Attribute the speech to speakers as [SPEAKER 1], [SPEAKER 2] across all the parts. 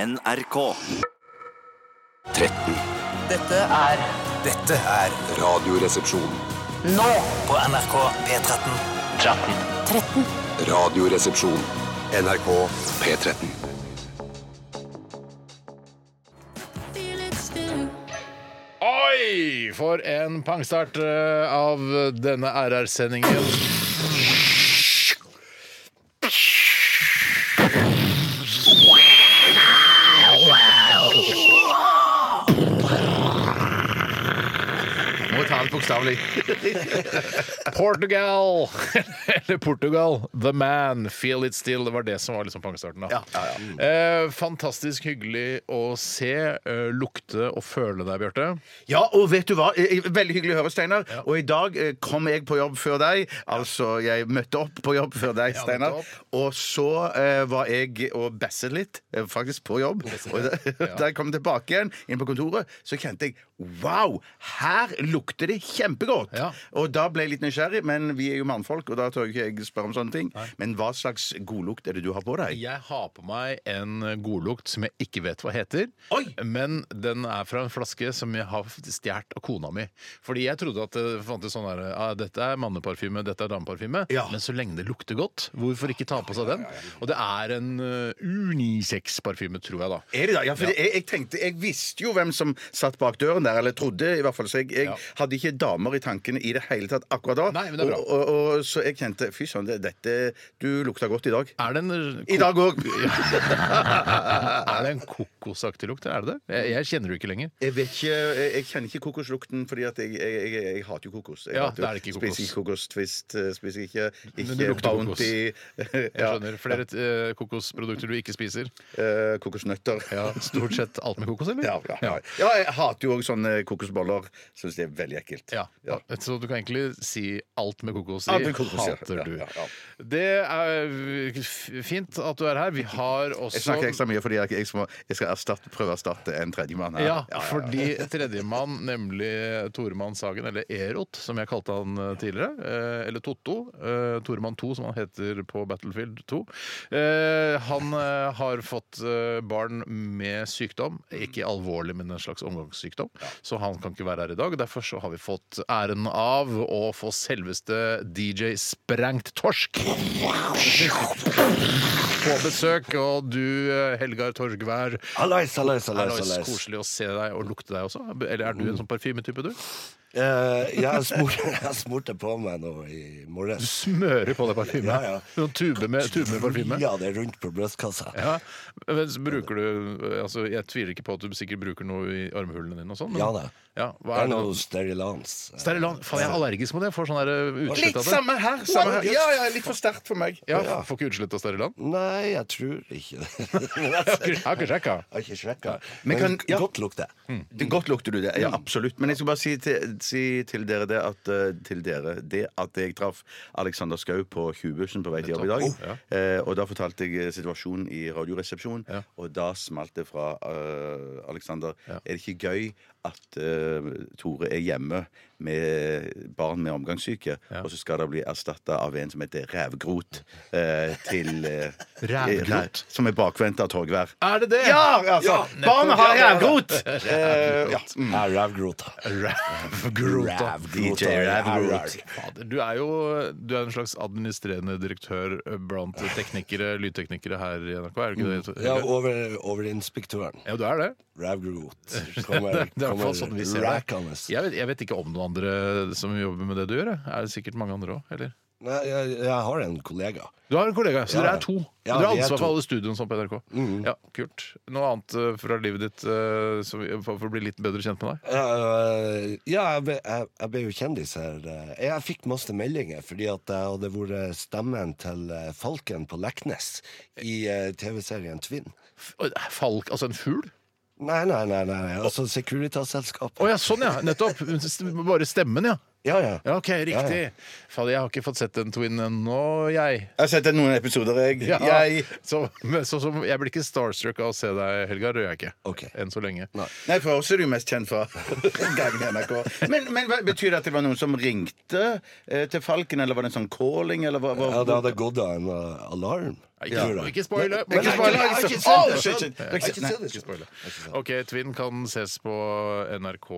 [SPEAKER 1] NRK.
[SPEAKER 2] 13.
[SPEAKER 3] Dette er
[SPEAKER 4] Dette er
[SPEAKER 2] Radioresepsjon.
[SPEAKER 3] nå
[SPEAKER 4] på NRK P13.
[SPEAKER 2] Radioresepsjon. NRK P13.
[SPEAKER 5] Oi! For en pangstart eh, av denne RR-sendingen.
[SPEAKER 6] Må ta den bokstavelig.
[SPEAKER 5] Portugal! Eller Portugal, The Man, Feel It Still. Det var det som var liksom pangstarten. da. Eh, fantastisk hyggelig å se, eh, lukte og føle deg, Bjarte.
[SPEAKER 6] Ja, og vet du hva? Eh, Veldig hyggelig å høre, Steinar. Og i dag eh, kom jeg på jobb før deg. Altså, jeg møtte opp på jobb før deg, Steinar.
[SPEAKER 5] møtte
[SPEAKER 6] Og så eh, var jeg og basset litt, eh, faktisk, på jobb. Og da, da jeg kom tilbake igjen inn på kontoret, så kjente jeg Wow! Her lukter det kjempegodt!
[SPEAKER 5] Ja.
[SPEAKER 6] Og da ble jeg litt nysgjerrig, men vi er jo mannfolk, og da tør ikke jeg spørre om sånne ting. Men hva slags godlukt er det du har på deg?
[SPEAKER 5] Jeg har på meg en godlukt som jeg ikke vet hva heter.
[SPEAKER 6] Oi!
[SPEAKER 5] Men den er fra en flaske som jeg har stjålet av kona mi. Fordi jeg trodde at det fantes sånn her ah, Dette er manneparfyme, dette er dameparfyme.
[SPEAKER 6] Ja.
[SPEAKER 5] Men så lenge det lukter godt, hvorfor ikke ta på seg den? Og det er en eh, unisex-parfyme, tror jeg, da.
[SPEAKER 6] Er det da? Ja, for Jeg, jeg tenkte, jeg visste jo hvem som satt bak døren der, eller trodde i hvert fall, så jeg, jeg
[SPEAKER 5] Ja.
[SPEAKER 6] hadde ikke damer i tankene i det hele tatt akkurat da.
[SPEAKER 5] Nei, men det er bra.
[SPEAKER 6] Og, og, og, så jeg kjente, fy søren, det- dette, du lukta godt i dag.
[SPEAKER 5] Er det en
[SPEAKER 6] I dag òg!
[SPEAKER 5] Er det en kokosaktig lukt? Er det det? Jeg, jeg kjenner det jo ikke lenger.
[SPEAKER 6] Jeg vet ikke, jeg jeg kjenner ikke kokoslukten, fordi at jeg, jeg, jeg, jeg hater jo kokos. Jeg
[SPEAKER 5] Ja,
[SPEAKER 6] hater jo-
[SPEAKER 5] det er ikke kokos.
[SPEAKER 6] Spiser ikke kokos Twist, eh, spiser ikke,
[SPEAKER 5] Men det
[SPEAKER 6] ikke
[SPEAKER 5] lukter kokos.
[SPEAKER 6] Bounty,
[SPEAKER 5] Jeg
[SPEAKER 6] ja,
[SPEAKER 5] skjønner. Flere eh, kokosprodukter du ikke spiser.
[SPEAKER 6] eh, kokosnøtter.
[SPEAKER 5] Ja, Stort sett alt med kokos, eller?
[SPEAKER 6] Ja, ja, ja. ja, jeg hater jo òg sånne kokosboller. Syns det er veldig ekkelt.
[SPEAKER 5] Ja. Så du kan egentlig si alt med kokos i.
[SPEAKER 6] Alt med kokos, ja.
[SPEAKER 5] hater
[SPEAKER 6] Ja,
[SPEAKER 5] du.
[SPEAKER 6] ja, ja.
[SPEAKER 5] Det er f- fint at du er her. Vi har også
[SPEAKER 6] Jeg snakker ekstra mye fordi jeg, jeg, må, jeg skal erstatte, prøve å erstatte en tredjemann her.
[SPEAKER 5] ja, fordi tredjemann, nemlig Toremann Sagen, eller Erot, som jeg kalte han eh, tidligere, eh, eller Totto, eh, Toremann 2, som han heter på Battlefield 2, eh, han eh, har fått eh, barn med sykdom, ikke alvorlig, men en slags omgangssykdom, så han kan ikke være her i dag. Derfor så har vi fått æren av å få selveste DJ Sprengt Torsk på besøk, og du, eh, Helgar Torgvær,
[SPEAKER 1] Hallais, hallais, hallais.
[SPEAKER 5] Alois,
[SPEAKER 1] hallais.
[SPEAKER 5] koselig å se deg og lukte deg også. Eller er du en sånn parfymetype, du?
[SPEAKER 1] Eh, jeg har smurt- jeg har smurt det på meg nå i morges.
[SPEAKER 5] Smører på deg parfyme.
[SPEAKER 1] Ja, ja.
[SPEAKER 5] Noen tube med, tube med parfyme.
[SPEAKER 1] Ja, det er rundt på brystkassa.
[SPEAKER 5] Ja. Men så bruker du altså, Jeg tviler ikke på at du sikkert bruker noe i armhulene dine og sånn. men-
[SPEAKER 1] Ja da.
[SPEAKER 5] Ja,
[SPEAKER 1] Det
[SPEAKER 5] hva
[SPEAKER 1] er
[SPEAKER 5] er det
[SPEAKER 1] noe
[SPEAKER 5] nå?
[SPEAKER 1] sterilans.
[SPEAKER 5] Sterilan. Faen, jeg er allergisk mot det. Jeg får sånn der, uh, utslett
[SPEAKER 6] Litt
[SPEAKER 5] av det.
[SPEAKER 6] samme her. Samme her. Ja, ja, litt for sterkt for meg.
[SPEAKER 5] Ja, f- Får ikke utslett av Sterilan?
[SPEAKER 1] Nei, jeg tror ikke det. Men
[SPEAKER 5] Jeg
[SPEAKER 1] jeg
[SPEAKER 5] har ikke sjekka.
[SPEAKER 1] har ikke sjekka.
[SPEAKER 6] Men
[SPEAKER 1] Men
[SPEAKER 6] kan- ja.
[SPEAKER 1] godt lukter.
[SPEAKER 5] Mm.
[SPEAKER 6] Det Godt lukter du det. Ja, absolutt. Mm. Men jeg skal bare si til, si til dere det at eh, Til dere det at jeg traff Alexander Skau på Tjuvbussen på vei til jobb i dag.
[SPEAKER 5] Ja.
[SPEAKER 6] Eh, og da fortalte jeg eh, situasjonen i Radioresepsjonen, og da smalt det fra eh, Alexander. Er det ikke gøy at eh, Tore er hjemme med barn med omgangssyke, og så skal det bli erstatta av en som heter Rævgrot eh, til eh,
[SPEAKER 5] Rævgrot?
[SPEAKER 6] ræv- Som er bakvendt av Torgvær.
[SPEAKER 5] Er det det?
[SPEAKER 6] Ja, altså! Barnet har rævgrot! Eh, ja.
[SPEAKER 5] Mm.
[SPEAKER 1] Jeg er rævgrota.
[SPEAKER 5] Rævgrota.
[SPEAKER 1] Rævgrota.
[SPEAKER 6] DJ Rævgrot.
[SPEAKER 5] Fader, Du er jo du er en slags administrerende direktør blant teknikere, lydteknikere her i NRK, er du ikke det?
[SPEAKER 1] Mm. Ja, over, overinspektøren.
[SPEAKER 5] Ja, du er det.
[SPEAKER 1] Rævgrot.
[SPEAKER 5] Det
[SPEAKER 1] Kommer,
[SPEAKER 5] er i hvert fall sånn vi ser
[SPEAKER 1] kommer rackende.
[SPEAKER 5] det. Jeg vet, jeg vet ikke om noen andre som jobber med det du gjør. jeg. Er det sikkert mange andre òg, eller?
[SPEAKER 1] Nei, jeg, jeg har en kollega.
[SPEAKER 5] Du har en kollega, så
[SPEAKER 1] Ja,
[SPEAKER 5] dere
[SPEAKER 1] ja.
[SPEAKER 5] er to.
[SPEAKER 1] Ja,
[SPEAKER 5] dere har
[SPEAKER 1] vi er
[SPEAKER 5] ansvar
[SPEAKER 1] to. Mm.
[SPEAKER 5] for alle studioene sånn på NRK. Ja, Kult. Noe annet eh, fra livet ditt eh, som vi- for for å bli litt bedre kjent med deg?
[SPEAKER 1] Eh, ja, jeg ble, jeg, jeg ble jo kjendis her. Eh, Jeg fikk masse meldinger fordi at eh, jeg hadde vært stemmen til eh, Falken på Leknes i eh, TV-serien Tvinn.
[SPEAKER 5] F- Falk, altså en fugl?
[SPEAKER 1] Nei, nei, nei, nei, nei. altså Securitas-selskapet.
[SPEAKER 5] Å ja, sånn ja! Nettopp. Bare stemmen, ja.
[SPEAKER 1] Ja, ja.
[SPEAKER 5] Ja, OK, riktig. Fader, jeg har ikke fått sett den twinen nå, jeg.
[SPEAKER 6] Jeg har sett noen episoder, jeg.
[SPEAKER 5] Ja.
[SPEAKER 6] jeg
[SPEAKER 5] Så, men, så, som- jeg blir ikke starstruck av å se deg, Helgar. Det gjør jeg ikke.
[SPEAKER 1] Ok.
[SPEAKER 5] Enn så lenge.
[SPEAKER 6] Nei, for oss er du mest kjent fra gangen i NRK. Men, men hva- betyr det at det var noen som ringte eh, til Falken, eller var det en sånn calling, eller hva? hva
[SPEAKER 1] Ja, det hadde gått av en uh, alarm.
[SPEAKER 5] Nei,
[SPEAKER 1] tror
[SPEAKER 5] Ikke,
[SPEAKER 1] jeg.
[SPEAKER 5] ikke spoile!
[SPEAKER 1] Men-
[SPEAKER 5] Ikke
[SPEAKER 1] men-
[SPEAKER 5] spoile.
[SPEAKER 1] jeg har ikke sett
[SPEAKER 5] Å,
[SPEAKER 1] det.
[SPEAKER 5] shit, shit.
[SPEAKER 1] Jeg har ikke
[SPEAKER 6] Nei,
[SPEAKER 1] sett det.
[SPEAKER 5] Ikke spoile. OK, Twin kan ses på NRK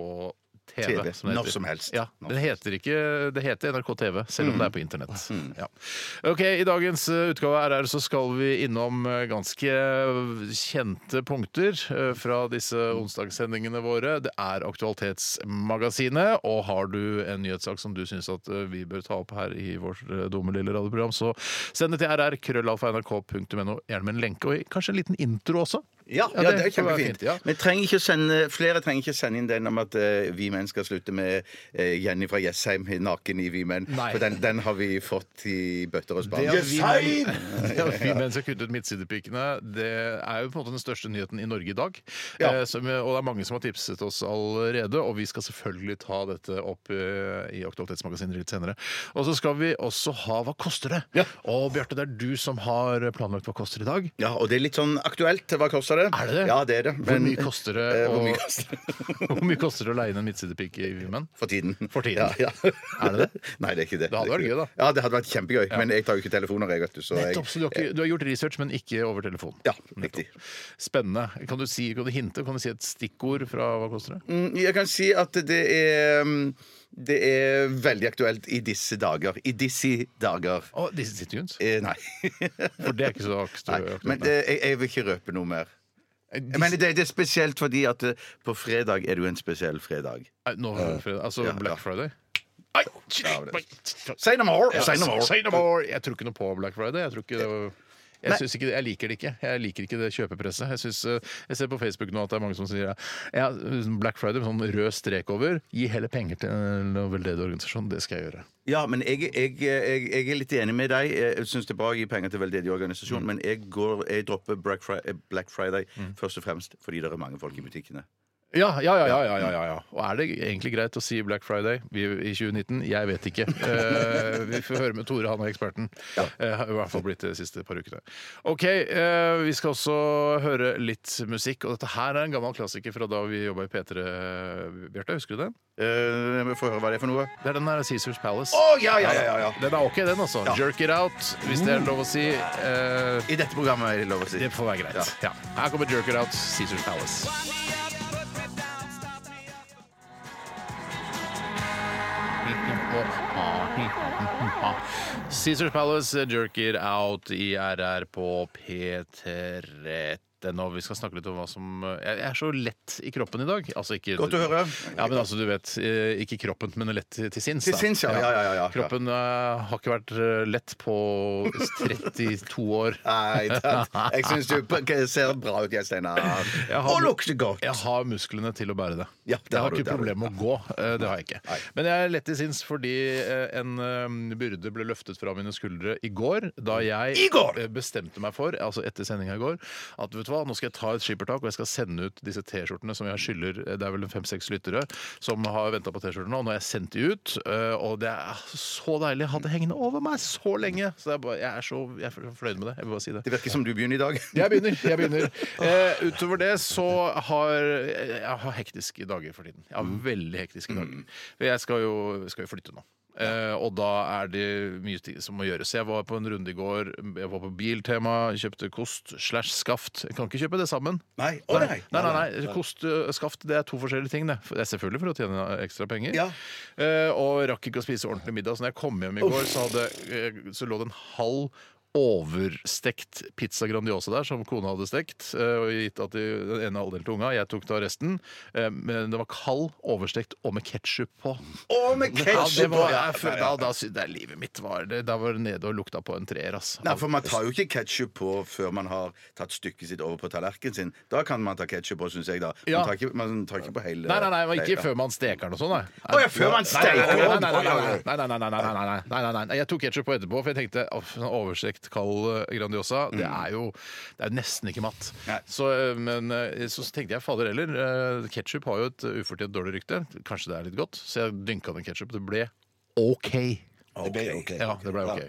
[SPEAKER 5] TV.
[SPEAKER 6] TV,
[SPEAKER 5] det
[SPEAKER 6] når
[SPEAKER 5] heter.
[SPEAKER 6] som helst.
[SPEAKER 5] Ja,
[SPEAKER 6] Når
[SPEAKER 5] det
[SPEAKER 6] som
[SPEAKER 5] heter, ikke, det heter NRK TV, selv om det er på internett.
[SPEAKER 6] Mm.
[SPEAKER 5] Ja. Ok, I dagens eh, utgave av RR så skal vi innom eh, ganske eh, kjente punkter eh, fra disse onsdagssendingene våre. Det er Aktualitetsmagasinet, og har du en nyhetssak som du syns at eh, vi bør ta opp her i vårt eh, dumme lille radioprogram, så send det til rr.krøllalfa.nrk.no, gjerne med en lenke, og kanskje en liten intro også.
[SPEAKER 6] Ja,
[SPEAKER 5] Ja,
[SPEAKER 6] det,
[SPEAKER 5] det
[SPEAKER 6] er
[SPEAKER 5] får være
[SPEAKER 6] kjempefint.
[SPEAKER 5] fint, ja.
[SPEAKER 6] Men trenger ikke å sende, flere trenger ikke sende inn den om at eh, vi menn skal slutte med eh, Jenny fra Jessheim naken i Vi menn.
[SPEAKER 5] Nei.
[SPEAKER 6] For den, den har vi fått i bøtter og spann.
[SPEAKER 5] Det har vi-
[SPEAKER 6] Jessheim!
[SPEAKER 5] Ja, vi menn som kuttet ut midtsidepikene, det er jo på en måte den største nyheten i Norge i dag.
[SPEAKER 6] Ja.
[SPEAKER 5] Eh, som, og det er mange som har tipset oss allerede, og vi skal selvfølgelig ta dette opp eh, i Aktualitetsmagasinet litt senere. Og så skal vi også ha Hva koster det?
[SPEAKER 6] Ja.
[SPEAKER 5] Og Bjarte, det er du som har planlagt Hva koster i dag.
[SPEAKER 6] Ja, og det er litt sånn aktuelt. Hva koster det?
[SPEAKER 5] Er det det?
[SPEAKER 6] Ja, det er det.
[SPEAKER 5] Hvor mye koster det
[SPEAKER 6] eh,
[SPEAKER 5] å-
[SPEAKER 6] Hvor mye koster det?
[SPEAKER 5] Hvor mye koster det å leie inn en midtsidepike i Vimen?
[SPEAKER 6] For tiden.
[SPEAKER 5] For tiden.
[SPEAKER 6] Ja, ja.
[SPEAKER 5] Er det det?
[SPEAKER 6] Nei, det er ikke det.
[SPEAKER 5] Det hadde vært
[SPEAKER 6] er ikke
[SPEAKER 5] gøy, da.
[SPEAKER 6] Ja, det hadde vært kjempegøy. Men jeg tar jo ikke telefoner, jeg, vet du. Så jeg,
[SPEAKER 5] Nettopp, så du har, ikke, du har gjort research, men ikke over telefon.
[SPEAKER 6] Ja, riktig.
[SPEAKER 5] Spennende. Kan du, si, kan du hinte? Kan du si et stikkord fra Hva koster det?
[SPEAKER 6] Mm, Jeg kan si at det er mm, Det er veldig aktuelt i disse dager. I disse dager.
[SPEAKER 5] Å, disse situnes.
[SPEAKER 6] Eh, nei.
[SPEAKER 5] For det er ikke så aktu-
[SPEAKER 6] nei.
[SPEAKER 5] aktuelt.
[SPEAKER 6] Men eh, jeg, jeg vil ikke røpe noe mer.
[SPEAKER 5] Disse-
[SPEAKER 6] Men det, det er spesielt fordi at eh, på fredag er det jo en spesiell fredag.
[SPEAKER 5] Nei, Nå har vi fredag. Altså
[SPEAKER 6] Ja, ja.
[SPEAKER 5] Black Friday? Ai, shit,
[SPEAKER 6] Ja, det-
[SPEAKER 5] nei,
[SPEAKER 6] Say no more!
[SPEAKER 5] ja,
[SPEAKER 6] Say no more.
[SPEAKER 5] say no more! Jeg tror ikke noe på Black Friday. Jeg tror ikke det var jeg,
[SPEAKER 6] Nei.
[SPEAKER 5] synes ikke, det- jeg liker det ikke. Jeg liker ikke det kjøpepresset. Jeg, synes, eh, jeg ser på Facebook nå at det er mange som sier ja, Black Friday med sånn rød strek over. Gi heller penger til en veldedig organisasjon. Det skal jeg gjøre.
[SPEAKER 6] Ja, men jeg, jeg, jeg, jeg er litt enig med deg. Jeg syns det er bra å gi penger til veldedig organisasjon,
[SPEAKER 5] Mm.
[SPEAKER 6] men jeg, går, jeg dropper Black Friday, Black Friday først og fremst fordi det er mange
[SPEAKER 5] Mm.
[SPEAKER 6] folk i butikkene.
[SPEAKER 5] Ja, ja, ja, ja, ja, ja, ja, ja. Og er det egentlig greit å si Black Friday vi, i 2019? Jeg vet ikke. Eh, vi får høre med Tore, han er eksperten. Eh, har I hvert fall blitt det de siste par ukene. Ok, eh, vi skal også høre litt musikk. Og dette her er en gammel klassiker fra da vi jobba i P3, Bjarte. Husker du den?
[SPEAKER 6] Eh, vi får høre hva det er for noe. Å,
[SPEAKER 5] Det er den der Caesars Palace.
[SPEAKER 6] ja, ja, ja, ja, ja!
[SPEAKER 5] Den er ok, den, altså. Jerk it out, hvis det er lov å si. Eh,
[SPEAKER 6] I dette programmet er det lov å si.
[SPEAKER 5] det får være greit. Ja. Her kommer Jerk it out, Caesars Palace. Caesar Palace jerker out i RR på P13. Og vi skal snakke litt om hva som Jeg er så lett i kroppen i dag. Altså, ikke,
[SPEAKER 6] Godt å høre.
[SPEAKER 5] Ja, men altså, du vet, eh, Ikke kroppen, men lett til til sinns.
[SPEAKER 6] Til
[SPEAKER 5] da.
[SPEAKER 6] sinns, ja. Ja, ja, ja, ja.
[SPEAKER 5] Kroppen eh, har ikke vært eh, lett på 32 år.
[SPEAKER 6] Nei, det- jeg syns du p- ser bra ut, Jens Steinar.
[SPEAKER 5] Jeg har-
[SPEAKER 6] Og lukter godt.
[SPEAKER 5] Jeg har musklene til å bære det.
[SPEAKER 6] Ja, det
[SPEAKER 5] jeg
[SPEAKER 6] har
[SPEAKER 5] har
[SPEAKER 6] du, det
[SPEAKER 5] ikke
[SPEAKER 6] har du.
[SPEAKER 5] problemer med å gå. eh, Det har jeg ikke. Men jeg er lett i sinns fordi eh, en eh, byrde ble løftet fra mine skuldre i går, da jeg eh, bestemte meg for, altså etter sendinga i går, at vet du hva, nå skal jeg ta et skippertak og jeg skal sende ut disse T-skjortene som jeg skylder eh, Det er vel fem-seks lyttere som har venta på T-skjortene, og nå har jeg sendt de ut. eh, Og det er så deilig. Jeg hadde hengende over meg så lenge. Så jeg, bare, jeg er så jeg er fornøyd med det. Jeg vil bare si det.
[SPEAKER 6] Det virker som du begynner i dag.
[SPEAKER 5] Jeg begynner. jeg begynner eh, Utover det så har jeg har hektiske dager for tiden. Jeg har Veldig hektiske dager. For jeg skal jo, skal jo flytte nå. Eh, og da er det mye ting som må gjøres. Jeg var på en runde i går. Jeg var på Biltema, kjøpte kost slash skaft. Jeg kan ikke kjøpe det sammen.
[SPEAKER 6] Nei, å nei.
[SPEAKER 5] Nei, nei, nei, Kost og skaft det er to forskjellige ting. Det. det er selvfølgelig for å tjene ekstra penger.
[SPEAKER 6] Ja.
[SPEAKER 5] Eh, og rakk ikke å spise ordentlig middag. Så når jeg kom hjem i går, så, hadde, eh, så lå det en halv overstekt pizza Grandiosa der, som kona hadde stekt. eh, og gitt at de, den ene halvdelen til unga. Jeg tok da resten. eh, men det var kald, overstekt og med ketsjup på.
[SPEAKER 6] Å, med
[SPEAKER 5] Ja, det,
[SPEAKER 6] ketsjup
[SPEAKER 5] var,
[SPEAKER 6] på! Ja,
[SPEAKER 5] jeg, da, da, sy- det er livet mitt var det. Da var det nede og lukta på en treer, altså.
[SPEAKER 6] Nei, for Man tar jo ikke ketsjup på før man har tatt stykket sitt over på tallerkenen sin. Da kan man ta ketsjup på, syns jeg. da Man,
[SPEAKER 5] Ja.
[SPEAKER 6] tar ikke, man tar ikke på hele
[SPEAKER 5] Nei, nei, nei, men ikke
[SPEAKER 6] Ja.
[SPEAKER 5] før man steker den og sånn, nei.
[SPEAKER 6] Å, ja, før
[SPEAKER 5] Nei, nei, nei,
[SPEAKER 6] man steker
[SPEAKER 5] nei, nei, nei, nei, nei, nei, nei, nei, nei, nei, nei, nei, nei, nei, Jeg tok ketsjup på etterpå, for jeg tenkte «Åh, sånn overstekt litt kald eh, Grandiosa, det er jo det er nesten ikke matt.
[SPEAKER 6] Mm. Nei.
[SPEAKER 5] Så, eh, men eh, så tenkte jeg fader heller, eh, ketsjup har jo et ufortjent dårlig rykte. Kanskje det er litt godt? Så jeg dynka den ketsjup. Det ble OK.
[SPEAKER 1] Det ble ok.
[SPEAKER 5] Ja, det ble ok.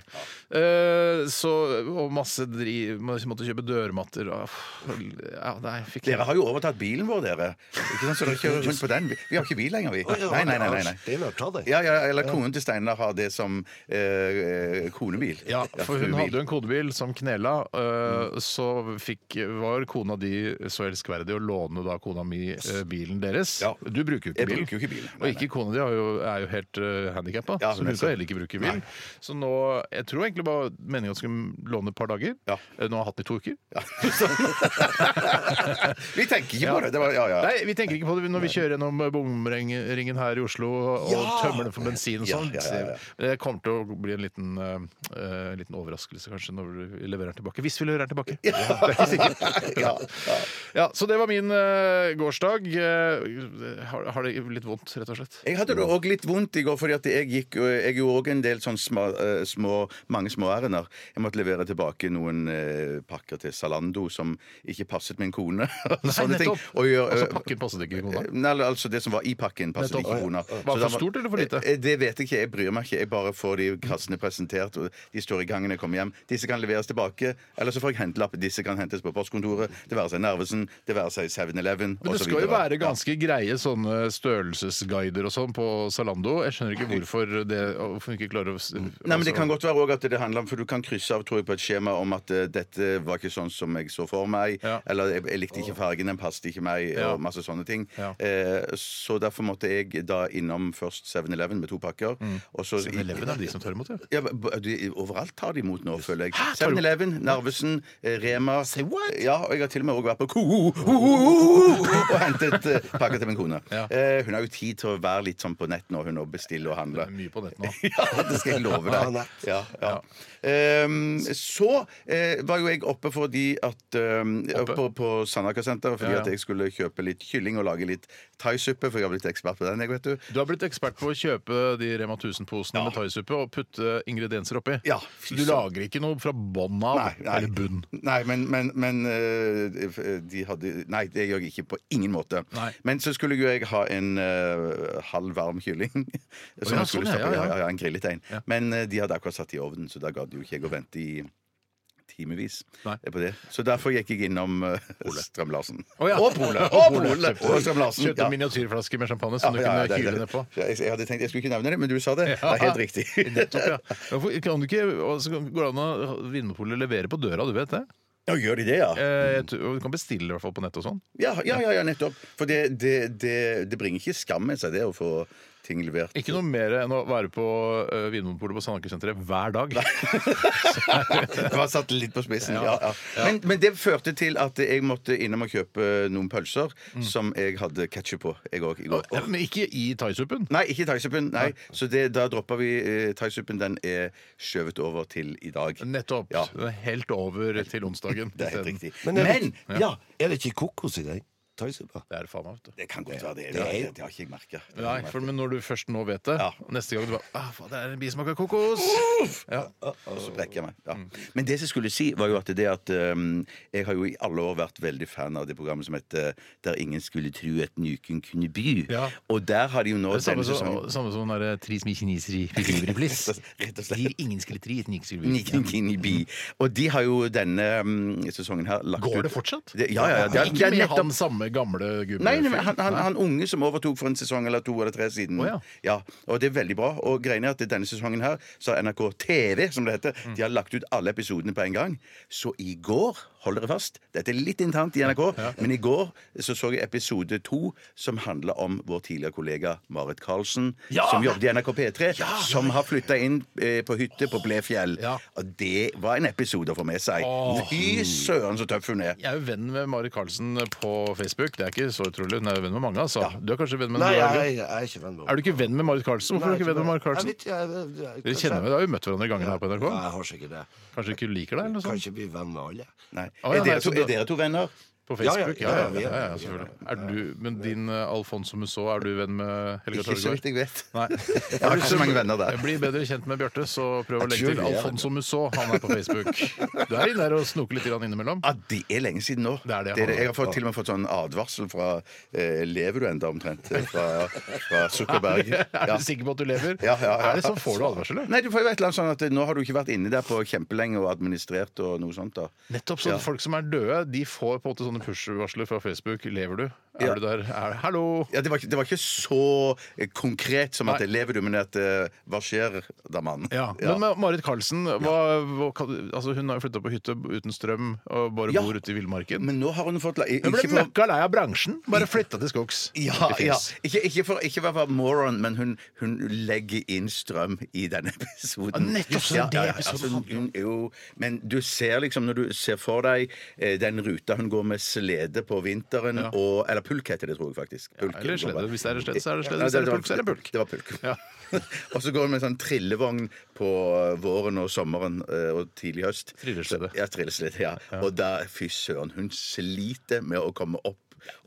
[SPEAKER 5] Eh, så, og masse dri... man Måtte kjøpe dørmatter og ah, Ja, nei, fikk
[SPEAKER 6] Dere har jo overtatt bilen vår, dere. Ikke sant, så dere kjører rundt på den. Vi- Vi har ikke bil lenger, vi.
[SPEAKER 1] ja,
[SPEAKER 6] Nei, nei, nei, nei, nei.
[SPEAKER 1] Steinar, ta det.
[SPEAKER 6] Ja, ja, eller konen til Steinar har det som eh, eh, konebil.
[SPEAKER 5] Ja, for hun
[SPEAKER 6] frubil.
[SPEAKER 5] hadde jo en kodebil som knela. eh,
[SPEAKER 6] Mm.
[SPEAKER 5] Så fikk, var kona di så elskverdig å låne da kona mi eh, bilen deres.
[SPEAKER 6] Ja.
[SPEAKER 5] Du bruker jo ikke
[SPEAKER 6] Jeg
[SPEAKER 5] bil.
[SPEAKER 6] bruker jo ikke bil.
[SPEAKER 5] Og ikke kona di er jo, er jo helt uh, handikappa,
[SPEAKER 6] Ja,
[SPEAKER 5] så
[SPEAKER 6] hun
[SPEAKER 5] hun kan
[SPEAKER 6] er så-
[SPEAKER 5] heller ikke bruke bil. Så nå Jeg tror egentlig bare meningen at hun skulle låne et par dager.
[SPEAKER 6] Ja.
[SPEAKER 5] Eh, Nå har jeg hatt den i to uker.
[SPEAKER 6] Vi tenker ikke
[SPEAKER 5] Ja.
[SPEAKER 6] på det. det var, ja, ja.
[SPEAKER 5] Nei, vi tenker ikke på det når vi kjører gjennom bomringen her i Oslo og tømmer den for bensin og
[SPEAKER 6] Ja,
[SPEAKER 5] sånn.
[SPEAKER 6] ja, ja, ja.
[SPEAKER 5] Det kommer til å bli en liten, eh, eh, liten overraskelse kanskje når vi leverer den tilbake. Hvis vi leverer den tilbake. Det er ikke sikkert.
[SPEAKER 6] Ja,
[SPEAKER 5] Ja, så det var min eh, gårsdag. Eh, har, har det litt vondt, rett og slett?
[SPEAKER 6] Jeg hadde det òg litt vondt i går, fordi at jeg gikk Jeg gjorde òg en del sånn små, eh, små mange småærender. Jeg måtte levere tilbake noen eh, pakker til Zalando som ikke passet min kone. og sånne ting.
[SPEAKER 5] nettopp.
[SPEAKER 6] Og gjør-
[SPEAKER 5] Altså pakken passet ikke kona.
[SPEAKER 6] Nei, eller altså Det som var i pakken, passet
[SPEAKER 5] Nettopp.
[SPEAKER 6] ikke kona.
[SPEAKER 5] Var det for stort eller for lite?
[SPEAKER 6] Eh, Det vet jeg ikke. Jeg bryr meg ikke. Jeg bare får de kassene presentert, og de står i gangen når jeg kommer hjem. Disse kan leveres tilbake, eller så får jeg hentelapp. Disse kan hentes på postkontoret. Det være seg Narvesen, det være seg 7-Eleven
[SPEAKER 5] Men det
[SPEAKER 6] og så
[SPEAKER 5] skal jo
[SPEAKER 6] videre.
[SPEAKER 5] være ganske greie sånne størrelsesguider og sånn på Zalando. Jeg skjønner ikke hvorfor det hvorfor hun ikke klarer å s-
[SPEAKER 6] Nei, men Det
[SPEAKER 5] altså-
[SPEAKER 6] kan godt være også at det handler om For du kan krysse av tror jeg, på et skjema om at eh, dette var ikke sånn som jeg så for meg.
[SPEAKER 5] Ja.
[SPEAKER 6] Eller jeg, jeg likte ikke fargen, den passet ikke meg,
[SPEAKER 5] Ja.
[SPEAKER 6] og masse sånne ting.
[SPEAKER 5] Ja.
[SPEAKER 6] Eh, så derfor måtte jeg da innom først 7-Eleven med to pakker.
[SPEAKER 5] Mm.
[SPEAKER 6] og så-
[SPEAKER 5] 7-Eleven er de som tar imot, ja.
[SPEAKER 6] Ja, men b- de, overalt tar de imot nå, føler jeg.
[SPEAKER 5] Tar du-
[SPEAKER 6] 7-Eleven, Narvesen, eh, Rema.
[SPEAKER 5] Say what?
[SPEAKER 6] Ja, og jeg har til og med også vært på Ko-ho-ho-ho-ho-ho og hentet eh, pakker til min kone.
[SPEAKER 5] Ja.
[SPEAKER 6] Eh, hun har jo tid til å være litt sånn på nett nå, hun, og bestille og handle.
[SPEAKER 5] Det er mye på nett nå.
[SPEAKER 6] Ja, det skal jeg love
[SPEAKER 1] Ja,
[SPEAKER 6] deg.
[SPEAKER 1] nett.
[SPEAKER 6] Ja, ja. Ehm, så eh, var jo jeg oppe fordi at ehm,
[SPEAKER 5] Oppe?
[SPEAKER 6] På, på Sandaker-senteret fordi
[SPEAKER 5] Ja, ja.
[SPEAKER 6] at jeg skulle kjøpe litt kylling og lage litt thaisuppe, for jeg har blitt ekspert på den, jeg, vet du.
[SPEAKER 5] Du har blitt ekspert på å kjøpe de Rema 1000-posene med thaisuppe og putte ingredienser oppi.
[SPEAKER 6] Ja,
[SPEAKER 5] Så
[SPEAKER 6] fy
[SPEAKER 5] du
[SPEAKER 6] søren.
[SPEAKER 5] lager ikke noe fra bånn av eller bunn.
[SPEAKER 6] Nei, men, men, men eh, f- de hadde Nei, det gjør jeg ikke på ingen måte.
[SPEAKER 5] Nei.
[SPEAKER 6] Men så skulle jo jeg ha en eh, halv varm kylling. Som
[SPEAKER 5] ja,
[SPEAKER 6] jeg skulle
[SPEAKER 5] sånn, ja, ja,
[SPEAKER 6] stappe-
[SPEAKER 5] ja.
[SPEAKER 6] ja, ja, en grillet en.
[SPEAKER 5] Ja.
[SPEAKER 6] Men eh, de hadde akkurat satt i ovnen, så da gadd jo ikke jeg å vente i timevis eh,
[SPEAKER 5] Nei.
[SPEAKER 6] på det. Så derfor gikk jeg innom eh, Strøm-Larsen.
[SPEAKER 5] Å, ja.
[SPEAKER 6] Og Pole!
[SPEAKER 5] Og
[SPEAKER 6] Og,
[SPEAKER 5] Pole.
[SPEAKER 6] Pole. og Strøm-Larsen.
[SPEAKER 5] Kjøpte en miniatyrflaske med champagne som du kunne
[SPEAKER 6] det-
[SPEAKER 5] kyle
[SPEAKER 6] det-
[SPEAKER 5] ned på.
[SPEAKER 6] Ja, Jeg, jeg hadde tenkt jeg skulle ikke nevne det, men du sa det. Det
[SPEAKER 5] Ja.
[SPEAKER 6] er helt riktig.
[SPEAKER 5] Nettopp, ja. Hvorfor Kan du ikke, og så går det an å Vinmonopolet leverer på døra, du vet det?
[SPEAKER 6] Ja, gjør de det, ja?
[SPEAKER 5] Eh, jeg tror- Du kan bestille i hvert fall på nett og sånn.
[SPEAKER 6] Ja, ja, ja, ja nettopp. For det, det, det, det bringer ikke skam med seg, det å få ting levert.
[SPEAKER 5] Ikke noe mer enn å være på uh, Vinmonopolet på Sandaker-senteret hver dag.
[SPEAKER 6] Det var satt litt på spissen.
[SPEAKER 5] Ja.
[SPEAKER 6] Ja, ja. Men, men det førte til at jeg måtte innom og kjøpe noen pølser som jeg hadde ketsjup på, jeg òg, i går.
[SPEAKER 5] Mm. Ja, men ikke i thaisuppen.
[SPEAKER 6] Nei, ikke thaisuppen. Nei. Så det, da droppa vi eh, thaisuppen. Den er skjøvet over til i dag.
[SPEAKER 5] Nettopp.
[SPEAKER 6] Ja.
[SPEAKER 5] Den er Helt over til onsdagen.
[SPEAKER 6] Det er helt
[SPEAKER 5] isteden.
[SPEAKER 6] riktig.
[SPEAKER 1] Men
[SPEAKER 6] Men,
[SPEAKER 1] er det-
[SPEAKER 6] ja.
[SPEAKER 1] Er det ikke kokos i den thaisuppa?
[SPEAKER 5] Det er det faen meg, vet du.
[SPEAKER 6] Det kan godt være det.
[SPEAKER 1] Det
[SPEAKER 6] Det,
[SPEAKER 1] er-
[SPEAKER 6] det har ikke jeg merka.
[SPEAKER 5] Nei, for, men når du først nå vet det
[SPEAKER 6] Ja.
[SPEAKER 5] Neste gang du bare ah, faen, Det er en bismak av kokos! Ja.
[SPEAKER 6] Og så brekker jeg meg. Ja.
[SPEAKER 5] Mm.
[SPEAKER 6] Men det som jeg skulle si, var jo at det at um, jeg har jo i alle år vært veldig fan av det programmet som heter eh, Der ingen skulle tru et nyken kunne by.
[SPEAKER 5] Ja.
[SPEAKER 6] Og der har de jo nå
[SPEAKER 5] Det er samme
[SPEAKER 6] denne
[SPEAKER 5] som,
[SPEAKER 6] sesongen
[SPEAKER 5] samme som den derre Tris mi kineseri fikure bliss.
[SPEAKER 6] Rett og slett.
[SPEAKER 5] Gir ingen skulle tri et nyksel
[SPEAKER 6] Nyken kunne by. Og de har jo denne um, sesongen her lagt
[SPEAKER 5] Går det
[SPEAKER 6] ut-
[SPEAKER 5] fortsatt?
[SPEAKER 6] Det, ja, ja, ja. Det, er- det
[SPEAKER 5] Ikke
[SPEAKER 6] er
[SPEAKER 5] med
[SPEAKER 6] nettopp
[SPEAKER 5] han samme gamle gubben.
[SPEAKER 6] Nei, nei, men han, han, han unge som overtok for en sesong eller to eller tre siden.
[SPEAKER 5] Å, ja.
[SPEAKER 6] Og det er veldig bra. Og greiene er at denne sesongen her så har NRK TV, som det heter,
[SPEAKER 5] Mm.
[SPEAKER 6] de har lagt ut alle episodene på en gang. Så i går, hold dere fast, dette er litt internt i NRK, men i går så så jeg episode to som handla om vår tidligere kollega Marit Karlsen, som jobbet i NRK P3, som har flytta inn eh, på hytte på Blefjell.
[SPEAKER 5] Ja.
[SPEAKER 6] Og det var en episode å få med seg.
[SPEAKER 5] Åh.
[SPEAKER 6] Fy søren, så tøff hun er.
[SPEAKER 5] Jeg er jo venn med Mari Karlsen på Facebook. Det er ikke så utrolig. Hun er jo venn med mange, altså. Du er kanskje venn med
[SPEAKER 1] Nei,
[SPEAKER 5] noen,
[SPEAKER 1] jeg,
[SPEAKER 5] er du?
[SPEAKER 1] jeg, er ikke venn med
[SPEAKER 5] Er du ikke venn med Marit Karlsen? Hvorfor er du ikke venn med Marit Karlsen? Dere kjenner jo, Dere har jo møtt hverandre i gangen her på
[SPEAKER 1] Nei,
[SPEAKER 5] NRK.
[SPEAKER 1] jeg har sikkert det.
[SPEAKER 5] Kanskje ikke liker deg? eller noe
[SPEAKER 1] Kan
[SPEAKER 5] sånt?
[SPEAKER 1] ikke bli venn med alle.
[SPEAKER 6] Nei.
[SPEAKER 5] Å, ja,
[SPEAKER 6] er, dere
[SPEAKER 5] nei, så
[SPEAKER 6] to,
[SPEAKER 5] da-
[SPEAKER 6] er dere to venner?
[SPEAKER 5] På Facebook?
[SPEAKER 1] Ja, ja, ja, vi er-
[SPEAKER 5] selvfølgelig. Er du, men din eh, Alfonso Musaa, er du venn med Helga
[SPEAKER 6] Ikke så vidt
[SPEAKER 5] Torgeir?
[SPEAKER 6] jeg vet.
[SPEAKER 5] Nei.
[SPEAKER 6] Jeg har ikke så mange venner der.
[SPEAKER 5] Bli bedre kjent med Bjarte, så prøv å
[SPEAKER 1] Jeg
[SPEAKER 5] legge
[SPEAKER 1] tror
[SPEAKER 5] til
[SPEAKER 1] vi er
[SPEAKER 5] Alfonso Musaa. Han er på Facebook. Du er inne der og snoker litt grann innimellom?
[SPEAKER 6] Ah, det er lenge siden nå.
[SPEAKER 5] Det er det,
[SPEAKER 6] Jeg har fått, til og med fått sånn advarsel fra eh, Lever du enda omtrent? eh, Fra, fra Zuckerberg.
[SPEAKER 5] Er
[SPEAKER 6] Ja.
[SPEAKER 5] du sikker på at du lever?
[SPEAKER 6] Ja, ja, ja.
[SPEAKER 5] Er det sånn får du advarsel? eller?
[SPEAKER 6] Nei, du får jo et eller annet sånn at eh, Nå har du ikke vært inne der på kjempelenge og administrert og noe sånt. da
[SPEAKER 5] Nettopp sånn Folk som er døde, de får på en måte sånne push-varsler fra Facebook. Lever du? Er
[SPEAKER 6] Ja.
[SPEAKER 5] du der? Er, Hallo!
[SPEAKER 6] ja, det, var, ikke- det var ikke så eh, konkret som at
[SPEAKER 5] Nei.
[SPEAKER 6] det lever du, men at eh, hva skjer da, mann?
[SPEAKER 5] Ja.
[SPEAKER 6] Ja.
[SPEAKER 5] Men med Marit Karlsen, hva, hva, kan- altså hun har jo flytta på hytte uten strøm og bare
[SPEAKER 6] Ja.
[SPEAKER 5] bor ute i villmarken.
[SPEAKER 6] Men nå har hun fått la-
[SPEAKER 5] Hun ble
[SPEAKER 6] ikke for-
[SPEAKER 5] møkka lei av bransjen, bare flytta til skogs.
[SPEAKER 6] Ja,
[SPEAKER 5] Det
[SPEAKER 6] ja.
[SPEAKER 5] finnes.
[SPEAKER 6] Ikke, ikke for ikke for å være moron, men hun, hun legger inn strøm i denne episoden.
[SPEAKER 5] Ja, nettopp, så det er det episoden
[SPEAKER 6] altså, hun, jo, Men du ser liksom, når du ser for deg eh, den ruta hun går med slede på vinteren og Eller pulk heter det, tror jeg faktisk. Pulk,
[SPEAKER 5] eller
[SPEAKER 6] hun går
[SPEAKER 5] slede.
[SPEAKER 6] med.
[SPEAKER 5] Hvis det er slede, så er det slede.
[SPEAKER 6] Ja,
[SPEAKER 5] Hvis det er
[SPEAKER 6] var-
[SPEAKER 5] pulk, så er det pulk.
[SPEAKER 6] Det var pulk.
[SPEAKER 5] Ja.
[SPEAKER 6] og så går hun med en sånn trillevogn på eh, våren og sommeren eh, og tidlig høst.
[SPEAKER 5] Trilleslede.
[SPEAKER 6] Ja, trilleslede, ja. Og da, fy søren, hun sliter med å komme opp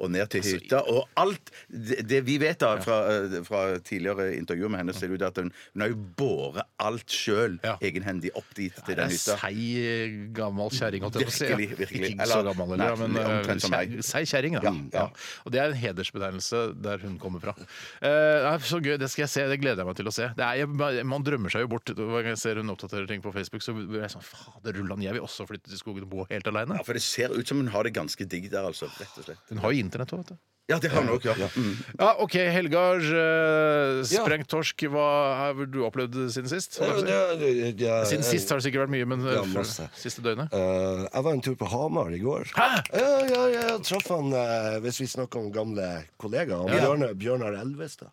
[SPEAKER 6] og ned til
[SPEAKER 5] Altså,
[SPEAKER 6] hytta. Og alt det, det vi vet da fra, eh, fra tidligere intervjuer med henne, ser det ut at hun, hun har jo båret alt sjøl
[SPEAKER 5] Ja.
[SPEAKER 6] egenhendig opp dit til
[SPEAKER 5] Det
[SPEAKER 6] den
[SPEAKER 5] er
[SPEAKER 6] hytta.
[SPEAKER 5] seig eh, gammel kjerring. holdt jeg på å si,
[SPEAKER 6] Virkelig,
[SPEAKER 5] ja.
[SPEAKER 6] virkelig.
[SPEAKER 5] Ikke så
[SPEAKER 6] Eller-
[SPEAKER 5] gammel,
[SPEAKER 6] nei,
[SPEAKER 5] eller, men eh,
[SPEAKER 6] omtrent som meg.
[SPEAKER 5] kjer- seig kjerring. da.
[SPEAKER 6] Ja, ja.
[SPEAKER 5] Og det er en hedersbetegnelse der hun kommer fra. Eh, nei, så gøy, Det skal jeg se, det gleder jeg meg til å se. Det er, jeg, man drømmer seg jo bort. Hver gang jeg ser hun oppdaterer ting på Facebook, så blir jeg sånn Fader, Rulland, jeg vil også flytte til skogen og bo helt aleine.
[SPEAKER 6] Ja, for det ser ut som hun har det ganske digg der, altså. Rett og slett.
[SPEAKER 5] Hun har jo internett òg, vet du.
[SPEAKER 6] Ja, det har hun òg, ja. Mm.
[SPEAKER 5] Ja, OK, Helgar. Eh, sprengt torsk, hva har du opplevd siden sist? Altså, Siden sist har det sikkert vært mye, men eh,
[SPEAKER 1] eh, Ja, masse.
[SPEAKER 5] siste døgnet?
[SPEAKER 1] Eh, jeg var en tur på Hamar i går.
[SPEAKER 5] Hæ?
[SPEAKER 1] Ja, ja, ja, jeg traff han, eh, hvis vi snakker om gamle kollegaer, han Bjørnar, Bjørnar Elvestad.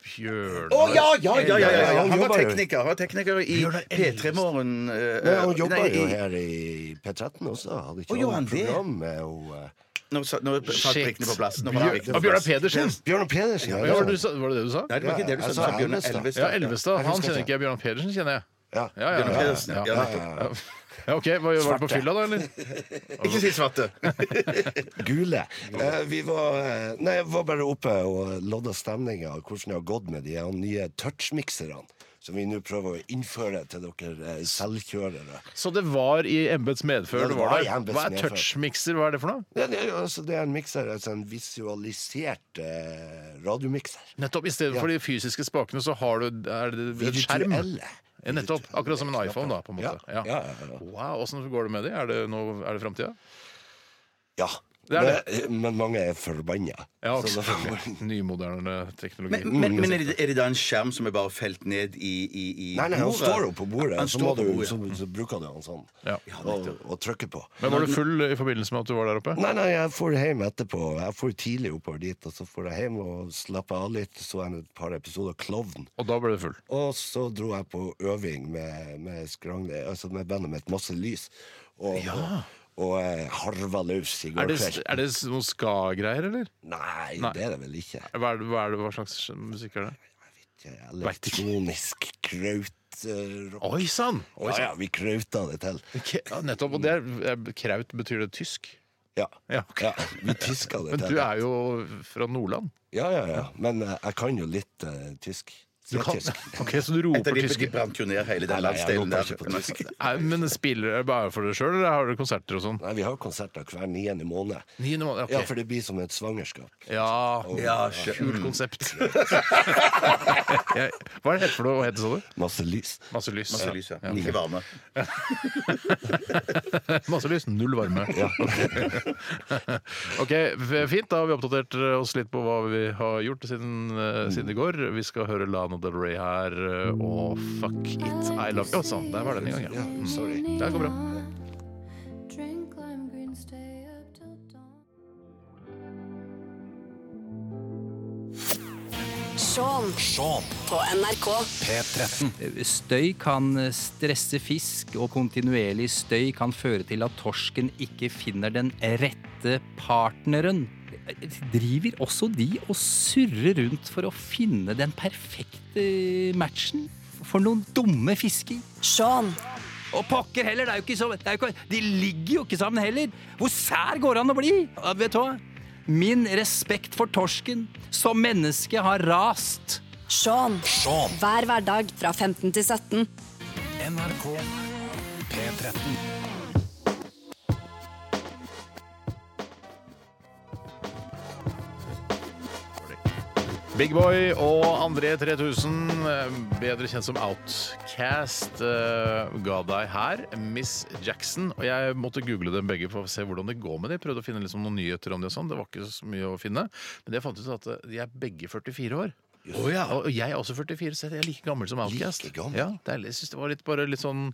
[SPEAKER 5] Bjørnar.
[SPEAKER 6] Å ja, ja, ja, ja, ja, ja!
[SPEAKER 1] Han
[SPEAKER 6] Han var
[SPEAKER 1] jobber jo.
[SPEAKER 6] tekniker, han var tekniker i
[SPEAKER 5] Bjørnar
[SPEAKER 6] P3 Morgen. eh,
[SPEAKER 1] Nei, han jobba jo her i P13 også. Hadde ikke
[SPEAKER 6] Å, gjorde
[SPEAKER 1] han
[SPEAKER 6] han
[SPEAKER 1] et
[SPEAKER 6] det?
[SPEAKER 1] program med hun, eh,
[SPEAKER 6] Nå sa- nå falt
[SPEAKER 5] Shit.
[SPEAKER 6] prikkene på plass. Nå falt
[SPEAKER 5] Bjør-
[SPEAKER 6] prikkene
[SPEAKER 5] Ah,
[SPEAKER 6] på
[SPEAKER 5] Bjørnar
[SPEAKER 6] plass.
[SPEAKER 5] Pedersen!
[SPEAKER 1] Bjørnar Pedersen. sånn?
[SPEAKER 5] Ja, var, det du, sa- var det det du sa?
[SPEAKER 6] Nei, det var ikke det du
[SPEAKER 1] Ja,
[SPEAKER 6] sa. Du
[SPEAKER 1] jeg
[SPEAKER 6] sa
[SPEAKER 1] sa
[SPEAKER 6] Bjørnar
[SPEAKER 1] Altså, Elvestad.
[SPEAKER 6] Elvestad.
[SPEAKER 5] Ja, Elvestad. Han kjenner ikke jeg. Bjørnar Pedersen kjenner jeg.
[SPEAKER 1] Ja.
[SPEAKER 5] Ja, ja,
[SPEAKER 6] Bjørnar
[SPEAKER 5] ja.
[SPEAKER 6] Pedersen, ja.
[SPEAKER 1] Ja,
[SPEAKER 6] nettopp.
[SPEAKER 1] ja, ja.
[SPEAKER 5] Ja, OK, hva gjør var det på fylla, da? eller?
[SPEAKER 6] Ikke si svarte.
[SPEAKER 1] Gule. Eh, vi var, eh, nei, jeg var bare oppe og lodda stemninga av hvordan det har gått med de her nye touchmikserne. Som vi nå prøver å innføre til dere eh, selvkjørere.
[SPEAKER 5] Så det var i embets medfør
[SPEAKER 1] Ja,
[SPEAKER 5] du
[SPEAKER 1] det
[SPEAKER 5] var
[SPEAKER 1] var i
[SPEAKER 5] der?
[SPEAKER 1] embets
[SPEAKER 5] Hva er
[SPEAKER 1] medfør.
[SPEAKER 5] touchmikser? Hva er det for noe?
[SPEAKER 1] Ja, det, er jo altså, det er en mikser, altså en visualisert eh, radiomikser.
[SPEAKER 5] Nettopp, I stedet
[SPEAKER 1] Ja.
[SPEAKER 5] for de fysiske spakene, så har du er det en skjerm.
[SPEAKER 1] Virtuelle.
[SPEAKER 5] Ja, nettopp. Akkurat som en iPhone, da. på en måte.
[SPEAKER 1] Ja, ja, ja, ja.
[SPEAKER 5] Wow, Åssen går det med de? Er det, noe, er det framtida?
[SPEAKER 1] Ja.
[SPEAKER 5] Det er det.
[SPEAKER 1] Men, men mange er forbanna.
[SPEAKER 5] Ja,
[SPEAKER 1] Så da-
[SPEAKER 5] selvfølgelig. Nymoderne teknologi.
[SPEAKER 6] Men, men, men er, det, er det da en skjerm som er bare felt ned i, i, i
[SPEAKER 1] Nei, nei, han
[SPEAKER 6] bordet?
[SPEAKER 1] står jo på bordet,
[SPEAKER 6] Han
[SPEAKER 1] så,
[SPEAKER 6] står
[SPEAKER 1] må
[SPEAKER 6] på
[SPEAKER 1] du,
[SPEAKER 6] bordet.
[SPEAKER 1] så, så bruker du han sånn.
[SPEAKER 5] Ja.
[SPEAKER 1] og, og trykker på.
[SPEAKER 5] Men var du full i forbindelse med at du var der oppe?
[SPEAKER 1] Nei, nei, jeg får hjem etterpå. Jeg får tidlig oppover dit, og så får jeg hjem og slapper av litt. Så jeg et par episoder Klovn.
[SPEAKER 5] Og da ble du full?
[SPEAKER 1] Og så dro jeg på øving med, med Skrangle, altså med bandet mitt Masse Lys. Og, og, og eh, harva løs i
[SPEAKER 5] Er
[SPEAKER 1] går
[SPEAKER 5] det,
[SPEAKER 1] kveld.
[SPEAKER 5] er det noen ska-greier, eller?
[SPEAKER 1] Nei,
[SPEAKER 5] Nei.
[SPEAKER 1] det er det vel ikke.
[SPEAKER 5] Hva, er det, hva, er det, hva slags musikk er det? Vet ikke.
[SPEAKER 1] Elektronisk krautrock.
[SPEAKER 5] Oi sann!
[SPEAKER 1] Ja, ja, vi krauta det til.
[SPEAKER 5] Ja, nettopp. Og det er, er- kraut betyr det tysk.
[SPEAKER 1] Ja.
[SPEAKER 5] Ja, ok.
[SPEAKER 1] ja vi tiska det
[SPEAKER 5] Men
[SPEAKER 1] til.
[SPEAKER 5] du er jo fra Nordland.
[SPEAKER 1] Ja, ja, ja. Men eh, jeg kan jo litt eh, tysk.
[SPEAKER 5] Du kan,
[SPEAKER 1] Slettysk.
[SPEAKER 5] ok, Så du
[SPEAKER 6] Etter
[SPEAKER 5] roper
[SPEAKER 6] de, de
[SPEAKER 5] tysk?
[SPEAKER 6] brant jo ned hele
[SPEAKER 1] Nei,
[SPEAKER 6] den
[SPEAKER 1] nei, jeg
[SPEAKER 6] landsdelen
[SPEAKER 1] roper ikke på
[SPEAKER 6] der.
[SPEAKER 1] tysk.
[SPEAKER 5] Nei, Men spiller dere bare for deg sjøl, eller har dere konserter og sånn?
[SPEAKER 1] Nei, vi har konserter hver niende måned.
[SPEAKER 5] Niende måned,
[SPEAKER 1] Ja,
[SPEAKER 5] ok.
[SPEAKER 1] for det blir som et svangerskap.
[SPEAKER 5] Ja,
[SPEAKER 6] Ja, skjø-
[SPEAKER 1] Mm.
[SPEAKER 5] kult konsept. Jeg- Hva er det hette for noe? Hva heter det, sa du?
[SPEAKER 1] Masse lys.
[SPEAKER 5] Masse lys.
[SPEAKER 6] Masse lys, ja.
[SPEAKER 5] Ja.
[SPEAKER 6] Ikke varme.
[SPEAKER 5] Masse lys, null varme. ok, f- fint. Da har vi oppdatert eh, oss litt på hva vi har gjort siden, eh, siden i går. Vi skal høre Lana Del Rey her eh, og Fuck It I Love You. Å, Sånn, der var den i gang, ja. Mm.
[SPEAKER 1] Sorry.
[SPEAKER 5] Det går bra.
[SPEAKER 7] Drink lime green, stay up till dawn.
[SPEAKER 8] Sean
[SPEAKER 4] Sean.
[SPEAKER 8] på NRK.
[SPEAKER 4] P13.
[SPEAKER 9] Støy kan stresse fisk, og kontinuerlig støy kan føre til at torsken ikke finner den rette partneren. Driver også de og surrer rundt for å finne den perfekte matchen? For noen dumme fisker!
[SPEAKER 8] Sean
[SPEAKER 9] Og pokker heller, det er jo ikke så det er jo ikke, De ligger jo ikke sammen heller! Hvor sær går det an å bli? Ja, Vet du hva? Min respekt for torsken som menneske har rast.
[SPEAKER 8] Sean. Hver hverdag fra 15 til 17.
[SPEAKER 4] NRK P13.
[SPEAKER 5] Big Boy og André 3000, eh, bedre kjent som Outcast, eh, ga deg her Miss Jackson. Og jeg måtte google dem begge for å se hvordan det går med dem. Prøvde å finne liksom noen nyheter om det og sånn. Det var ikke så mye å finne. Men jeg fant ut at eh, de er begge 44 år. Og og jeg er også 44, så jeg er like gammel som Outcast.
[SPEAKER 1] Like gammel.
[SPEAKER 5] Ja, det er, jeg synes det var litt, bare litt sånn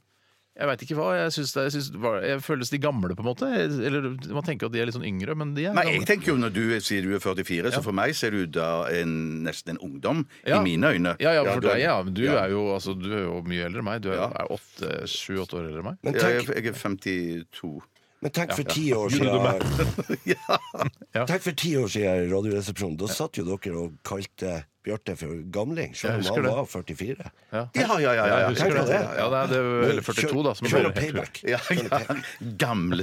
[SPEAKER 5] jeg veit ikke hva. Jeg, synes det, jeg, synes, det var- jeg føles de gamle, på en måte. Eller Man tenker at de er litt sånn yngre, men de er
[SPEAKER 6] Nei,
[SPEAKER 5] gamle.
[SPEAKER 6] jeg tenker jo Når du sier du er 44, så for meg ser du da en, nesten en ungdom
[SPEAKER 5] Ja.
[SPEAKER 6] i mine øyne.
[SPEAKER 5] Ja, ja, for
[SPEAKER 6] du er-
[SPEAKER 5] deg, ja. Men du,
[SPEAKER 6] Ja.
[SPEAKER 5] Er jo, altså, du er jo mye eldre enn meg. Du er
[SPEAKER 6] Ja.
[SPEAKER 5] er åtte, sju-åtte år eldre enn meg.
[SPEAKER 1] Men
[SPEAKER 6] Ja,
[SPEAKER 1] tenk,
[SPEAKER 6] jeg, jeg er 52.
[SPEAKER 1] men tenk for ti år siden Tenk for ti år siden i Radioresepsjonen. Da satt jo dere og kalte Bjarte for gamling,
[SPEAKER 5] Jeg
[SPEAKER 1] selv om
[SPEAKER 5] husker
[SPEAKER 1] han
[SPEAKER 5] det.
[SPEAKER 1] var 44.
[SPEAKER 6] Ja, ja, ja. ja,
[SPEAKER 5] Jeg
[SPEAKER 6] ja.
[SPEAKER 5] husker
[SPEAKER 1] tenk
[SPEAKER 5] det.
[SPEAKER 1] på det.
[SPEAKER 5] Ja, det er, det er eller 42, da. Som er
[SPEAKER 1] Kjør
[SPEAKER 5] det.
[SPEAKER 1] payback.
[SPEAKER 6] ja, ja. Gamle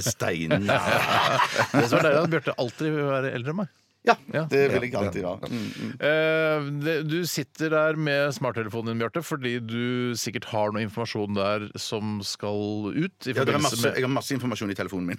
[SPEAKER 6] steinen.
[SPEAKER 5] Det som er deilig, er at Bjarte alltid vil være eldre enn meg.
[SPEAKER 6] Ja,
[SPEAKER 5] Ja.
[SPEAKER 6] det vil jeg alltid ha. Mm, mm.
[SPEAKER 5] Eh, det- du sitter der med smarttelefonen din, Bjarte, fordi du sikkert har noe informasjon der som skal ut. I
[SPEAKER 6] Ja, det er
[SPEAKER 5] forbindelse
[SPEAKER 6] masse,
[SPEAKER 5] med
[SPEAKER 6] jeg har masse informasjon i telefonen min.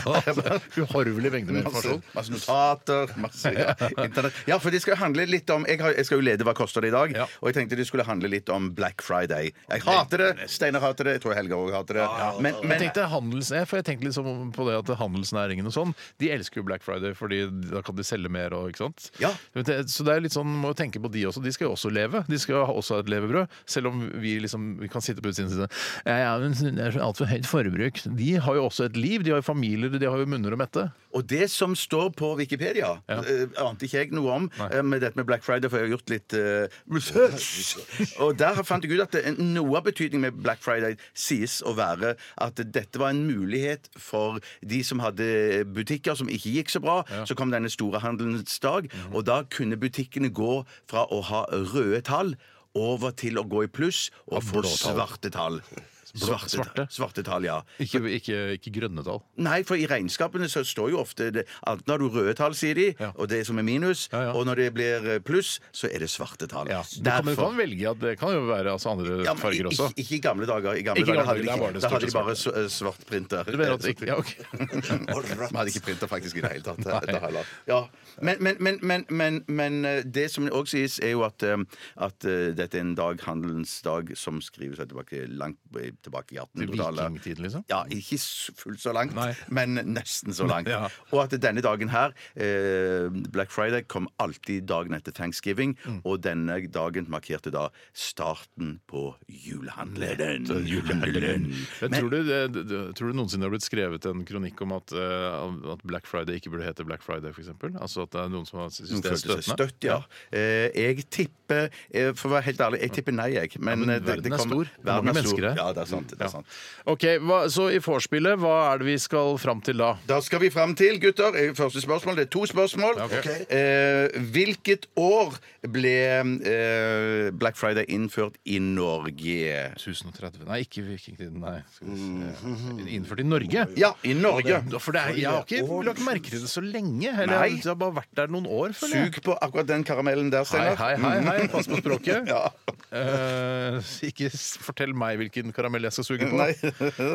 [SPEAKER 5] uhorvelig mengde med
[SPEAKER 6] Masse,
[SPEAKER 5] informasjon.
[SPEAKER 6] masse notater, masse ja, internett. Ja, for det skal handle litt om Jeg, har, jeg skal jo lede Hva koster det i dag?
[SPEAKER 5] Ja.
[SPEAKER 6] Og jeg tenkte det skulle handle litt om Black Friday. Jeg hater det! Steinar hater det. Jeg tror Helga òg hater det. Men,
[SPEAKER 5] Jeg
[SPEAKER 6] men
[SPEAKER 5] tenkte handels, jeg, for jeg tenkte liksom på det at handelsnæringen og sånn, de elsker jo Black Friday, fordi da kan de selge mer og ikke sant?
[SPEAKER 6] Ja.
[SPEAKER 5] Men det- Så det er litt sånn, må jo tenke på de også. De skal jo også leve. De skal jo ha- også ha et levebrød. Selv om vi liksom vi kan sitte på utsiden og si sånn, ja, ja, men det er så altfor høyt forbruk. De har jo også et liv. De har jo familier, de har jo munner å mette.
[SPEAKER 6] Og det som står på Wikipedia, eh, ante ikke jeg noe om eh, med dette med Black Friday, for jeg har gjort litt eh, research. Og der fant jeg ut at det, noe av betydningen med Black Friday sies å være at dette var en mulighet for de som hadde butikker som ikke gikk så bra. Så kom denne store handelens dag, og da kunne butikkene gå fra å ha røde tall over til å gå i pluss og få svarte tall. Svarte,
[SPEAKER 5] svarte?
[SPEAKER 6] svarte tall, ja.
[SPEAKER 5] Ikke, ikke, ikke grønne tall.
[SPEAKER 6] Nei, for i regnskapene så står jo ofte det, Enten har du røde tall, sier de,
[SPEAKER 5] Ja.
[SPEAKER 6] og det som er minus.
[SPEAKER 5] Ja, ja.
[SPEAKER 6] Og når det blir eh, pluss, så er det svarte tall.
[SPEAKER 5] Du kan, men du kan velge at det kan jo være altså, andre
[SPEAKER 6] Ja, men
[SPEAKER 5] farger
[SPEAKER 6] ikke,
[SPEAKER 5] også.
[SPEAKER 6] ikke i gamle dager. I gamle
[SPEAKER 5] Ikke i
[SPEAKER 6] dager
[SPEAKER 5] gamle
[SPEAKER 6] hadde de
[SPEAKER 5] dager, da var
[SPEAKER 6] ikke,
[SPEAKER 5] det
[SPEAKER 6] da
[SPEAKER 5] stort
[SPEAKER 6] hadde de
[SPEAKER 5] sett
[SPEAKER 6] bare s- eh, svart printer.
[SPEAKER 5] Du mener at ikke, ja, ok.
[SPEAKER 6] Vi hadde ikke printer faktisk i det hele tatt. da heller. Ja. Men, men, men, men, men, men eh, det som òg sies, er jo at, eh, at eh, dette er en dag, handelens dag, som skriver seg tilbake langt tilbake i 1800-tallet.
[SPEAKER 5] Vikingtiden, liksom?
[SPEAKER 6] Ja, ikke s- fullt så langt,
[SPEAKER 5] Nei.
[SPEAKER 6] men nesten så langt.
[SPEAKER 5] Ja.
[SPEAKER 6] Og at denne dagen her, eh, Black Friday, kom alltid dagen etter thanksgiving.
[SPEAKER 5] Mm.
[SPEAKER 6] Og denne dagen markerte da starten på julehandelen. Julehandelen.
[SPEAKER 5] Men,
[SPEAKER 6] Men-
[SPEAKER 5] tror, du, det- det- det- tror du noensinne det har blitt skrevet en kronikk om at, eh, at Black Friday ikke burde hete Black Friday, f.eks.? Altså at det er noen som har
[SPEAKER 6] Hun
[SPEAKER 5] syntes det er
[SPEAKER 6] følte seg
[SPEAKER 5] støtende?
[SPEAKER 6] støtt, ja. Eh, Jeg tipper eh, For å være helt ærlig, jeg tipper nei, jeg. Men,
[SPEAKER 5] men
[SPEAKER 6] eh, det,
[SPEAKER 5] verden
[SPEAKER 6] det
[SPEAKER 5] er
[SPEAKER 6] kommer-
[SPEAKER 5] stor. Det er mange
[SPEAKER 6] Verden er
[SPEAKER 5] mennesker
[SPEAKER 6] stor.
[SPEAKER 5] her.
[SPEAKER 6] Ja, det er sant. Det
[SPEAKER 5] Ja.
[SPEAKER 6] er sant.
[SPEAKER 5] Ok, hva, Så i vorspielet, hva er det vi skal fram til da?
[SPEAKER 6] Da skal vi fram til, gutter, eh, første spørsmål. Det er to spørsmål.
[SPEAKER 5] Ok.
[SPEAKER 6] Eh, hvilket år ble eh, Black Friday innført i Norge?
[SPEAKER 5] 1030 Nei, ikke vikingtiden. Nei. Skal vi se. Innført i Norge?
[SPEAKER 6] Mm-hmm. Ja, i Norge.
[SPEAKER 5] Ja, For det er, jeg har ikke lagt merke til det så lenge. Eller
[SPEAKER 6] Nei.
[SPEAKER 5] jeg har liksom bare vært der noen år, føler jeg.
[SPEAKER 6] Sug på akkurat den karamellen der,
[SPEAKER 5] Hei,
[SPEAKER 6] Steinar. Mm.
[SPEAKER 5] hei, hei, hei, pass på språket.
[SPEAKER 6] Ja.
[SPEAKER 5] Eh, ikke s- fortell meg hvilken karamell jeg skal suge på.
[SPEAKER 6] Nei.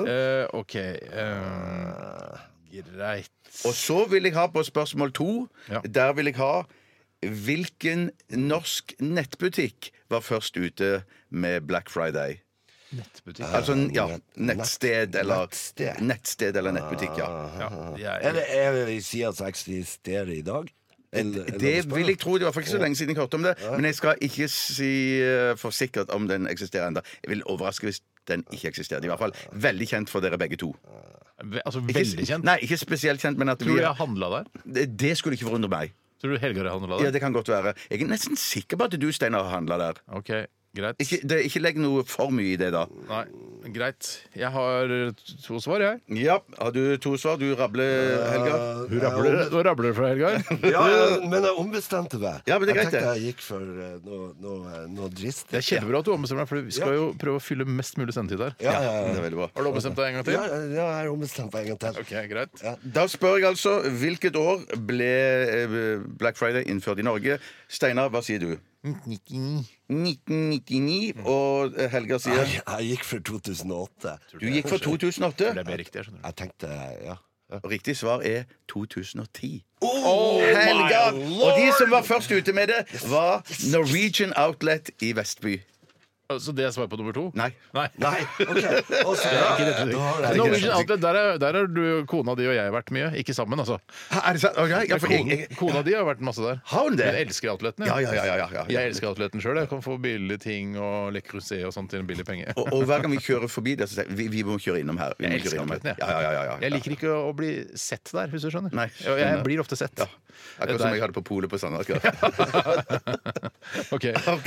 [SPEAKER 5] Eh, OK. eh, greit.
[SPEAKER 6] Og så vil jeg ha på spørsmål to.
[SPEAKER 5] Ja.
[SPEAKER 6] Der vil jeg ha Hvilken norsk nettbutikk var først ute med Black Friday?
[SPEAKER 5] Nettbutikk.
[SPEAKER 6] Altså ja,
[SPEAKER 1] nett-
[SPEAKER 6] nettsted eller
[SPEAKER 1] nettsted.
[SPEAKER 6] nettsted eller nettbutikk, ja.
[SPEAKER 5] Ja, jeg-
[SPEAKER 1] Er det, er det i sida som eksisterer i dag? Eller- eller
[SPEAKER 6] Det
[SPEAKER 1] spør-
[SPEAKER 6] vil jeg tro. Det var faktisk så lenge siden jeg hørte om det. Men jeg skal ikke si eh, for sikkert om den eksisterer ennå. Jeg vil overraske hvis den ikke eksisterer. I hvert fall veldig kjent for dere begge to.
[SPEAKER 5] Ve- altså,
[SPEAKER 6] Ikke-
[SPEAKER 5] veldig kjent.
[SPEAKER 6] Nei, ikke spesielt kjent, men at
[SPEAKER 5] Tror
[SPEAKER 6] vi
[SPEAKER 5] du jeg handla der?
[SPEAKER 6] det, det skulle ikke forundre meg.
[SPEAKER 5] Tror du Helgar har handla
[SPEAKER 6] Ja,
[SPEAKER 5] der?
[SPEAKER 6] det kan godt være. Jeg er nesten sikker på at du, Steinar, har handla der.
[SPEAKER 5] OK, greit.
[SPEAKER 6] Ikke, det, ikke legg noe for mye i det, da.
[SPEAKER 5] Nei, greit. Jeg har to svar, jeg.
[SPEAKER 6] Ja, har du to svar? Du rabler, Helga.
[SPEAKER 1] Hun
[SPEAKER 5] Rabler, nå rabler det fra Helgar.
[SPEAKER 1] Ja, men jeg ombestemte meg.
[SPEAKER 6] Ja, men det er
[SPEAKER 1] jeg
[SPEAKER 6] greit,
[SPEAKER 1] tenkte jeg gikk for eh, noe, noe, eh, noe drist.
[SPEAKER 5] Det er kjempebra at du ombestemmer deg, for vi skal jo prøve å fylle mest mulig sendetid her.
[SPEAKER 1] Ja, ja,
[SPEAKER 6] Det
[SPEAKER 1] ja.
[SPEAKER 6] er veldig bra.
[SPEAKER 5] Har du ombestemt deg en gang
[SPEAKER 1] ja,
[SPEAKER 5] til?
[SPEAKER 1] ja, jeg har ombestemt meg en gang til.
[SPEAKER 5] Ok, greit.
[SPEAKER 6] Da spør jeg altså hvilket år ble eh, Black Friday innført i Norge? Steinar, hva sier du? 1999. Og eh, Helga sier
[SPEAKER 1] Jeg, jeg gikk for 2008.
[SPEAKER 6] du gikk for
[SPEAKER 5] Det
[SPEAKER 6] 2008.
[SPEAKER 5] er mer riktig, jeg skjønner.
[SPEAKER 1] Jeg tenkte ja. ja.
[SPEAKER 6] Og riktig svar er 2010.
[SPEAKER 5] Oh,
[SPEAKER 6] Helga! Og de som var først ute med det, var Norwegian Outlet i Vestby.
[SPEAKER 5] Så Altså, det er svar på nummer to?
[SPEAKER 6] Nei.
[SPEAKER 5] Nei.
[SPEAKER 1] Nei, OK. Og så- ja, da har jeg-
[SPEAKER 5] Norwegian Outlet, der er- der har du kona di og jeg vært mye. Ikke sammen, altså.
[SPEAKER 6] Er det sant? Okay, ja, for jeg,
[SPEAKER 5] Kona,
[SPEAKER 6] jeg,
[SPEAKER 5] kona di har vært masse der.
[SPEAKER 6] Har hun det?
[SPEAKER 5] Jeg elsker outleten.
[SPEAKER 6] Ja, ja, ja, ja, ja, ja.
[SPEAKER 5] Jeg elsker outleten sjøl. Jeg kan få billige ting og Le Creuset og sånt til en billig penge.
[SPEAKER 6] og, og hver gang vi kjører forbi det, så sier jeg vi, vi må kjøre innom her. Vi må
[SPEAKER 5] Jeg
[SPEAKER 6] kjøre
[SPEAKER 5] elsker
[SPEAKER 6] innom her.
[SPEAKER 5] outleten, jeg.
[SPEAKER 6] Ja, ja, ja, ja, ja.
[SPEAKER 5] Jeg liker ikke å bli sett der, hvis du skjønner.
[SPEAKER 6] Nei,
[SPEAKER 5] jeg, jeg
[SPEAKER 6] skjønner.
[SPEAKER 5] blir ofte sett.
[SPEAKER 6] Ja. Akkurat som jeg hadde på polet på Sandvika.
[SPEAKER 5] Ok.
[SPEAKER 6] Ok,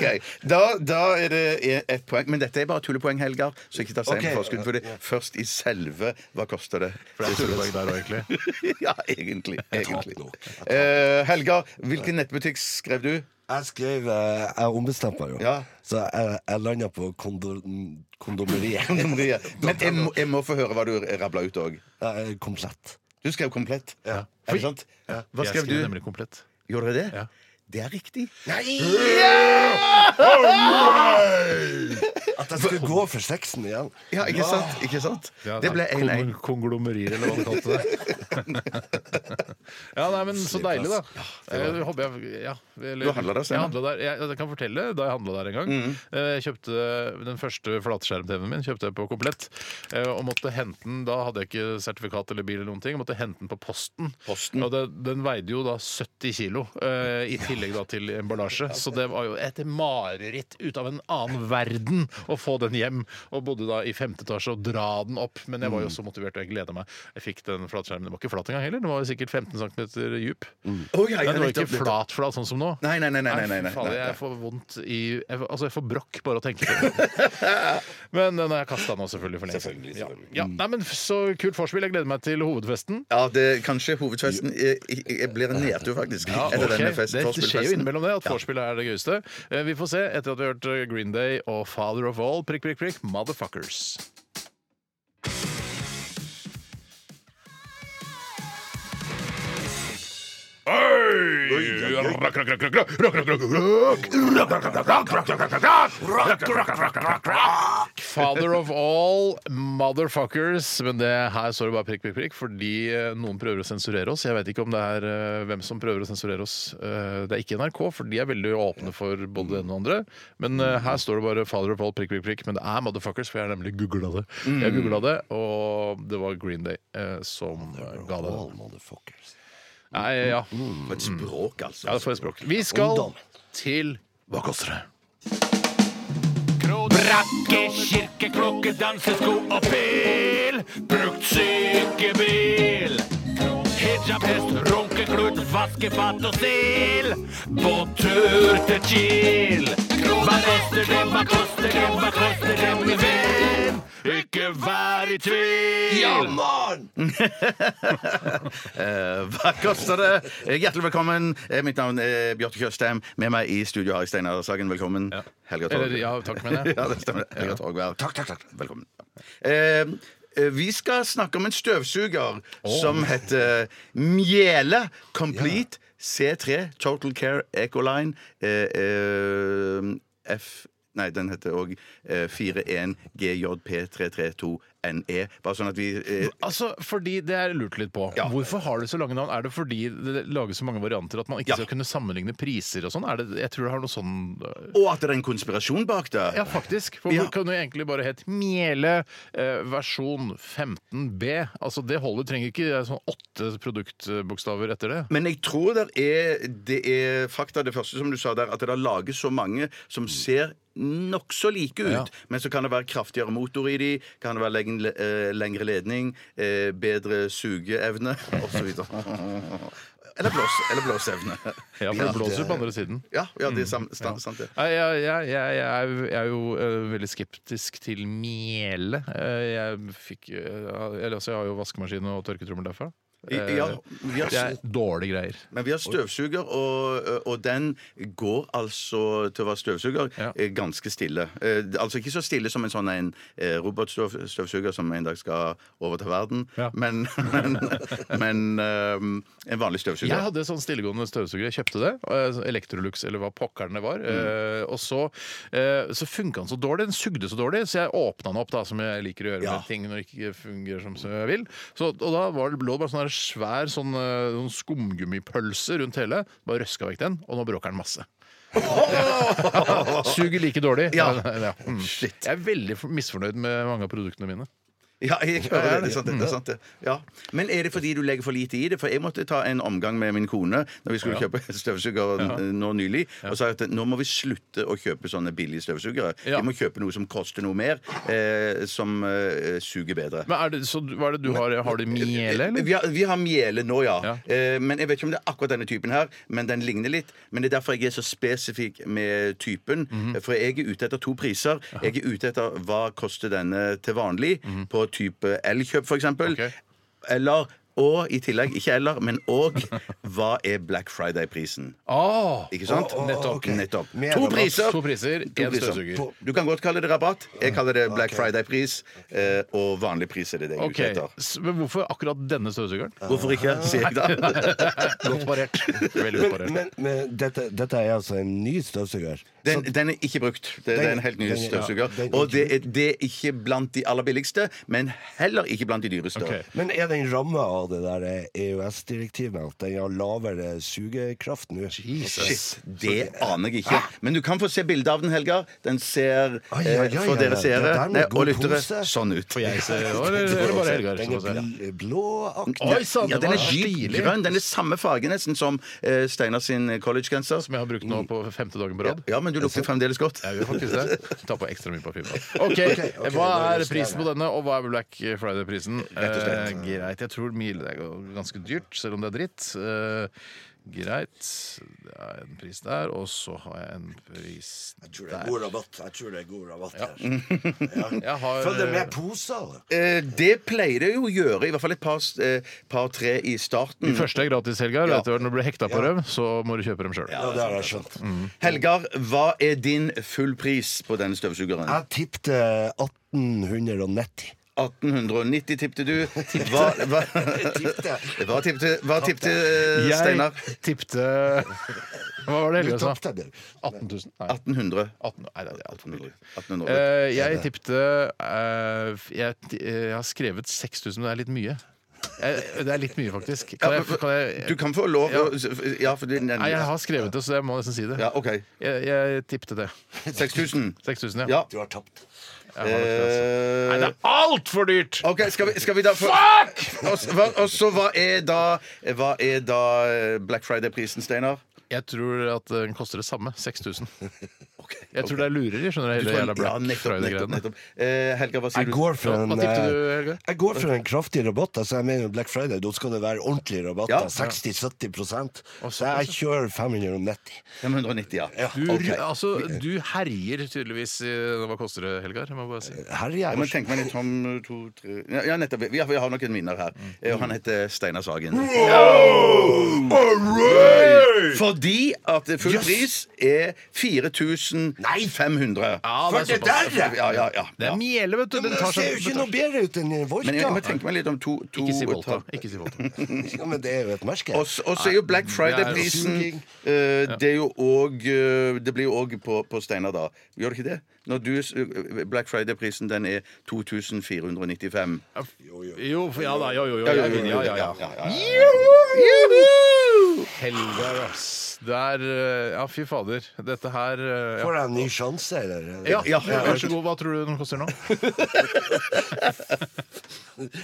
[SPEAKER 6] da, da er det ett poeng. Men dette er bare tullepoeng, Helgar. Så ikke ta seieren
[SPEAKER 1] Ok.
[SPEAKER 6] på forskudd for det. Først i selve Hva koster det?
[SPEAKER 5] For det er tullepoeng der òg, egentlig.
[SPEAKER 6] ja, egentlig. egentlig.
[SPEAKER 1] nok.
[SPEAKER 6] Eh, Helgar, hvilken nettbutikk skrev du?
[SPEAKER 1] Jeg skrev eh, Jeg ombestemte meg jo.
[SPEAKER 6] Ja.
[SPEAKER 1] Så jeg, jeg landa på kondom, kondomeriet.
[SPEAKER 6] Maria. Men jeg må, jeg må få høre hva du rabla ut òg.
[SPEAKER 1] Eh, Komplett.
[SPEAKER 6] Du skrev komplett.
[SPEAKER 1] Ja.
[SPEAKER 6] Er det sant? Hva
[SPEAKER 5] Jeg skrev
[SPEAKER 6] skrev du?
[SPEAKER 5] nemlig komplett.
[SPEAKER 6] Gjorde du det?
[SPEAKER 5] Ja.
[SPEAKER 6] Det er riktig.
[SPEAKER 1] At jeg skulle gå for sexen igjen.
[SPEAKER 6] Ja, ikke
[SPEAKER 5] Ah.
[SPEAKER 6] sant? Ikke sant? Det ble 1-1.
[SPEAKER 5] Kon- Konglomerier, eller hva de kalte det. ja, nei, men så deilig, da. Jeg håper jeg ja, eller-
[SPEAKER 6] Du handlet der, Mm. Steinar?
[SPEAKER 5] Jeg, handlet der. Jeg, jeg kan fortelle da jeg handla der en gang. Eh, Jeg kjøpte Den første flatskjerm-TV-en min kjøpte jeg på komplett. eh, Og måtte hente den Da hadde jeg ikke sertifikat eller bil, eller noen ting. Jeg måtte hente den på posten.
[SPEAKER 6] Posten.
[SPEAKER 5] Og det, den veide jo da 70 kilo, eh, i tillegg da til emballasje. Så det var jo et mareritt ut av en annen verden å få den hjem. Og bodde da i femte etasje og dra den opp. Men jeg var
[SPEAKER 6] Mm.
[SPEAKER 5] jo så motivert, og jeg gleda meg. Jeg fikk den flatskjermen. Den var ikke flat engang heller. Den var jo sikkert 15 cm dyp.
[SPEAKER 6] Å, ja, ja,
[SPEAKER 5] Den var ikke
[SPEAKER 6] nettopp, nettopp.
[SPEAKER 5] flat, flat sånn som nå.
[SPEAKER 6] Nei, nei, nei, nei, nei, nei,
[SPEAKER 5] fy faen,
[SPEAKER 6] nei, nei.
[SPEAKER 5] Jeg får vondt i jeg, får- Altså, jeg får brokk bare å tenke på det. Men den har jeg kasta nå, selvfølgelig, for lenge siden.
[SPEAKER 6] Selvfølgelig, selvfølgelig.
[SPEAKER 5] Ja. ja. Nei, men f- så kult vorspiel. Jeg gleder meg til hovedfesten.
[SPEAKER 6] Ja, det, kanskje hovedfesten eh, i- i- blir en nedtur, faktisk.
[SPEAKER 5] Ja,
[SPEAKER 6] etter
[SPEAKER 5] ok.
[SPEAKER 6] denne fest,
[SPEAKER 5] det, det skjer jo
[SPEAKER 6] forspillfesten.
[SPEAKER 5] innimellom det at vorspielet er det gøyeste. Eh, Vi får se etter at vi har hørt eh, Green Day og Father of All, prikk, prikk, prikk, motherfuckers. Father of all motherfuckers. Men det her står det bare prikk, prikk, prikk, fordi eh, noen prøver å sensurere oss. Jeg vet ikke om det er eh, hvem som prøver å sensurere oss. Eh, Det er ikke NRK, for de er veldig åpne for både det ene og det andre. Men eh, her står det bare father of all prikk, prikk, prikk. Men det er motherfuckers, for jeg har nemlig googla det. Jeg googlet det, og det var Green Day eh, som eh, ga det.
[SPEAKER 1] All motherfuckers.
[SPEAKER 5] Nei, ja.
[SPEAKER 6] For et språk, altså.
[SPEAKER 5] Ja, det får jeg språk. Vi skal
[SPEAKER 1] Ungdom.
[SPEAKER 5] til Hva koster det?
[SPEAKER 4] Brakke, kirke, klokke, dansesko og pil. Brukt sykebil. Hijab, hest, runkeklut, vaskefat og stil. På tur til Kiel. Hva koster det, hva koster det, hva koster det, min venn? Ikke vær i tvil.
[SPEAKER 6] Eh, Hva koster det? Eh, Hjertelig velkommen. Eh, Mitt navn er Bjarte Tjøstheim. Med meg i studio har jeg Steinar Sagen. Velkommen. Helga Torg.
[SPEAKER 5] Eller, ja, takk, mener jeg.
[SPEAKER 6] ja, det stemmer. Helga Torgvær.
[SPEAKER 1] Takk, takk, takk.
[SPEAKER 6] Velkommen. Eh, eh, vi skal snakke om en støvsuger som heter Mjele Complete C3 Total Care Ecoline eh, eh, F... Nei, den heter òg eh, 41GJP332NE. Bare sånn at vi eh,
[SPEAKER 5] Altså, fordi Det er lurt litt på.
[SPEAKER 6] Ja.
[SPEAKER 5] Hvorfor har du så lange navn? Er det fordi det lages så mange varianter at man ikke
[SPEAKER 6] Ja.
[SPEAKER 5] skal kunne sammenligne priser og sånn? Er det, jeg tror det har noe sånn
[SPEAKER 6] Og at det er en konspirasjon bak det.
[SPEAKER 5] Ja, faktisk. For
[SPEAKER 6] Ja.
[SPEAKER 5] Hvor kan du egentlig bare hett Mjele eh, versjon 15B? Altså, Det holder. Trenger ikke eh, sånn åtte produktbokstaver etter det.
[SPEAKER 6] Men jeg tror det er, det er fakta, det første som du sa der, at det lages så mange som ser nokså like ut.
[SPEAKER 5] Ja.
[SPEAKER 6] Men så kan det være kraftigere motor i de, kan det være leng, eh, lengre ledning, eh, bedre sugeevne osv. Eller blås- eller blåseevne.
[SPEAKER 5] Ja, for det blåser jo på andre siden.
[SPEAKER 6] Ja, Mm. ja, det er sant, sant, sant det.
[SPEAKER 5] Nei, Jeg, jeg, jeg, jeg, er, jo- jeg er jo eh, veldig skeptisk til mjele. Eh, jeg fikk eh, eller, altså, Jeg har jo vaskemaskin og tørketrommel derfra.
[SPEAKER 6] I-
[SPEAKER 5] Eh,
[SPEAKER 6] ja, vi har
[SPEAKER 5] det er dårlige greier.
[SPEAKER 6] Men vi har støvsuger, og, eh, og den går altså til å være støvsuger
[SPEAKER 5] Ja.
[SPEAKER 6] eh, ganske stille. Eh, Altså ikke så stille som en sånn en eh, robotstøvsuger som en dag skal overta verden,
[SPEAKER 5] Ja.
[SPEAKER 6] men, men, men eh, en vanlig støvsuger.
[SPEAKER 5] Jeg hadde sånn stillegående støvsuger. Jeg kjøpte det. eh, sånn Electrolux eller hva pokkeren det var.
[SPEAKER 6] Mm.
[SPEAKER 5] eh, Og så, eh, så funka den så dårlig. Den sugde så dårlig, så jeg åpna den opp, da, som jeg liker å gjøre
[SPEAKER 6] Ja.
[SPEAKER 5] med ting når det ikke fungerer som jeg vil. Så, og da var det lå det bare sånn her svær sånn, eh, sånn skumgummipølse rundt hele. Bare røska vekk den, og nå bråker den masse. Suger like dårlig.
[SPEAKER 6] Ja.
[SPEAKER 5] mm.
[SPEAKER 6] Shit.
[SPEAKER 5] Jeg er veldig for- misfornøyd med mange av produktene mine.
[SPEAKER 6] Ja, jeg hører det. Mm. Det er sant, det. det, er sant, det. Ja. Men er det fordi du legger for lite i det? For jeg måtte ta en omgang med min kone når vi skulle
[SPEAKER 5] Ja.
[SPEAKER 6] kjøpe støvsuger n- nå nylig, og sa at nå må vi slutte å kjøpe sånne billige støvsugere.
[SPEAKER 5] Ja.
[SPEAKER 6] Vi må kjøpe noe som koster noe mer, eh, som eh, suger bedre.
[SPEAKER 5] Men er det, så, hva er det du har? Har du mjele, eller?
[SPEAKER 6] Eh, Vi har, vi har mjele nå, ja.
[SPEAKER 5] Ja.
[SPEAKER 6] Eh, men jeg vet ikke om det er akkurat denne typen her. Men den ligner litt. Men det er derfor jeg er så spesifikk med typen. For jeg er ute etter to priser. Jeg er ute etter hva koster denne til vanlig, på type Elkjøp f.eks.
[SPEAKER 5] Ok.
[SPEAKER 6] eksempel Eller og i tillegg, ikke eller, men og, hva er Black Friday-prisen?
[SPEAKER 5] Ah,
[SPEAKER 6] Ikke sant?
[SPEAKER 1] Å, å,
[SPEAKER 5] Nettopp,
[SPEAKER 1] ok.
[SPEAKER 6] Nettopp.
[SPEAKER 1] Mer
[SPEAKER 6] To
[SPEAKER 1] rabatt.
[SPEAKER 6] priser!
[SPEAKER 5] To priser,
[SPEAKER 6] To
[SPEAKER 5] én
[SPEAKER 6] priser.
[SPEAKER 5] støvsuger.
[SPEAKER 6] sånn. Du kan godt kalle det rabatt. Jeg kaller det Black
[SPEAKER 1] Ok.
[SPEAKER 6] Friday-pris. eh, Og vanlig pris er det det jeg er
[SPEAKER 5] Ok,
[SPEAKER 6] ute etter.
[SPEAKER 5] s- Men hvorfor akkurat denne støvsugeren?
[SPEAKER 6] Hvorfor ikke, sier jeg da.
[SPEAKER 5] Godt parert. Veldig godt
[SPEAKER 1] Men,
[SPEAKER 5] parert.
[SPEAKER 1] men, men dette, dette er altså en ny støvsuger.
[SPEAKER 6] Den, den er ikke brukt. Det, det er en helt ny
[SPEAKER 1] den- ja,
[SPEAKER 6] støvsuger.
[SPEAKER 1] den er ikke
[SPEAKER 6] Og det er, det er ikke blant de aller billigste, men heller ikke blant de dyreste.
[SPEAKER 5] Ok.
[SPEAKER 1] Men er den ramma av det der eh, EØS-direktivet? At den har lavere sugekraft nå?
[SPEAKER 6] Shit, Det aner jeg ikke. Men du kan få se bilde av den, Helgar. Den ser,
[SPEAKER 1] Ai, ai, ai,
[SPEAKER 6] eh, for
[SPEAKER 1] ai,
[SPEAKER 6] dere
[SPEAKER 1] ai.
[SPEAKER 6] seere
[SPEAKER 1] Det der med
[SPEAKER 6] nei, og
[SPEAKER 1] god
[SPEAKER 6] lyttere,
[SPEAKER 1] pose.
[SPEAKER 6] sånn ut.
[SPEAKER 5] Får jeg se, eller er det bare Helgar som
[SPEAKER 1] Den
[SPEAKER 5] får se?
[SPEAKER 1] er bl- blåaktig.
[SPEAKER 5] Oi sann,
[SPEAKER 6] Ja,
[SPEAKER 5] det
[SPEAKER 6] den
[SPEAKER 5] var
[SPEAKER 6] er dyp
[SPEAKER 5] stilig!
[SPEAKER 6] grønn. Den er samme farge nesten som eh, Steinar sin collegegenser.
[SPEAKER 5] Som jeg har brukt nå på femte dagen på rad.
[SPEAKER 6] Ja, men du lukter fremdeles godt.
[SPEAKER 5] Jeg gjør faktisk det. Ta på ekstra mye parfyme. Ok,
[SPEAKER 1] ok,
[SPEAKER 5] Hva
[SPEAKER 1] da
[SPEAKER 5] er
[SPEAKER 1] justerer
[SPEAKER 5] prisen på
[SPEAKER 1] jeg.
[SPEAKER 5] denne, og hva er Black Friday-prisen? Eh, greit. Jeg tror mil det er ganske dyrt, selv om det er dritt. Eh, greit. Det er en pris der, og så har jeg en pris
[SPEAKER 1] Jeg tror det er god rabatt. Jeg tror det er god rabatt her.
[SPEAKER 5] Jeg har eh,
[SPEAKER 1] Følger med poser.
[SPEAKER 6] Eh, det pleier det jo å gjøre, i hvert fall et par, s- eh, par-tre i starten.
[SPEAKER 5] De første er gratis, Helgar.
[SPEAKER 6] Ja.
[SPEAKER 5] og etter hvert Når du blir hekta på dem, så må du kjøpe dem sjøl.
[SPEAKER 1] Ja, det har jeg skjønt.
[SPEAKER 6] Helgar, hva er din fullpris på denne støvsugeren?
[SPEAKER 1] Jeg tippte 1890.
[SPEAKER 6] 1890 tippte du. Hva, hva,
[SPEAKER 1] Tippte.
[SPEAKER 6] hva tippte, hva tippte eh, Steinar?
[SPEAKER 5] Jeg tipte Hva var det
[SPEAKER 1] Du
[SPEAKER 5] Helga sa?
[SPEAKER 1] tapte, du.
[SPEAKER 5] 18 000? Nei.
[SPEAKER 6] 1800.
[SPEAKER 5] 18, nei, det er altfor mye.
[SPEAKER 6] 1800.
[SPEAKER 5] Eh, jeg tipte eh, jeg, ti- eh, jeg har skrevet 6000, men det er litt mye. Jeg, det er litt mye, faktisk. Kan jeg, kan
[SPEAKER 6] Du
[SPEAKER 5] jeg,
[SPEAKER 6] kan få lov å Ja, for
[SPEAKER 5] nei,
[SPEAKER 6] du
[SPEAKER 5] jeg
[SPEAKER 6] nevner
[SPEAKER 5] har skrevet det, så jeg må nesten si det.
[SPEAKER 6] ja, OK.
[SPEAKER 5] Jeg, jeg tippte det.
[SPEAKER 6] 6000.
[SPEAKER 5] 6000, ja.
[SPEAKER 6] Ja.
[SPEAKER 1] Du har tapt.
[SPEAKER 5] Jeg har nok det, altså. Nei, det
[SPEAKER 6] Eh,
[SPEAKER 5] er altfor dyrt!
[SPEAKER 6] OK, skal vi, skal vi da få Fuck! Og så- hva- og så hva er da Hva er da eh, Black Friday-prisen, Steinar?
[SPEAKER 5] Jeg tror at den koster det samme. 6000.
[SPEAKER 6] Okay,
[SPEAKER 5] Jeg tror det er lureri, skjønner du. Hele
[SPEAKER 6] Du får en-
[SPEAKER 5] jævla Black
[SPEAKER 6] ja, nettopp, nettopp,
[SPEAKER 5] Friday-greiene.
[SPEAKER 6] nettopp. Eh, Helga, hva sier
[SPEAKER 1] Jeg
[SPEAKER 6] du?
[SPEAKER 1] går for en,
[SPEAKER 5] Hva tippte du, Helge?
[SPEAKER 1] eh, jeg går for en kraftig rabatt. Altså, jeg mener jo Black Friday, da skal det være ordentlig rabatt.
[SPEAKER 6] Ja.
[SPEAKER 1] da, 60-70
[SPEAKER 5] Og
[SPEAKER 1] Så jeg kjører 590.
[SPEAKER 6] 590, ja.
[SPEAKER 5] Du,
[SPEAKER 6] Ok.
[SPEAKER 5] altså, du herjer tydeligvis i Hva koster det, Helgar? Jeg må bare si.
[SPEAKER 6] Ja,
[SPEAKER 1] Herregud.
[SPEAKER 6] men tenk meg litt om eh, to, tre Ja, ja, nettopp. Vi har, vi har nok en vinner her.
[SPEAKER 5] Mm.
[SPEAKER 6] Eh, Og han heter Steinar Sagen. Fordi at full pris er 4500.
[SPEAKER 5] Ja, det er
[SPEAKER 1] Førti der, ja.
[SPEAKER 6] Ja, ja, ja.
[SPEAKER 5] Det
[SPEAKER 6] ja.
[SPEAKER 5] er mjele, vet du. Den
[SPEAKER 1] Men det
[SPEAKER 5] tar
[SPEAKER 1] ser jo
[SPEAKER 5] seg
[SPEAKER 1] ikke noe bedre ut enn
[SPEAKER 6] Men jeg må
[SPEAKER 1] Volta.
[SPEAKER 6] tenke meg litt om to, to
[SPEAKER 5] Ikke si Volta.
[SPEAKER 6] ta-
[SPEAKER 5] Ikke si Volta.
[SPEAKER 1] Ja, men det er jo et merke.
[SPEAKER 6] Og så og så er jo Black Friday-prisen
[SPEAKER 1] Suging.
[SPEAKER 6] eh, Det er jo òg Det blir jo òg på, på Steinar, da. Gjør det ikke det? Når du s- eh, Black Friday-prisen, den er 2495.
[SPEAKER 5] Jo, for- ja da. Jo, jo, jo.
[SPEAKER 6] Ja,
[SPEAKER 5] Ja, ja,
[SPEAKER 6] ja, ja, ja,
[SPEAKER 5] ja,
[SPEAKER 6] ja, ja, ja.
[SPEAKER 5] Juhu! Helgar, ass. Der eh, Ja, fy fader. Dette her eh,
[SPEAKER 1] Får jeg en ny sjanse, eller?
[SPEAKER 5] ja. Ja, ja, vær så god. Hva tror du den koster nå?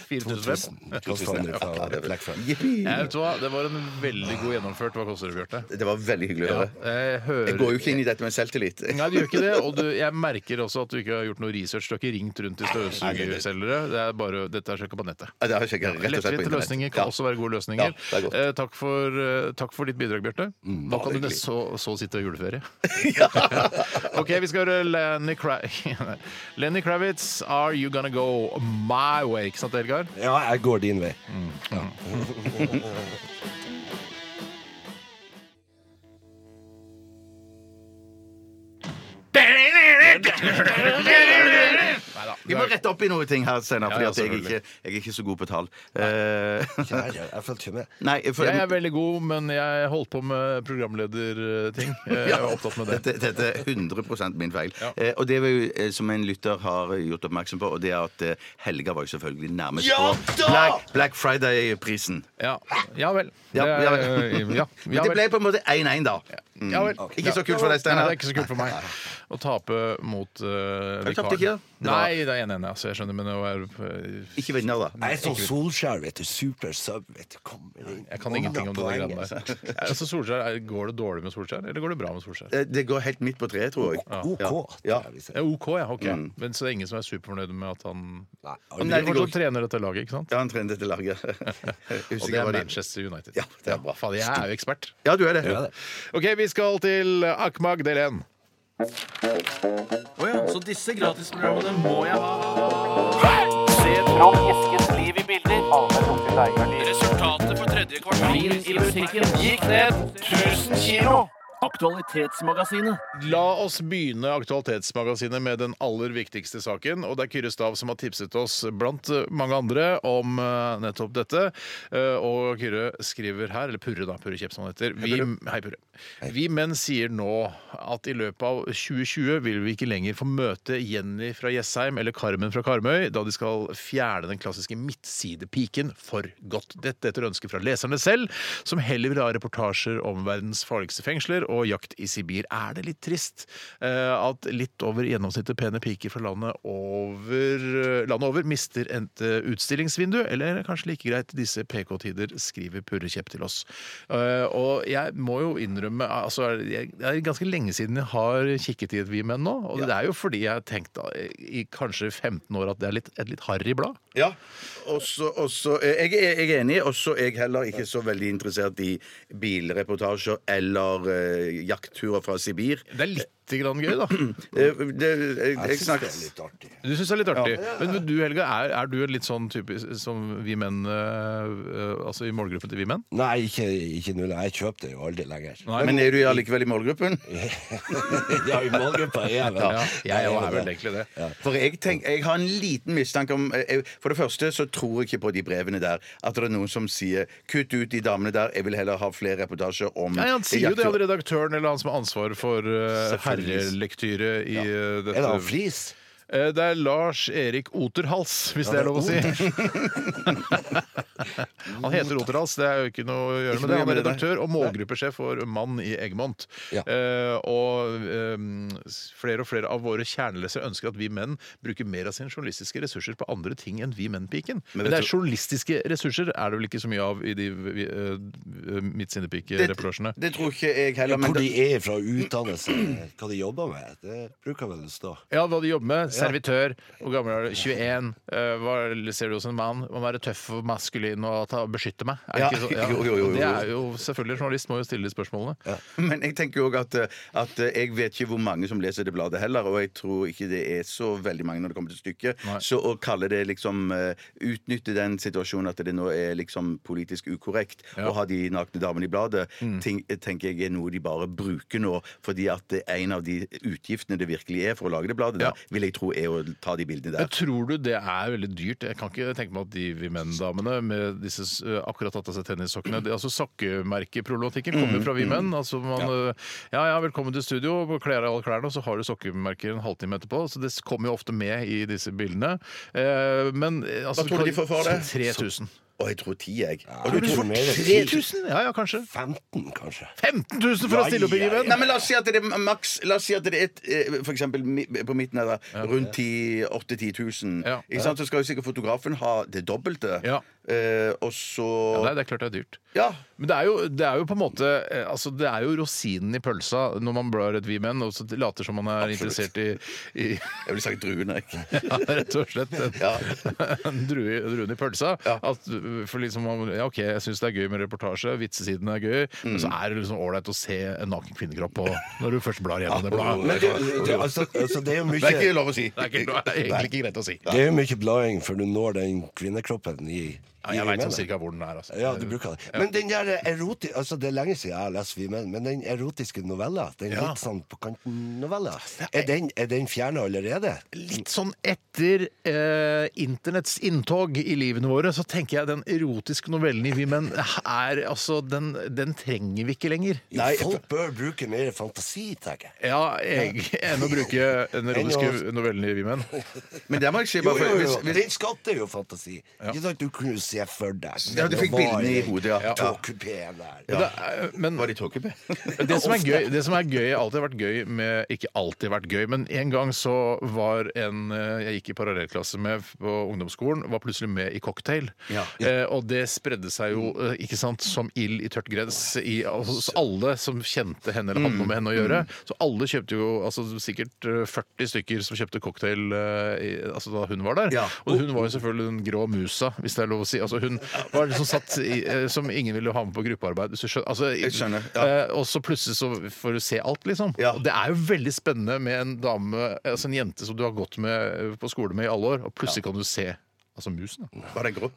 [SPEAKER 5] 4005?
[SPEAKER 1] 2000. Koster han fra Black Friday.
[SPEAKER 5] Jeg vet hva, Det var en veldig god gjennomført. Hva koster det, Bjarte?
[SPEAKER 6] Det var veldig hyggelig å
[SPEAKER 5] Ja,
[SPEAKER 6] høre.
[SPEAKER 5] jeg
[SPEAKER 6] Jeg går
[SPEAKER 5] hører
[SPEAKER 6] jo ikke inn i dette med selvtillit.
[SPEAKER 5] Nei, du gjør ikke det, og du, jeg merker også at du ikke har gjort noe research. Du har ikke ringt rundt til støvsugerselgere. Det er bare, dette er sjekka på nettet.
[SPEAKER 6] Ja, det har jeg sjekket rett og slett på
[SPEAKER 5] Lettvinte
[SPEAKER 6] internett.
[SPEAKER 5] løsninger kan
[SPEAKER 6] Ja.
[SPEAKER 5] også være gode
[SPEAKER 6] Ja,
[SPEAKER 5] løsninger.
[SPEAKER 6] det er godt. Mm,
[SPEAKER 5] eh, takk, for, eh, takk for ditt bidrag, Bjarte. Da kan du nest- så, så sitte og juleferie. ok, vi skal høre Lenny, Kra Lenny Kravitz, 'Are You Gonna Go My Way'. Ikke sant, Elgar?
[SPEAKER 1] Ja, jeg går din vei.
[SPEAKER 6] Vi må rette opp i noen ting her senere,
[SPEAKER 5] Ja, ja,
[SPEAKER 6] for jeg, er
[SPEAKER 5] selvfølgelig.
[SPEAKER 6] ikke- jeg er ikke så god på tall. Eh,
[SPEAKER 1] Ikke jeg, jeg følte ikke med.
[SPEAKER 6] Nei, for
[SPEAKER 5] Jeg er veldig god, men jeg holdt på med programlederting. Jeg er opptatt med det.
[SPEAKER 6] Dette, dette er 100 min feil. Eh, og det var jo eh, som en lytter har gjort oppmerksom på, og det er at eh, helga var jo selvfølgelig nærmest
[SPEAKER 1] Ja
[SPEAKER 6] på
[SPEAKER 1] da!
[SPEAKER 6] Black, Black Friday-prisen.
[SPEAKER 5] Ja, ja vel.
[SPEAKER 6] Ja,
[SPEAKER 5] Det er-
[SPEAKER 6] ja vel.
[SPEAKER 5] ja,
[SPEAKER 6] Men
[SPEAKER 5] ja
[SPEAKER 6] det
[SPEAKER 5] vel.
[SPEAKER 6] ble på en måte 1-1, da.
[SPEAKER 5] Ja vel.
[SPEAKER 6] Ikke så kult for deg,
[SPEAKER 5] Nei,
[SPEAKER 6] Steinar.
[SPEAKER 5] det er ikke så kult for meg å tape mot uh,
[SPEAKER 6] Jeg tapte ikke, da. Det var-
[SPEAKER 5] Nei, det er 1-1, altså. Jeg skjønner, men det var
[SPEAKER 6] Ikke vinner, da.
[SPEAKER 1] Jeg er sånn Solskjær, vet du. Super sub, vet du. Kommer inn.
[SPEAKER 5] jeg kan ingenting om det der greiene der. Altså, Solskjær, er- går det dårlig med Solskjær, eller går det bra med Solskjær?
[SPEAKER 6] Eh, Det går helt midt på treet, tror jeg.
[SPEAKER 1] OK.
[SPEAKER 6] Ja.
[SPEAKER 1] tror jeg vi sier.
[SPEAKER 5] Ja, OK, ja. ok Men så er det ingen som er superfornøyd med at han
[SPEAKER 1] Nei,
[SPEAKER 5] Han
[SPEAKER 6] Mm. nei, det
[SPEAKER 5] driver
[SPEAKER 6] går
[SPEAKER 5] fortsatt og trener dette laget, ikke sant?
[SPEAKER 6] Ja, han trener dette laget. Jeg husker
[SPEAKER 5] Og det
[SPEAKER 6] hva
[SPEAKER 5] er
[SPEAKER 6] de-
[SPEAKER 5] Manchester United.
[SPEAKER 6] Ja, det er bra.
[SPEAKER 5] Faen, jeg er jo ekspert.
[SPEAKER 6] Ja, du er det.
[SPEAKER 5] OK, vi skal til Akmag del 1.
[SPEAKER 4] Så disse gratisprogrammene må jeg ha. Se fram eskens liv i bilder. Resultatet for tredje kvartal i musikken gikk ned 1000 kilo. Aktualitetsmagasinet.
[SPEAKER 5] La oss begynne Aktualitetsmagasinet med den aller viktigste saken. Og det er Kyrre Stav som har tipset oss, blant eh, mange andre, om eh, nettopp dette. Eh, Og Kyrre skriver her, eller Purre, da. Purre Kjepp, som han heter. Vi, hei, Purre. Vi menn sier nå at i løpet av 2020 vil vi ikke lenger få møte Jenny fra Jessheim eller Carmen fra Karmøy, da de skal fjerne den klassiske midtsidepiken for godt. Dette etter ønske fra leserne selv, som heller vil ha reportasjer om verdens farligste fengsler og jakt i Sibir. Er det litt trist eh, at litt over gjennomsnittet pene piker fra landet over, eh, landet over mister et eh, utstillingsvindu? Eller er det kanskje like greit disse PK-tider, skriver Purre Kjepp til oss. Eh, og jeg må jo innrømme altså, jeg, Det er ganske lenge siden jeg har kikket i et Vi menn nå. Og det er jo fordi jeg har tenkt da, i kanskje 15 år at det er litt, et litt harry blad.
[SPEAKER 6] Ja. Og så- og så- eh, jeg, er- jeg er enig, og så er jeg heller ikke så veldig interessert i bilreportasjer eller eh, jaktturer fra Sibir.
[SPEAKER 5] Det er lite grann gøy, da.
[SPEAKER 6] Eh, det, jeg, jeg
[SPEAKER 1] Jeg syns det
[SPEAKER 6] snakker
[SPEAKER 1] er litt artig.
[SPEAKER 5] Du syns det er litt artig. Men du Helga, er, er du en litt sånn typisk som vi menn eh, eh, Altså i målgruppen til vi menn?
[SPEAKER 1] Nei, ikke, ikke null. Jeg kjøper det jo aldri lenger.
[SPEAKER 6] Men er du allikevel i målgruppen?
[SPEAKER 1] ja, i målgruppa er jeg vel
[SPEAKER 5] Ja, jeg òg er vel egentlig det.
[SPEAKER 6] For jeg, tenk, jeg har en liten mistanke om eh, jeg, For det første så tror jeg ikke på de brevene der. At det er noen som sier 'kutt ut de damene der', jeg vil heller ha flere reportasjer om
[SPEAKER 5] Nei, Han sier jo det, han
[SPEAKER 6] jaktturer».
[SPEAKER 5] redaktøren eller han som har ansvaret for uh,
[SPEAKER 6] Selvfølgelig.
[SPEAKER 5] herrelektyre i eh,
[SPEAKER 1] Er det
[SPEAKER 5] dette.
[SPEAKER 1] han Friis?
[SPEAKER 5] Eh, Det er Lars Erik Oterhals, hvis det er lov å si. Han heter Oterhals, det er jo ikke noe å gjøre
[SPEAKER 6] Ikke
[SPEAKER 5] med det. Han er
[SPEAKER 6] noe å gjøre med det, nei.
[SPEAKER 5] redaktør og målgruppesjef for Mann i Eggmont.
[SPEAKER 1] Ja.
[SPEAKER 5] Eh, og eh, s- flere og flere av våre kjernelesere ønsker at vi menn bruker mer av sine journalistiske ressurser på andre ting enn vi menn-piken. Men,
[SPEAKER 6] vet
[SPEAKER 5] det er
[SPEAKER 6] du-
[SPEAKER 5] journalistiske ressurser er det vel ikke så mye av i de vi- eh, midtsinnepike-reportasjene.
[SPEAKER 6] Det tror ikke jeg heller. Men
[SPEAKER 1] Hvor de
[SPEAKER 6] det,
[SPEAKER 1] er fra utdannelse, hva de jobber med, det bruker vel å stå.
[SPEAKER 5] Ja, hva du jobber med. Servitør. Hvor gammel er du? 21. Eh, hva ser du hos en mann? Må være tøff og maskulin og ta, beskytte meg. Er
[SPEAKER 6] Ja,
[SPEAKER 5] ikke så-
[SPEAKER 6] jo, jo, jo, jo.
[SPEAKER 5] Det er jo selvfølgelig Journalist må jo stille de spørsmålene.
[SPEAKER 6] men jeg tenker jo òg at, eh, at eh, jeg vet ikke hvor mange som leser det bladet heller, og jeg tror ikke det er så veldig mange når det kommer til stykket.
[SPEAKER 5] Nei.
[SPEAKER 6] Så å kalle det liksom eh, Utnytte den situasjonen at det nå er liksom politisk ukorrekt
[SPEAKER 5] Ja.
[SPEAKER 6] å ha de nakne damene i bladet, ting, eh, tenker jeg er noe de bare bruker nå. Fordi at det er en av de utgiftene det virkelig er for å lage det bladet,
[SPEAKER 5] Ja.
[SPEAKER 6] der, vil jeg tro er å ta de bildene
[SPEAKER 5] Men
[SPEAKER 6] der.
[SPEAKER 5] tror du det er veldig dyrt? Jeg kan ikke tenke meg at de vi menn-damene med disse s- eh, akkurat tatt av seg tennissokkene det- altså Sokkemerkeproblematikken
[SPEAKER 6] Mm,
[SPEAKER 5] kommer jo fra vi menn. Altså man, eh, ja ja, velkommen til studio, kle av deg alle klærne, og så har du sokkemerker en halvtime etterpå. Så det s- kommer jo ofte med i disse bildene. Eh, Men eh, altså,
[SPEAKER 6] Hva tror du de får for det?
[SPEAKER 5] 3000.
[SPEAKER 6] Og jeg tror ti, jeg.
[SPEAKER 1] Ja,
[SPEAKER 6] Og du
[SPEAKER 1] jeg tror
[SPEAKER 6] tror
[SPEAKER 1] mer.
[SPEAKER 6] tre
[SPEAKER 5] 1000? Ja ja, kanskje.
[SPEAKER 1] 15, kanskje.
[SPEAKER 5] 15 000 for å stille opp i
[SPEAKER 1] Ja, ja,
[SPEAKER 5] Given!
[SPEAKER 6] Nei, men La oss si at det er maks La oss si at det er et, eh, for eksempel, mi- på midten her, da, rundt 10 8-10 000.
[SPEAKER 5] Ja.
[SPEAKER 6] Ikke sant? Så skal jo sikkert fotografen ha det dobbelte.
[SPEAKER 5] Ja.
[SPEAKER 6] Eh, og så
[SPEAKER 5] Nei, det er klart det er dyrt.
[SPEAKER 6] Ja.
[SPEAKER 5] Men det er, jo, det er jo på en måte eh, altså Det er jo rosinen i pølsa når man blar et V-men og så later som man er interessert i, i
[SPEAKER 6] Jeg ville sagt druen, jeg.
[SPEAKER 5] ja, Rett og slett en,
[SPEAKER 6] Ja.
[SPEAKER 5] en drue, druen i pølsa.
[SPEAKER 6] Ja.
[SPEAKER 5] At, uh, for liksom, man- ja, OK, jeg syns det er gøy med reportasje, vitsesiden er gøy, men
[SPEAKER 1] Mm.
[SPEAKER 5] så er det liksom ålreit å se en naken kvinnekropp på når du først blar gjennom det
[SPEAKER 1] Men
[SPEAKER 5] bladet.
[SPEAKER 1] det, det, altså, altså, det er jo
[SPEAKER 6] Det er ikke
[SPEAKER 1] mye
[SPEAKER 6] lov å si.
[SPEAKER 5] Det er, ikke, det er egentlig ikke greit å si.
[SPEAKER 1] Det er jo mye blading før du når den kvinnekroppen i,
[SPEAKER 5] Ja,
[SPEAKER 1] i
[SPEAKER 5] jeg veit
[SPEAKER 1] menn.
[SPEAKER 5] sånn cirka hvor den er. Altså.
[SPEAKER 1] Ja, du bruker det. Men den der eroti, altså det er lenge siden jeg har lest Vi menn, men den erotiske novella, den
[SPEAKER 5] Ja.
[SPEAKER 1] litt sånn på kanten-novella, er den, er den fjerna allerede?
[SPEAKER 5] litt sånn etter eh, internetts inntog i livene våre, så tenker jeg den erotiske novellen i Vi menn er altså den, den trenger vi ikke lenger.
[SPEAKER 1] Nei, Folk bør bruke mer fantasi, tenker jeg.
[SPEAKER 5] Ja, jeg, enn å bruke den erotiske novellen i Vi menn.
[SPEAKER 6] Men der må jeg si
[SPEAKER 1] Jo,
[SPEAKER 6] bare
[SPEAKER 1] jo,
[SPEAKER 6] for,
[SPEAKER 1] jo.
[SPEAKER 6] hvis, hvis,
[SPEAKER 1] Den skapte jo fantasi. Ikke sant, Du kunne jo se for deg
[SPEAKER 6] Ja, du fikk bildene i hodet, ja.
[SPEAKER 1] Togkupeen der.
[SPEAKER 5] Og Det, er- eh, men
[SPEAKER 6] Var det i tåkebe?
[SPEAKER 5] det som er gøy, det som er gøy alltid har vært gøy med Ikke alltid vært gøy, men en gang så var en eh, jeg gikk i parallellklasse med på ungdomsskolen, var plutselig med i cocktail. Eh, og det spredde seg jo eh, ikke sant, som ild i tørt gress i, hos alle som kjente henne eller hadde noe med henne
[SPEAKER 6] Mm.
[SPEAKER 5] å gjøre. Så alle kjøpte jo altså, sikkert eh, 40 stykker som kjøpte cocktail eh, i, altså, da hun var der.
[SPEAKER 6] Ja.
[SPEAKER 5] Og hun var jo selvfølgelig den grå musa, hvis det er lov å si. Altså, hun var liksom satt i, eh, som ingen ville ha med på gruppearbeid. Hvis du skjønner. Altså,
[SPEAKER 6] Jeg skjønner, ja.
[SPEAKER 5] Eh, og så plutselig så får du se alt, liksom.
[SPEAKER 6] Ja.
[SPEAKER 5] Og det er jo veldig spennende med en dame, altså en jente som du har gått med eh, på skole med i alle år, og plutselig kan du se altså musen. Da.
[SPEAKER 6] Var det grå?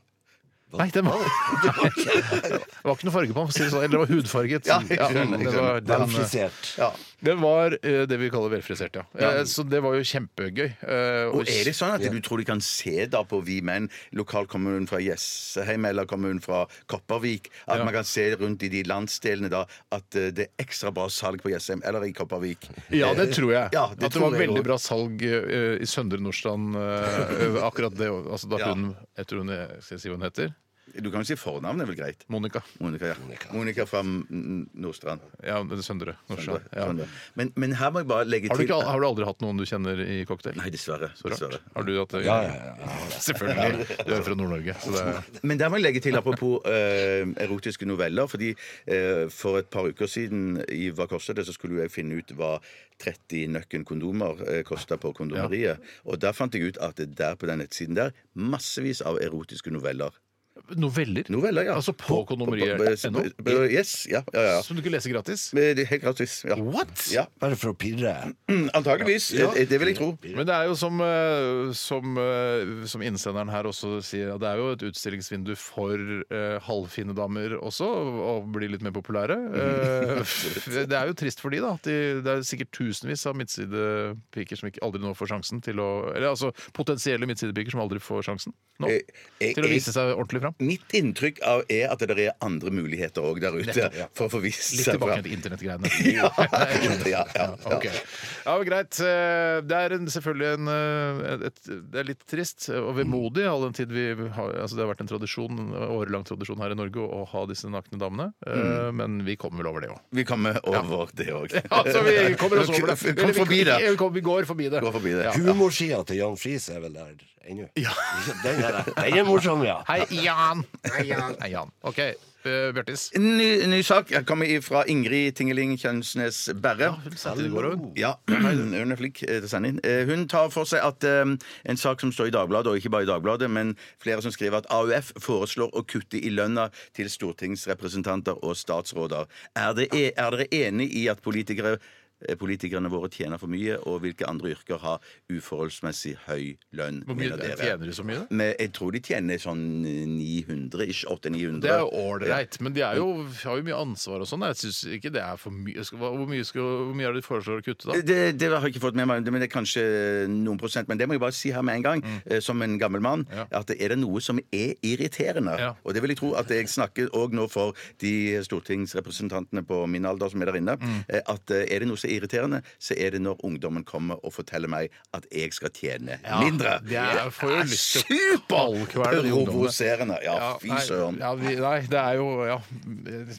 [SPEAKER 5] Nei, den var Nei. Det var ikke noe farge på den, for å si det sånn. Eller det var hudfarget.
[SPEAKER 6] Ja, jeg skjønner, jeg
[SPEAKER 5] det var, den, eh,
[SPEAKER 1] Velfrisert.
[SPEAKER 6] Ja.
[SPEAKER 5] det var eh, det vi kaller velfrisert, ja. Eh, Så det var jo kjempegøy. eh,
[SPEAKER 6] Og er det sånn at du tror de kan se da på Vi menn, lokalkommunen fra Jessheim eller kommunen fra Kopervik, at
[SPEAKER 5] Ja.
[SPEAKER 6] man kan se rundt i de landsdelene da at eh, det er ekstra bra salg på Jessheim eller i Kopervik?
[SPEAKER 5] Ja, det tror jeg.
[SPEAKER 6] Eh, Ja, det
[SPEAKER 5] at det
[SPEAKER 6] tror
[SPEAKER 5] var
[SPEAKER 6] jeg
[SPEAKER 5] veldig
[SPEAKER 6] også.
[SPEAKER 5] bra salg eh, i Søndre Nordstrand eh, akkurat det. Altså da
[SPEAKER 6] Ja.
[SPEAKER 5] hun, jeg tror hun, skal jeg si hva hun heter?
[SPEAKER 6] Du kan jo si fornavnet, er vel greit?
[SPEAKER 5] Monica.
[SPEAKER 6] Monica, ja. Monica fra mm, Nordstrand.
[SPEAKER 5] Ja, Søndre Nordstrand. Ja.
[SPEAKER 6] Sånn, ja. Men, men her må jeg bare legge
[SPEAKER 5] Har du,
[SPEAKER 6] til
[SPEAKER 5] ikke, al- har du aldri hatt noen du kjenner i cocktail?
[SPEAKER 6] Nei, dessverre.
[SPEAKER 5] Så rart.
[SPEAKER 6] dessverre.
[SPEAKER 5] Har du hatt det?
[SPEAKER 1] Ja, ja, ja.
[SPEAKER 5] Selvfølgelig. Du er fra Nord-Norge. Så det er...
[SPEAKER 6] Men der må jeg legge til apropos eh, erotiske noveller. Fordi eh, for et par uker siden i Hva koster det, så skulle jo jeg finne ut hva 30 nøkken kondomer eh, kosta på kondomeriet. Og der fant jeg ut at det der på den nettsiden der massevis av erotiske noveller.
[SPEAKER 5] Noveller?
[SPEAKER 6] Noveller, ja.
[SPEAKER 5] Altså på kondomeriet.no?
[SPEAKER 6] På- på- på- Yes. Ja, ja, ja.
[SPEAKER 5] Som du kan lese gratis?
[SPEAKER 6] Men Det er helt gratis. Ja.
[SPEAKER 5] What?
[SPEAKER 6] Ja,
[SPEAKER 1] Bare for å pirre.
[SPEAKER 6] antageligvis. Eh, Det vil jeg tro.
[SPEAKER 5] Men det er jo som, eh, som, eh, som innsenderen her også sier, at det er jo et utstillingsvindu for eh, halvfine damer også, å bli litt mer populære. Eh, det er jo trist for de da. at De, det er sikkert tusenvis av midtsidepiker som ikke, aldri nå får sjansen til å Eller altså potensielle midtsidepiker som aldri får sjansen nå,
[SPEAKER 6] Eh, jeg-
[SPEAKER 5] til å
[SPEAKER 6] jeg-
[SPEAKER 5] vise seg ordentlig fram.
[SPEAKER 6] Mitt inntrykk av er at det er andre muligheter òg der ute. For å få vist
[SPEAKER 5] Litt
[SPEAKER 6] seg
[SPEAKER 5] tilbake
[SPEAKER 6] fram.
[SPEAKER 5] til internettgreiene.
[SPEAKER 6] Ja, ja, ja, ja.
[SPEAKER 5] Ok. Ja, men greit. Eh, Det er en, selvfølgelig en, eh, et, Det er litt trist og vemodig, all den tid vi har altså Det har vært en tradisjon, en årelang tradisjon her i Norge å ha disse nakne damene. Eh, Men vi kommer vel over det òg.
[SPEAKER 6] Vi kommer over det òg.
[SPEAKER 5] Altså, vi kommer oss over det.
[SPEAKER 6] Kom
[SPEAKER 5] Eller vi-
[SPEAKER 6] forbi det.
[SPEAKER 5] Vi, kom- vi går forbi det.
[SPEAKER 6] Gå forbi det.
[SPEAKER 1] Humorsida til Jan Friis er vel der ennå? Den er, der. den er morsom, ja.
[SPEAKER 5] Hei, Jan! Hei, Jan. OK. eh, Bjørtis.
[SPEAKER 6] Ny, ny sak Jeg kommer fra Ingrid Tingeling Kjønsnes Berre. Oh. Ja, hun er flink eh, til å sende inn. Eh, Hun tar for seg at eh, en sak som står i Dagbladet, og ikke bare i Dagbladet, men flere som skriver at AUF foreslår å kutte i lønna til stortingsrepresentanter og statsråder. Er, det, e- er dere enig i at politikere eh, Politikerne våre tjener for mye, og hvilke andre yrker har uforholdsmessig høy lønn?
[SPEAKER 5] Hvor mye
[SPEAKER 6] mener dere?
[SPEAKER 5] tjener de så mye? da?
[SPEAKER 6] Men jeg tror de tjener sånn 900, ish. 800-900.
[SPEAKER 5] Det er jo ålreit, men de er jo, har jo mye ansvar og sånn. Jeg syns ikke det er for mye. Skal- Hvor mye, skal, hvor mye er det de foreslår å kutte, da?
[SPEAKER 6] Det, det har jeg ikke fått med meg, men det er kanskje noen prosent. Men det må jeg bare si her med en gang,
[SPEAKER 5] Mm.
[SPEAKER 6] eh, som en gammel mann, at er det noe som er irriterende?
[SPEAKER 5] Ja.
[SPEAKER 6] Og det vil jeg tro at jeg
[SPEAKER 5] Mm.
[SPEAKER 6] snakker òg nå for de stortingsrepresentantene på min alder som er der inne. eh, At eh, er det noe som så irriterende, så er det når ungdommen kommer og forteller meg at jeg skal tjene mindre.
[SPEAKER 5] det er- jeg får jo lyst til å kalkvele de ungdommene.
[SPEAKER 6] Superprovoserende. Ja, fy
[SPEAKER 5] nei,
[SPEAKER 6] søren.
[SPEAKER 5] ja, vi, nei, det er jo ja.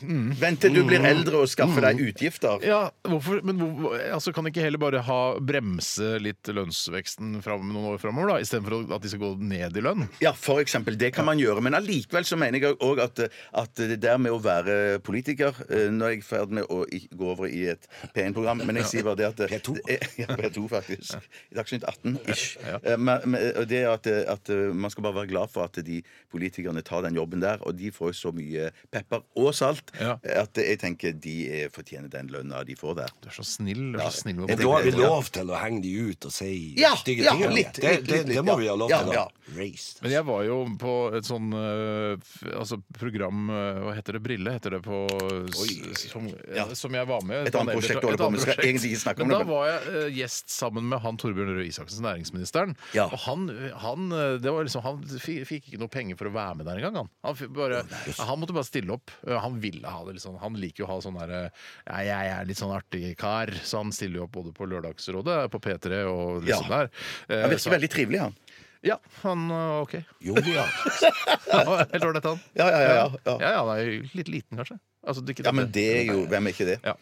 [SPEAKER 5] Mm.
[SPEAKER 6] Vent til du blir eldre og skaffer deg utgifter.
[SPEAKER 5] Ja, hvorfor, men hvor, altså Kan de ikke heller bare ha bremse litt lønnsveksten fram, noen år framover, istedenfor at de skal gå ned i lønn?
[SPEAKER 6] Ja, for eksempel. Det kan man gjøre. Men allikevel så mener jeg òg at, at det der med å være politiker eh, Nå er jeg i ferd med å i- gå over i et P1-program, men jeg sier bare det at eh,
[SPEAKER 1] P2.
[SPEAKER 6] Ja, P2, faktisk. I Dagsnytt 18 ish. Eh, Men, men, og det er at, at eh, man skal bare være glad for at de politikerne tar den jobben der, og de får jo så mye pepper og salt
[SPEAKER 5] Ja.
[SPEAKER 6] at jeg tenker de eh, fortjener den lønna de får der.
[SPEAKER 5] Du er så snill. Du er så snill
[SPEAKER 1] Men
[SPEAKER 5] med
[SPEAKER 1] da har vi
[SPEAKER 5] politikere.
[SPEAKER 1] lov til å henge de ut og si
[SPEAKER 6] Ja,
[SPEAKER 1] stygge
[SPEAKER 6] ja,
[SPEAKER 1] ting. om
[SPEAKER 6] litt,
[SPEAKER 1] det. det,
[SPEAKER 6] litt,
[SPEAKER 1] det,
[SPEAKER 6] litt,
[SPEAKER 1] det må
[SPEAKER 6] ja.
[SPEAKER 1] vi ha lov
[SPEAKER 6] Ja,
[SPEAKER 1] til. altså.
[SPEAKER 6] ja.
[SPEAKER 1] da. Raised.
[SPEAKER 5] Men jeg var jo på et sånn eh, f- altså program eh, Hva heter det? Brille heter det på s- Som, eh,
[SPEAKER 6] Ja.
[SPEAKER 5] som jeg var med
[SPEAKER 6] Et annet prosjekt du holder
[SPEAKER 5] et
[SPEAKER 6] på
[SPEAKER 5] annet
[SPEAKER 6] med, skal
[SPEAKER 5] prosjekt.
[SPEAKER 6] egentlig ikke snakke om
[SPEAKER 5] Men da
[SPEAKER 6] det, men-
[SPEAKER 5] var jeg eh, gjest sammen med han Torbjørn Røe Isaksen, næringsministeren.
[SPEAKER 6] Ja.
[SPEAKER 5] Og han, han, eh, det var liksom, han fi- fikk ikke noe penger for å være med der engang, han. Han, fikk bare, han måtte bare stille opp. Eh, Han ville ha det litt sånn. Han liker jo å ha sånn derre ja, 'jeg er litt sånn artig kar', så han stiller jo opp både på Lørdagsrådet, på P3 og liksom
[SPEAKER 6] Ja.
[SPEAKER 5] der. Eh,
[SPEAKER 6] Han
[SPEAKER 5] så-
[SPEAKER 6] virker veldig trivelig, han.
[SPEAKER 5] Ja, han var OK.
[SPEAKER 1] Jovial.
[SPEAKER 5] Ja, Helt ålreit, han.
[SPEAKER 6] Ja, ja, ja, ja, ja.
[SPEAKER 5] Ja, ja, han er jo litt liten, kanskje. Altså, ikke
[SPEAKER 6] Ja, men det er jo Hvem er ikke det?
[SPEAKER 5] ja.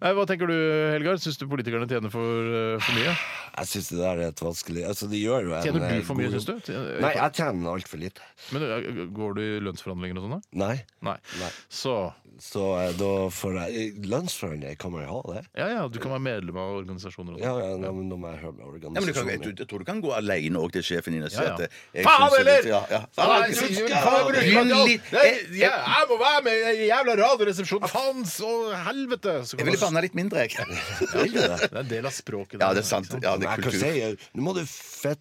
[SPEAKER 5] Nei, Hva tenker du, Helgar? Syns du politikerne tjener for, eh, for mye?
[SPEAKER 1] Jeg syns det der er et vanskelig Altså, de gjør jo en
[SPEAKER 5] Tjener du
[SPEAKER 1] eh,
[SPEAKER 5] for mye,
[SPEAKER 1] god
[SPEAKER 5] syns du?
[SPEAKER 1] jobb.
[SPEAKER 5] Tjener-
[SPEAKER 1] Nei, jeg tjener altfor lite.
[SPEAKER 5] Men eh, Går du i lønnsforhandlinger og sånn? da?
[SPEAKER 1] Nei.
[SPEAKER 5] Nei.
[SPEAKER 1] Nei.
[SPEAKER 5] Så
[SPEAKER 1] Så eh, da får jeg Lønnsforhandling, kan man jo ha det?
[SPEAKER 5] ja, ja, du kan være medlem av organisasjoner og
[SPEAKER 1] Ja,
[SPEAKER 5] sånn.
[SPEAKER 1] ja, nå, nå må jeg høre med
[SPEAKER 6] Ja, men du kan, jeg,
[SPEAKER 1] organisasjonen.
[SPEAKER 6] tror- jeg tror du kan gå alene òg til sjefen din og si
[SPEAKER 5] Ja, ja.
[SPEAKER 6] at eh, jeg
[SPEAKER 5] Faen,
[SPEAKER 6] synes det-
[SPEAKER 5] eller?
[SPEAKER 6] Ja, ja.
[SPEAKER 5] Nei, jeg sier- faen, jeg
[SPEAKER 6] Begynn
[SPEAKER 5] bruker-
[SPEAKER 6] litt-
[SPEAKER 5] Nei,
[SPEAKER 6] jeg-
[SPEAKER 5] jeg- jeg må være med i den jævla radioresepsjonen! Faen så helvete! Så
[SPEAKER 6] Jeg
[SPEAKER 5] kan
[SPEAKER 6] ville
[SPEAKER 5] man-
[SPEAKER 6] banna litt mindre, jeg.
[SPEAKER 5] Det er en del av språket.
[SPEAKER 6] Ja,
[SPEAKER 5] der,
[SPEAKER 6] det er sant.
[SPEAKER 5] ikke sant?
[SPEAKER 6] Ja,
[SPEAKER 1] Men
[SPEAKER 6] det er
[SPEAKER 1] jeg kan
[SPEAKER 6] kultur.
[SPEAKER 1] si eh, Nå må du fette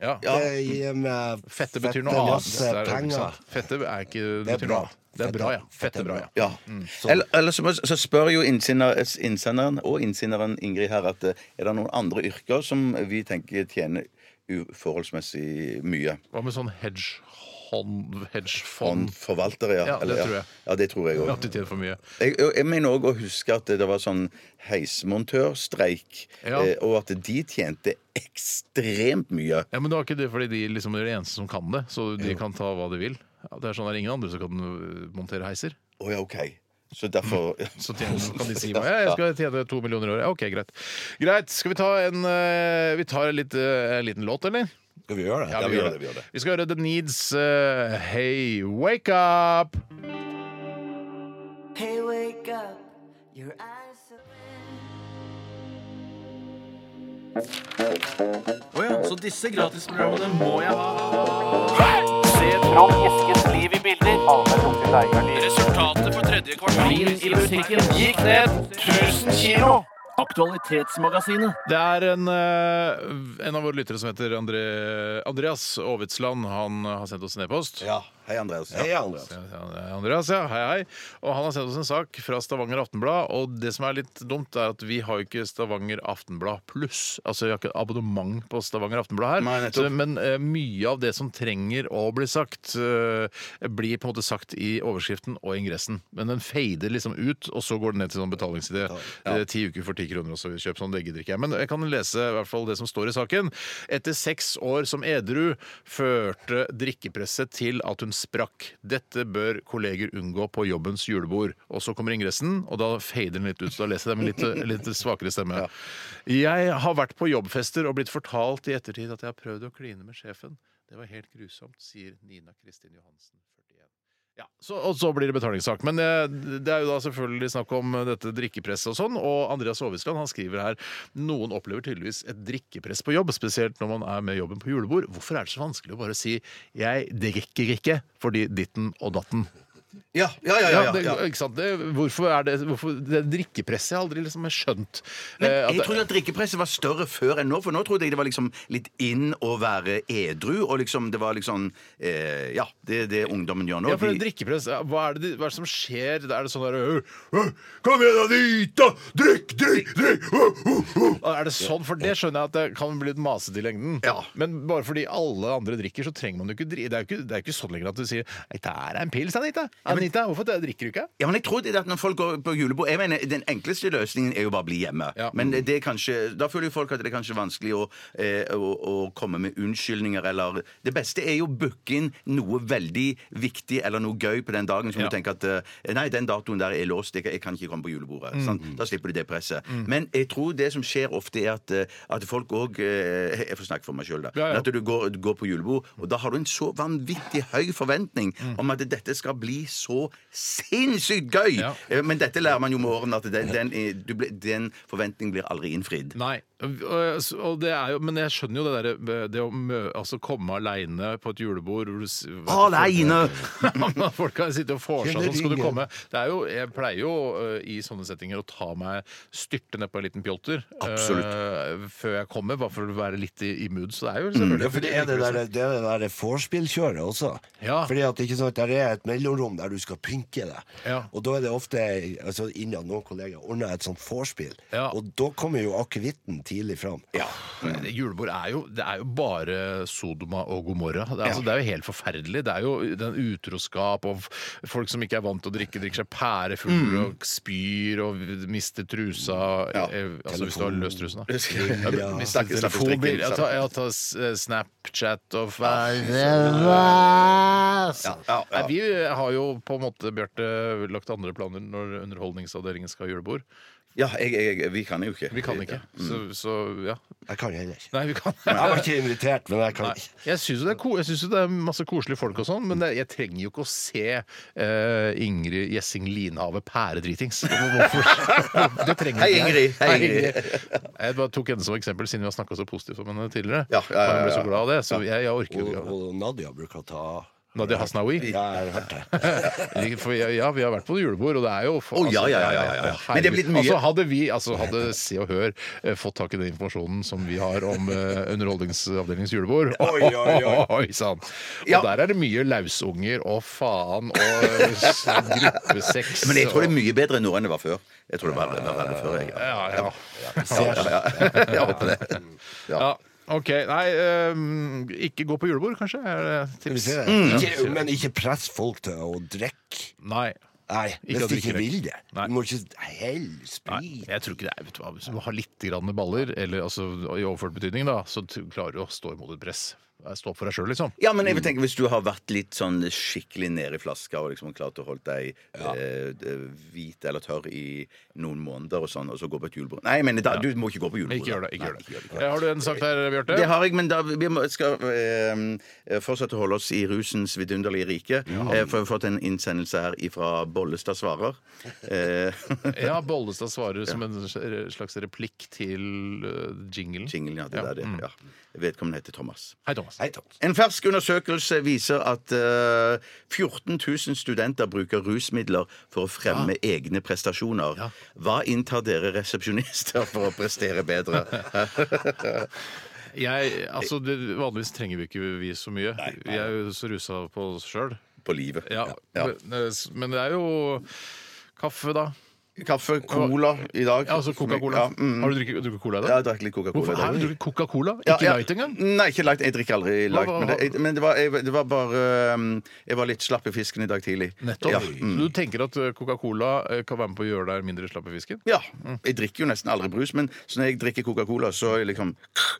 [SPEAKER 5] Ja.
[SPEAKER 1] gi meg
[SPEAKER 5] Fette betyr noe annet.
[SPEAKER 1] masse
[SPEAKER 5] Det er- ikke sant?
[SPEAKER 1] penger.
[SPEAKER 5] Fette er ikke
[SPEAKER 1] Det er
[SPEAKER 5] betyr
[SPEAKER 1] bra.
[SPEAKER 5] noe annet. Det er
[SPEAKER 1] Fette-
[SPEAKER 5] bra, ja.
[SPEAKER 1] fette
[SPEAKER 5] Fette
[SPEAKER 1] er
[SPEAKER 5] er bra,
[SPEAKER 1] bra.
[SPEAKER 5] ja.
[SPEAKER 6] Ja. Eller, eller så, må- så spør jo innsender, innsenderen og innsenderen Ingrid her at eh, er det noen andre yrker som vi tenker tjener uforholdsmessig mye.
[SPEAKER 5] Hva med sånn hedgehånd
[SPEAKER 6] Fond,
[SPEAKER 5] Hedgefond?
[SPEAKER 6] forvaltere, ja.
[SPEAKER 5] Ja, det
[SPEAKER 6] Eller,
[SPEAKER 5] tror jeg.
[SPEAKER 6] Ja, det tror jeg òg.
[SPEAKER 5] At de tjener for mye.
[SPEAKER 6] Jeg, og jeg mener òg å huske at det var sånn heismontørstreik,
[SPEAKER 5] Ja.
[SPEAKER 6] eh, og at de tjente ekstremt mye.
[SPEAKER 5] Ja, Men det var ikke det fordi de liksom er de eneste som kan det, så de kan ta hva de vil. Ja, det er sånn det er ingen andre som kan øh, montere heiser.
[SPEAKER 6] Å ja, OK. Så derfor
[SPEAKER 5] Så tjener, så kan de si hva ja, jeg skal tjene to millioner i året. Ja, OK, greit. Greit, Skal vi ta en, øh, vi tar en, litt, øh, en liten låt, eller?
[SPEAKER 1] Skal vi gjøre det?
[SPEAKER 6] Ja, vi gjør det, vi gjør det.
[SPEAKER 5] Vi skal høre The Needs øh, Hey Wake Up.
[SPEAKER 3] Hey, wake up. Your eyes are
[SPEAKER 4] Resultatet på tredje kvartal i butikken gikk ned 1000 kilo. Aktualitetsmagasinet.
[SPEAKER 5] Det er en, øh, en av våre lyttere som heter André, Andreas Aavitsland. Han øh, har sendt oss en e-post.
[SPEAKER 6] Ja. Hei, Andreas.
[SPEAKER 1] Hei, Andreas.
[SPEAKER 5] Andreas, ja. Hei, hei. Og han har sendt oss en sak fra Stavanger Aftenblad. Og det som er litt dumt, er at vi har jo ikke Stavanger Aftenblad pluss. Altså, vi har ikke abonnement på Stavanger Aftenblad her.
[SPEAKER 6] Nei, nettopp.
[SPEAKER 5] så, men eh, mye av det som trenger å bli sagt, eh, blir på en måte sagt i overskriften og ingressen. Men den fader liksom ut, og så går den ned til sånn betalingsidé. Eh, Ti uker for ti kroner, og så kjøp sånn. Det gidder ikke jeg. Men jeg kan lese i hvert fall det som står i saken. Etter seks år som edru førte drikkepresset til at hun sprakk. Dette bør kolleger unngå på jobbens julebord. Og så kommer ingressen, og da fader den litt ut. Så da leser jeg det med litt, eh, litt svakere stemme. Jeg har vært på jobbfester og blitt fortalt i ettertid at jeg har prøvd å kline med sjefen. Det var helt grusomt, sier Nina Kristin Johansen, 41. Ja, så, Og så blir det betalingssak. Men eh, det er jo da selvfølgelig snakk om eh, dette drikkepresset og sånn. Og Andreas Aavitsland han skriver her noen opplever tydeligvis et drikkepress på jobb, spesielt når man er med jobben på julebord. Hvorfor er det så vanskelig å bare si 'jeg drikker ikke' fordi ditten og datten?
[SPEAKER 6] Ja, ja, ja. ja,
[SPEAKER 5] Ja,
[SPEAKER 6] ja,
[SPEAKER 5] det,
[SPEAKER 6] ja.
[SPEAKER 5] ikke sant? Det, hvorfor er det, hvorfor, det drikkepresset har jeg aldri liksom skjønt.
[SPEAKER 6] Men
[SPEAKER 5] eh, at
[SPEAKER 6] jeg
[SPEAKER 5] det-
[SPEAKER 6] trodde at drikkepresset var større før enn nå, for nå trodde jeg det var liksom litt inn å være edru, og liksom det var liksom eh, Ja, det er det ungdommen gjør nå.
[SPEAKER 5] Ja, for det er drikkepress, ja, hva er, det, de- hva er det som skjer? Er det sånn der «Øh, øh, Kom igjen, Anita! Drikk, drikk, drikk! Øh, øh, øh!» Er det sånn? For det skjønner jeg at det kan bli litt masete i lengden.
[SPEAKER 6] Ja.
[SPEAKER 5] Men bare fordi alle andre drikker, så trenger man jo ikke drikke. Det er jo ikke, det er jo ikke sånn lenger at du sier 'Dette er en pils, Anita'. Anita, hvorfor drikker du ikke?
[SPEAKER 6] Ja, men jeg tror det er at Når folk går på julebord Jeg mener, Den enkleste løsningen er jo bare å bli hjemme.
[SPEAKER 5] Ja.
[SPEAKER 6] Men det er kanskje, da føler jo folk at det er kanskje vanskelig å, eh, å, å komme med unnskyldninger eller Det beste er jo å booke inn noe veldig viktig eller noe gøy på den dagen. Så må
[SPEAKER 5] Ja.
[SPEAKER 6] du tenke at eh, Nei, den datoen der er låst. Jeg, kan- jeg kan ikke komme på julebordet.
[SPEAKER 5] Mm.
[SPEAKER 6] sant? Da slipper du det presset. Men jeg tror det som skjer ofte, er at, eh, at folk òg eh, Jeg får snakke for meg sjøl, da.
[SPEAKER 5] Ja, ja.
[SPEAKER 6] Men At du går, du går på julebord, og da har du en så vanvittig høy forventning om at dette skal bli så sinnssykt gøy!
[SPEAKER 5] Ja.
[SPEAKER 6] Eh, Men dette lærer man jo med årene, at den, den, eh, du blir- den forventningen blir aldri innfridd.
[SPEAKER 5] Nei. Og og det er jo, men jeg skjønner jo det derre Det å mø, altså komme aleine på et julebord hvor du s-
[SPEAKER 6] Aleine!
[SPEAKER 5] Når Folk kan sitte og får seg
[SPEAKER 1] Kjenner
[SPEAKER 5] sånn. Skal du
[SPEAKER 1] ingen.
[SPEAKER 5] komme? Det er jo, jeg pleier jo eh, i sånne settinger å ta meg styrte nedpå en liten pjolter eh, før jeg kommer, bare for å være litt i, i mood. Så det er jo selvfølgelig
[SPEAKER 1] Mm. Ja, for det er det der, det er det der vorspiel-kjøret også.
[SPEAKER 5] Ja.
[SPEAKER 1] Fordi at ikke sant, Der er et mellomrom der du skal pynke deg.
[SPEAKER 5] Ja.
[SPEAKER 1] Og da er det ofte altså, innad noen kollegaer ordner et sånt vorspiel.
[SPEAKER 5] Ja.
[SPEAKER 1] Og da kommer jo akevitten tidlig fram.
[SPEAKER 5] Men Julebord er jo, det er jo bare Sodoma og Gomorra. Det er, altså, det er jo helt forferdelig. Det er jo den utroskap og f- folk som ikke er vant til å drikke, drikker seg pærefulle
[SPEAKER 1] Mm.
[SPEAKER 5] og spyr og mister trusa eh, Altså hvis du har løst trusen, da. Ja, mister
[SPEAKER 6] Snakkes- snakkes
[SPEAKER 5] Altså, telefonbil,
[SPEAKER 6] drikken,
[SPEAKER 5] jeg tar, jeg tar s- eh, Snapchat og ja, Nei, Vi har jo på en måte, Bjarte, lagt andre planer når Underholdningsavdelingen skal ha julebord.
[SPEAKER 6] Ja, jeg, jeg, jeg, vi kan jo ikke.
[SPEAKER 5] Vi kan ikke. Så, så ja.
[SPEAKER 1] Jeg kan heller ikke.
[SPEAKER 5] Nei, vi kan
[SPEAKER 1] Jeg var ikke invitert, men jeg kan ikke.
[SPEAKER 5] Jeg syns jo, det er ko- jeg synes jo det er masse koselige folk og sånn, men det, jeg trenger jo ikke å se eh, Ingrid Gjessing Linhave pæredritings. Hvorfor? Det trenger
[SPEAKER 6] Hei,
[SPEAKER 5] ikke jeg.
[SPEAKER 6] Ingrid. Hei, Ingrid.
[SPEAKER 5] Jeg bare tok henne som eksempel, siden vi har snakka så positivt om henne tidligere.
[SPEAKER 6] Ja, ja, ja,
[SPEAKER 5] Og Hun ble
[SPEAKER 6] ja. Oh,
[SPEAKER 5] så glad av det, så jeg, jeg orker jo
[SPEAKER 1] Og,
[SPEAKER 5] ikke.
[SPEAKER 1] og Nadia bruker å ta
[SPEAKER 5] Nadia Hasnaoui.
[SPEAKER 1] Ja, jeg har hørt det.
[SPEAKER 5] For ja, ja, vi har vært på julebord, og det er jo for-
[SPEAKER 6] Å, ja, ja, ja, ja, ja, ja. Men det er blitt mye-
[SPEAKER 5] Altså, hadde vi, altså, hadde Se og Hør eh, fått tak i den informasjonen som vi har om eh, Underholdningsavdelingens julebord
[SPEAKER 1] Oi, oi, oi.
[SPEAKER 5] sann. Og
[SPEAKER 6] Ja.
[SPEAKER 5] der er det mye lausunger og faen og eh, s- gruppesex.
[SPEAKER 6] Men jeg tror det er
[SPEAKER 5] og-
[SPEAKER 6] mye bedre nå enn det var før. Jeg tror det var bedre enn det før, jeg.
[SPEAKER 5] ja, ja.
[SPEAKER 6] Ja, ja, ja. Jeg håper det.
[SPEAKER 5] ja. OK. Nei, eh, ikke gå på julebord, kanskje? Er det
[SPEAKER 1] Skal vi
[SPEAKER 5] tips?
[SPEAKER 1] se. Ikke, men ikke press folk til å drikke.
[SPEAKER 5] Nei.
[SPEAKER 1] Nei,
[SPEAKER 5] Ikke
[SPEAKER 1] hvis
[SPEAKER 5] at
[SPEAKER 1] de
[SPEAKER 5] de
[SPEAKER 1] ikke
[SPEAKER 5] drikker.
[SPEAKER 1] vil det.
[SPEAKER 5] Nei.
[SPEAKER 1] Du må ikke helle
[SPEAKER 5] Nei,
[SPEAKER 1] sprit.
[SPEAKER 5] jeg tror ikke det er vet du hva, Hvis du har litt grann baller, eller altså, i overført betydning, da, så t- klarer du å stå imot et press. Stå opp for deg sjøl, liksom.
[SPEAKER 6] Ja, men jeg vil tenke, Hvis du har vært litt sånn skikkelig nede i flaska og liksom klart å holde deg eh, eh, hvit eller tørr i noen måneder og sånn, og så gå på et julebord Nei, men da, du må ikke gå på julebord.
[SPEAKER 5] Ikke gjør det. ikke
[SPEAKER 6] Nei,
[SPEAKER 5] gjør det. Eh, Har du en sak der, Bjarte?
[SPEAKER 6] Det har jeg, men da, vi må, skal eh, fortsette å holde oss i rusens vidunderlige rike. Eh, for vi har fått en innsendelse her fra Bollestad svarer. Eh,
[SPEAKER 5] Ja, Bollestad svarer som en slags replikk til eh, jinglen.
[SPEAKER 6] jinglen, ja, det der,
[SPEAKER 5] mm.
[SPEAKER 6] det, ja. Vedkommende heter Thomas.
[SPEAKER 5] Hei, Thomas.
[SPEAKER 1] Hei, Tom.
[SPEAKER 6] En fersk undersøkelse viser at eh, 14 000 studenter bruker rusmidler for å fremme egne prestasjoner. Hva inntar dere resepsjonister for å prestere bedre?
[SPEAKER 5] Jeg, altså, det, vanligvis trenger vi ikke vi så mye. Vi er jo så rusa på oss sjøl.
[SPEAKER 6] På livet.
[SPEAKER 5] Ja,
[SPEAKER 6] Ja.
[SPEAKER 5] Men, eh, s- men det er jo kaffe, da.
[SPEAKER 6] Kaffe, cola i dag.
[SPEAKER 5] Ja, altså Coca-Cola.
[SPEAKER 6] Ja, mm.
[SPEAKER 5] Har du drukket, drukket cola i
[SPEAKER 6] Ja,
[SPEAKER 5] dag?
[SPEAKER 6] jeg drakk litt Coca-Cola
[SPEAKER 5] Hvorfor
[SPEAKER 6] i
[SPEAKER 5] har
[SPEAKER 6] dag.
[SPEAKER 5] du drukket Coca-Cola?
[SPEAKER 6] Ja,
[SPEAKER 5] Ikke
[SPEAKER 6] ja.
[SPEAKER 5] Light engang?
[SPEAKER 6] Nei, ikke light. Jeg drikker aldri light.
[SPEAKER 5] hva-
[SPEAKER 6] Men, det, jeg, men det, var, jeg, det var bare ehm, Jeg var litt slapp i fisken i dag tidlig.
[SPEAKER 5] Nettopp.
[SPEAKER 6] Ja. mm.
[SPEAKER 5] Så du tenker at eh, Coca-Cola eh, kan være med på å gjøre deg mindre slapp i fisken?
[SPEAKER 6] Ja. Jeg drikker jo nesten aldri brus, men så når jeg drikker Coca-Cola, så, er jeg liksom,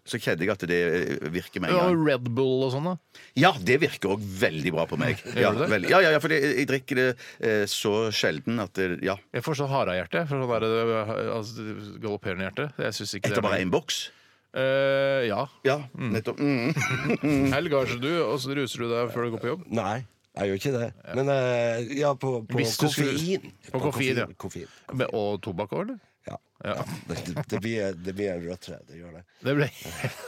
[SPEAKER 6] så kjenner jeg at det eh, virker med en gang.
[SPEAKER 5] Og Red Bull og sånn, da?
[SPEAKER 6] Ja, det virker òg veldig bra på meg. Ja,
[SPEAKER 5] det?
[SPEAKER 6] veldig. ja, ja, ja for jeg, jeg drikker det eh, så sjelden at det, Ja.
[SPEAKER 5] Jeg får sånn harehjerte. for Sånn der, eh, altså, galopperende hjerte. Jeg synes ikke
[SPEAKER 6] Etter
[SPEAKER 5] det
[SPEAKER 6] bare
[SPEAKER 5] er
[SPEAKER 6] én boks.
[SPEAKER 5] Eh, ja.
[SPEAKER 6] Ja, nettopp. Mm.
[SPEAKER 5] Helg har ikke du, og så ruser du deg før du går på jobb.
[SPEAKER 1] Nei, jeg gjør ikke det. Men eh, ja, på, på
[SPEAKER 5] Hvis du skulle-
[SPEAKER 1] koffein.
[SPEAKER 5] På koffein, ja.
[SPEAKER 1] koffein.
[SPEAKER 5] Med, og tobakk òg, eller?
[SPEAKER 1] Ja.
[SPEAKER 5] Ja.
[SPEAKER 1] Det, det, blir, det blir en rød tre. Det gjør det.
[SPEAKER 5] Det, ble...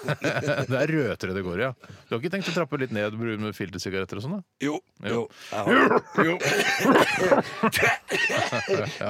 [SPEAKER 5] det er rødtere det går i, ja. Du har ikke tenkt å trappe litt ned bruken med filtersigaretter og sånn? da?
[SPEAKER 1] Jo. jo.
[SPEAKER 5] Jo.
[SPEAKER 1] jeg har-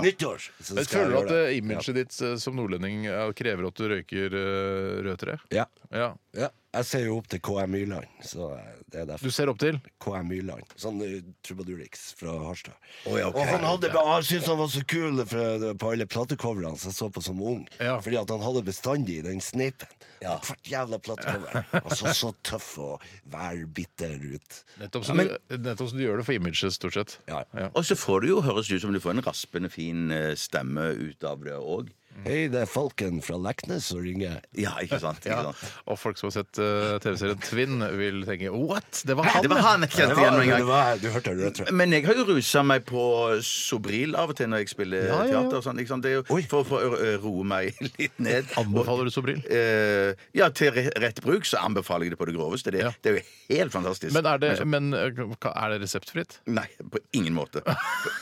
[SPEAKER 1] Nyttårs. Så
[SPEAKER 5] Jeg
[SPEAKER 1] skal jeg
[SPEAKER 5] føler
[SPEAKER 1] gjøre
[SPEAKER 5] at eh,
[SPEAKER 1] det.
[SPEAKER 5] imaget ditt eh, som nordlending eh, krever at du røyker eh, rødtere.
[SPEAKER 1] Ja.
[SPEAKER 5] Ja.
[SPEAKER 1] ja. Jeg ser jo opp til KM Myrland, så eh, det er
[SPEAKER 5] Du
[SPEAKER 1] derfor.
[SPEAKER 5] ser opp til?
[SPEAKER 1] KM Myrland. Sånn eh, trubadurix fra Harstad.
[SPEAKER 6] Å, ja, ok.
[SPEAKER 1] Og han hadde, jeg syntes han var så kul for, eh, på alle platecoverne. hans jeg så på som ung.
[SPEAKER 5] Ja.
[SPEAKER 1] Fordi at han hadde bestandig den sneipen.
[SPEAKER 6] Ja.
[SPEAKER 1] På Hvert jævla plattcover. Han så så tøff og værbitter ut.
[SPEAKER 5] Nettopp som,
[SPEAKER 1] Ja, men-
[SPEAKER 5] du, nettopp som du gjør det for imaget, stort sett.
[SPEAKER 1] Ja.
[SPEAKER 6] Og så får du jo høres ut som du får en raspende fin eh, stemme ut av det òg.
[SPEAKER 1] Hei, det er Falken fra Leknes som ringer.
[SPEAKER 6] Ja, ikke sant? Ikke sant?
[SPEAKER 5] Og folk som har sett eh, TV-serien Twin, vil tenke What?! Det var han!
[SPEAKER 6] Det var
[SPEAKER 5] ja."
[SPEAKER 6] han jeg kjente igjen med en
[SPEAKER 1] det
[SPEAKER 6] gang.
[SPEAKER 1] var, du hørte det, tror jeg.
[SPEAKER 6] Men jeg har jo rusa meg på Sobril av og til når jeg spiller
[SPEAKER 5] Ja, ja, ja.
[SPEAKER 6] teater. Og sånn, ikke sant? Det er jo
[SPEAKER 1] Oi.
[SPEAKER 6] for, for å ø, roe meg litt ned.
[SPEAKER 5] Anbefaler du Sobril?
[SPEAKER 6] Eh, ja, til re- rett bruk så anbefaler jeg det på det groveste. Det,
[SPEAKER 5] Ja.
[SPEAKER 6] det er jo helt fantastisk.
[SPEAKER 5] Men er det, men, eh, er det reseptfritt?
[SPEAKER 6] Nei, på ingen måte. På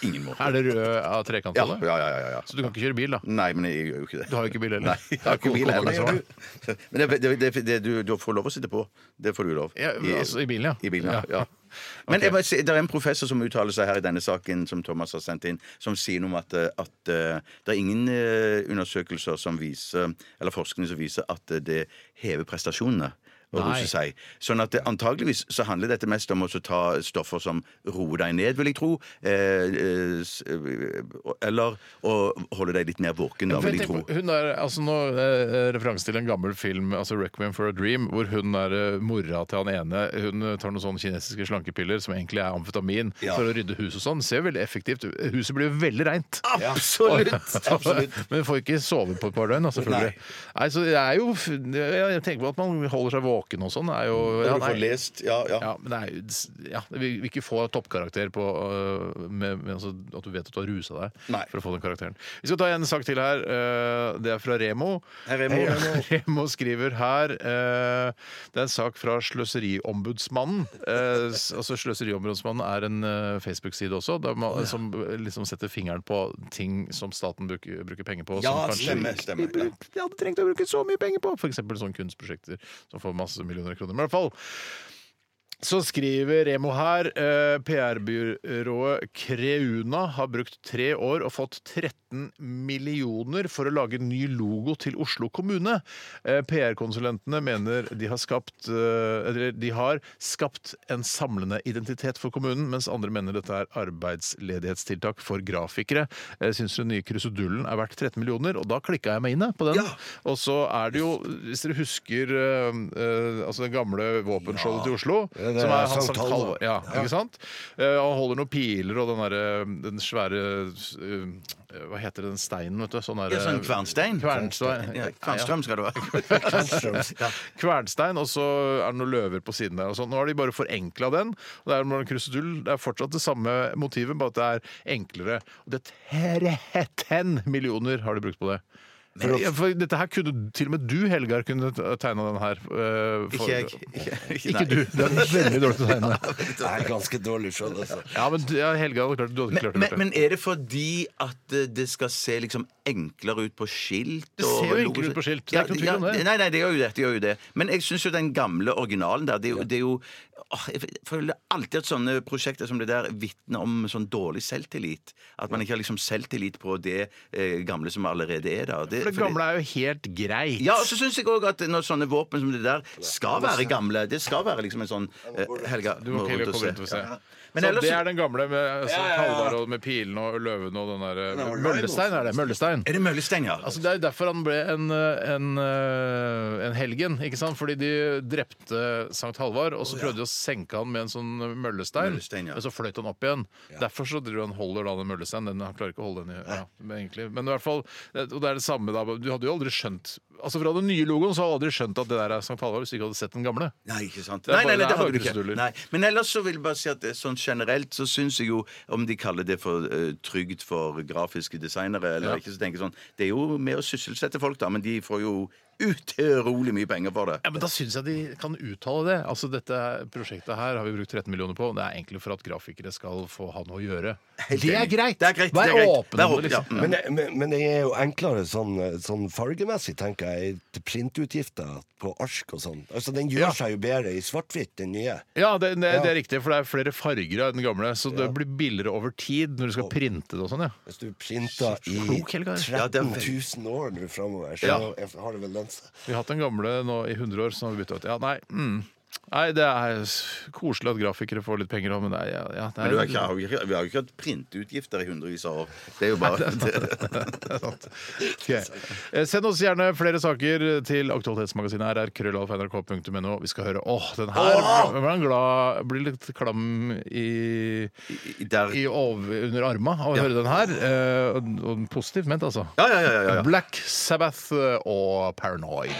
[SPEAKER 6] ingen måte.
[SPEAKER 5] Er det rød av trekant
[SPEAKER 6] ja,
[SPEAKER 5] på det?
[SPEAKER 6] ja, ja, ja, ja.
[SPEAKER 5] Så du kan ikke kjøre bil, da?
[SPEAKER 6] Nei, men jeg gjør jo ikke det.
[SPEAKER 5] Du har jo ikke bil heller.
[SPEAKER 6] Nei, jeg har ikke bil
[SPEAKER 5] Kommer
[SPEAKER 6] heller.
[SPEAKER 5] deg
[SPEAKER 6] Men det, det, det, det, du, du får lov å sitte på. Det får du lov.
[SPEAKER 5] Ja, altså, i bilen, ja.
[SPEAKER 6] I bilen, ja.
[SPEAKER 5] Ja.
[SPEAKER 6] ja. Men jeg må si, det er en professor som uttaler seg her i denne saken som Thomas har sendt inn, som sier noe om at, eh, at eh, det er ingen eh, undersøkelser som viser, eller forskning som viser at eh, det hever prestasjonene. å
[SPEAKER 5] Nei.
[SPEAKER 6] ruse seg. Sånn at det, antageligvis så handler dette mest om å så ta stoffer som roer deg ned, vil jeg tro. Eh, eh, s- eh, eller å holde deg litt mer våken, da,
[SPEAKER 5] For
[SPEAKER 6] vil
[SPEAKER 5] jeg
[SPEAKER 6] jeg tro.
[SPEAKER 5] tenker på- Hun er altså nå eh, referanse til en gammel film, altså 'Requiem for a Dream', hvor hun er eh, mora til han ene. Hun eh, tar noen sånne kinesiske slankepiller som egentlig er amfetamin,
[SPEAKER 6] Ja.
[SPEAKER 5] for å rydde hus og sånn. Ser veldig effektivt ut. Huset blir jo veldig reint.
[SPEAKER 6] Absolutt! absolutt.
[SPEAKER 5] Men får ikke sove på et par døgn, da, selvfølgelig. Nei. så det er jo Jeg tenker på at man holder seg våken og sånn. Er jo, ja,
[SPEAKER 6] Når du får
[SPEAKER 5] nei.
[SPEAKER 6] lest, ja, ja.
[SPEAKER 5] Ja, men det er jo ja, Vi vil ikke få toppkarakter på øh, med, med, altså, at du vet at du har rusa deg
[SPEAKER 6] Nei.
[SPEAKER 5] for å få den karakteren. Vi skal ta en sak til her. øh, Det er fra Remo.
[SPEAKER 6] Hei, Remo. Hei, Remo.
[SPEAKER 5] Remo skriver her øh, Det er en sak fra Sløseriombudsmannen. Eh, s- altså Sløseriombudsmannen er en øh, Facebook-side også, der man, som liksom setter fingeren på ting som staten bruker, bruker penger på. som
[SPEAKER 6] Ja,
[SPEAKER 5] kanskje
[SPEAKER 6] stemmer,
[SPEAKER 5] ikke
[SPEAKER 6] stemmer, ja.
[SPEAKER 5] bruk- De hadde trengt å bruke så mye penger på f.eks. sånne kunstprosjekter som får masse millioner av kroner. Men i hvert fall så skriver Remo her eh, PR-byrået Creuna har brukt tre år og fått 13 millioner for å lage en ny logo til Oslo kommune. Eh, PR-konsulentene mener de har, skapt, eh, eller de har skapt en samlende identitet for kommunen, mens andre mener dette er arbeidsledighetstiltak for grafikere. Jeg syns den nye krusedullen er verdt 13 millioner, og da klikka jeg meg inn jeg, på den. Og så er det jo, hvis dere husker eh, eh, altså det gamle våpenskjoldet til Oslo
[SPEAKER 1] Ja, det
[SPEAKER 5] som
[SPEAKER 1] er
[SPEAKER 5] er han
[SPEAKER 1] Sankt
[SPEAKER 5] Sankt
[SPEAKER 1] Halvor.
[SPEAKER 5] Halvor. Ja, ikke sant? Eh, han holder noen piler og den, derre, den svære eh, Hva heter den steinen, vet du? Sånn derre-
[SPEAKER 6] Ja, sånn kvernstein.
[SPEAKER 5] Kvernstein.
[SPEAKER 6] Ja,
[SPEAKER 5] Ja,
[SPEAKER 6] Kvernstrøm skal det være.
[SPEAKER 5] ja. Kvernstein, og så er det noen løver på siden der. Og sånn. Nå har de bare forenkla den. Og det er med en krusedull. Det er fortsatt det samme motivet, bare at det er enklere. Og det er 13 millioner har de brukt på det. For, ja, for dette her kunne til og med du, Helgar, kunne tegna den her. eh, for-
[SPEAKER 6] Ikke jeg. Ikke,
[SPEAKER 5] Ikke du. Du er veldig dårlig til å tegne.
[SPEAKER 1] Jeg er ganske dårlig sjøl, altså.
[SPEAKER 5] Ja, men ja, Helge hadde klart, du hadde
[SPEAKER 6] Men,
[SPEAKER 5] klart det.
[SPEAKER 6] men,
[SPEAKER 5] Bjarte.
[SPEAKER 6] men er det fordi at eh, det skal se liksom enklere ut på skilt?
[SPEAKER 5] Det ser jo enklere ut på skilt, det er ikke noe tvil om det.
[SPEAKER 6] Nei, nei, det gjør jo det. det, gjør jo det. Men jeg syns jo den gamle originalen der det, er jo- det er jo, åh, Jeg føler alltid at sånne prosjekter som det der vitner om sånn dårlig selvtillit. At man ikke har liksom selvtillit på det eh, gamle som allerede er der.
[SPEAKER 5] For det gamle er jo helt greit.
[SPEAKER 6] Ja, og så syns jeg òg at når sånne våpen som det der skal være gamle Det skal være liksom en sånn eh, Helga
[SPEAKER 5] Du må
[SPEAKER 6] må
[SPEAKER 5] ikke
[SPEAKER 6] rundt og
[SPEAKER 5] komme
[SPEAKER 6] se.
[SPEAKER 5] rundt og se.
[SPEAKER 6] Ja.
[SPEAKER 5] Så
[SPEAKER 6] Men ellers
[SPEAKER 5] det er den gamle med altså, Halvard og med pilene og løvene og den der eh, Møllestein er det. Møllestein.
[SPEAKER 6] Er det møllestein, ja?
[SPEAKER 5] Altså, det er jo derfor han ble en, eh, en, eh, en helgen, ikke sant? Fordi de drepte Sankt Halvard, og så prøvde de å senke han med en sånn møllestein,
[SPEAKER 6] Møllestein, ja.
[SPEAKER 5] men så fløyt han opp igjen. Derfor så driver han holder da den møllesteinen. Den- Han klarer ikke å holde den i ja, men egentlig. Men i hvert fall, det- og det er det samme da. Du hadde jo aldri skjønt Altså Fra den nye logoen så hadde du aldri skjønt at det der er Sankt Halvard, hvis du ikke hadde sett den gamle.
[SPEAKER 6] Nei, ikke sant.
[SPEAKER 5] Det er
[SPEAKER 6] Nei, nei,
[SPEAKER 5] bare- det er
[SPEAKER 6] nei, det har
[SPEAKER 5] bare
[SPEAKER 6] du ikke.
[SPEAKER 5] kruseduller.
[SPEAKER 6] Nei. Men ellers så vil jeg bare si at eh, sånn generelt så syns jeg jo, om de kaller det for eh, trygd for grafiske designere eller
[SPEAKER 5] Ja.
[SPEAKER 6] ikke, så tenker jeg sånn Det er jo med å sysselsette folk, da, men de får jo utrolig mye penger for det.
[SPEAKER 5] Ja, men Da syns jeg de kan uttale det. Altså Dette prosjektet her har vi brukt 13 millioner på. Det er egentlig for at grafikere skal få ha noe å gjøre. Det er
[SPEAKER 6] enig.
[SPEAKER 5] greit!
[SPEAKER 6] Det er greit,
[SPEAKER 5] Vær
[SPEAKER 6] det er greit.
[SPEAKER 5] åpen
[SPEAKER 6] Vær
[SPEAKER 5] om det,
[SPEAKER 6] åpen, ja.
[SPEAKER 5] liksom.
[SPEAKER 6] Mm.
[SPEAKER 1] Men, men, men det er jo enklere sånn, sånn fargemessig, tenker jeg, til printutgifter på ark og sånn. Altså, Den gjør
[SPEAKER 5] Ja.
[SPEAKER 1] seg jo bedre i svart-hvitt, den nye.
[SPEAKER 5] Ja, det, det, det er riktig, for det er flere farger av den gamle, så det blir billigere over tid når du skal printe det og sånn, ja.
[SPEAKER 1] Hvis du printer i
[SPEAKER 5] Klok, Helgar.
[SPEAKER 1] 13
[SPEAKER 6] Ja, det er veldig-
[SPEAKER 1] 000 år nå framover, så
[SPEAKER 5] Ja.
[SPEAKER 1] har det vel lønt seg.
[SPEAKER 5] Vi har hatt den gamle nå i 100 år, så nå har vi bytta ut. Ja, nei. Mm. Nei, det er s- koselig at grafikere får litt penger òg, men det er, ja, ja, det er
[SPEAKER 6] Men du har ikke, har jo ikke, vi har jo ikke hatt printutgifter i hundrevis av år. Det er jo bare
[SPEAKER 5] Det er sant. Ok. Eh, Send oss gjerne flere saker til Aktualitetsmagasinet her er krøllalfa.nrk.no. Vi skal høre Åh, den her! Hvem er den glad Blir litt klam i,
[SPEAKER 6] I- der.
[SPEAKER 5] i over, under arma av å høre den her. Eh, og- og positivt ment, altså.
[SPEAKER 6] Ja, ja, ja, ja, ja.
[SPEAKER 5] Black Sabbath
[SPEAKER 6] eh,
[SPEAKER 5] og Paranoid.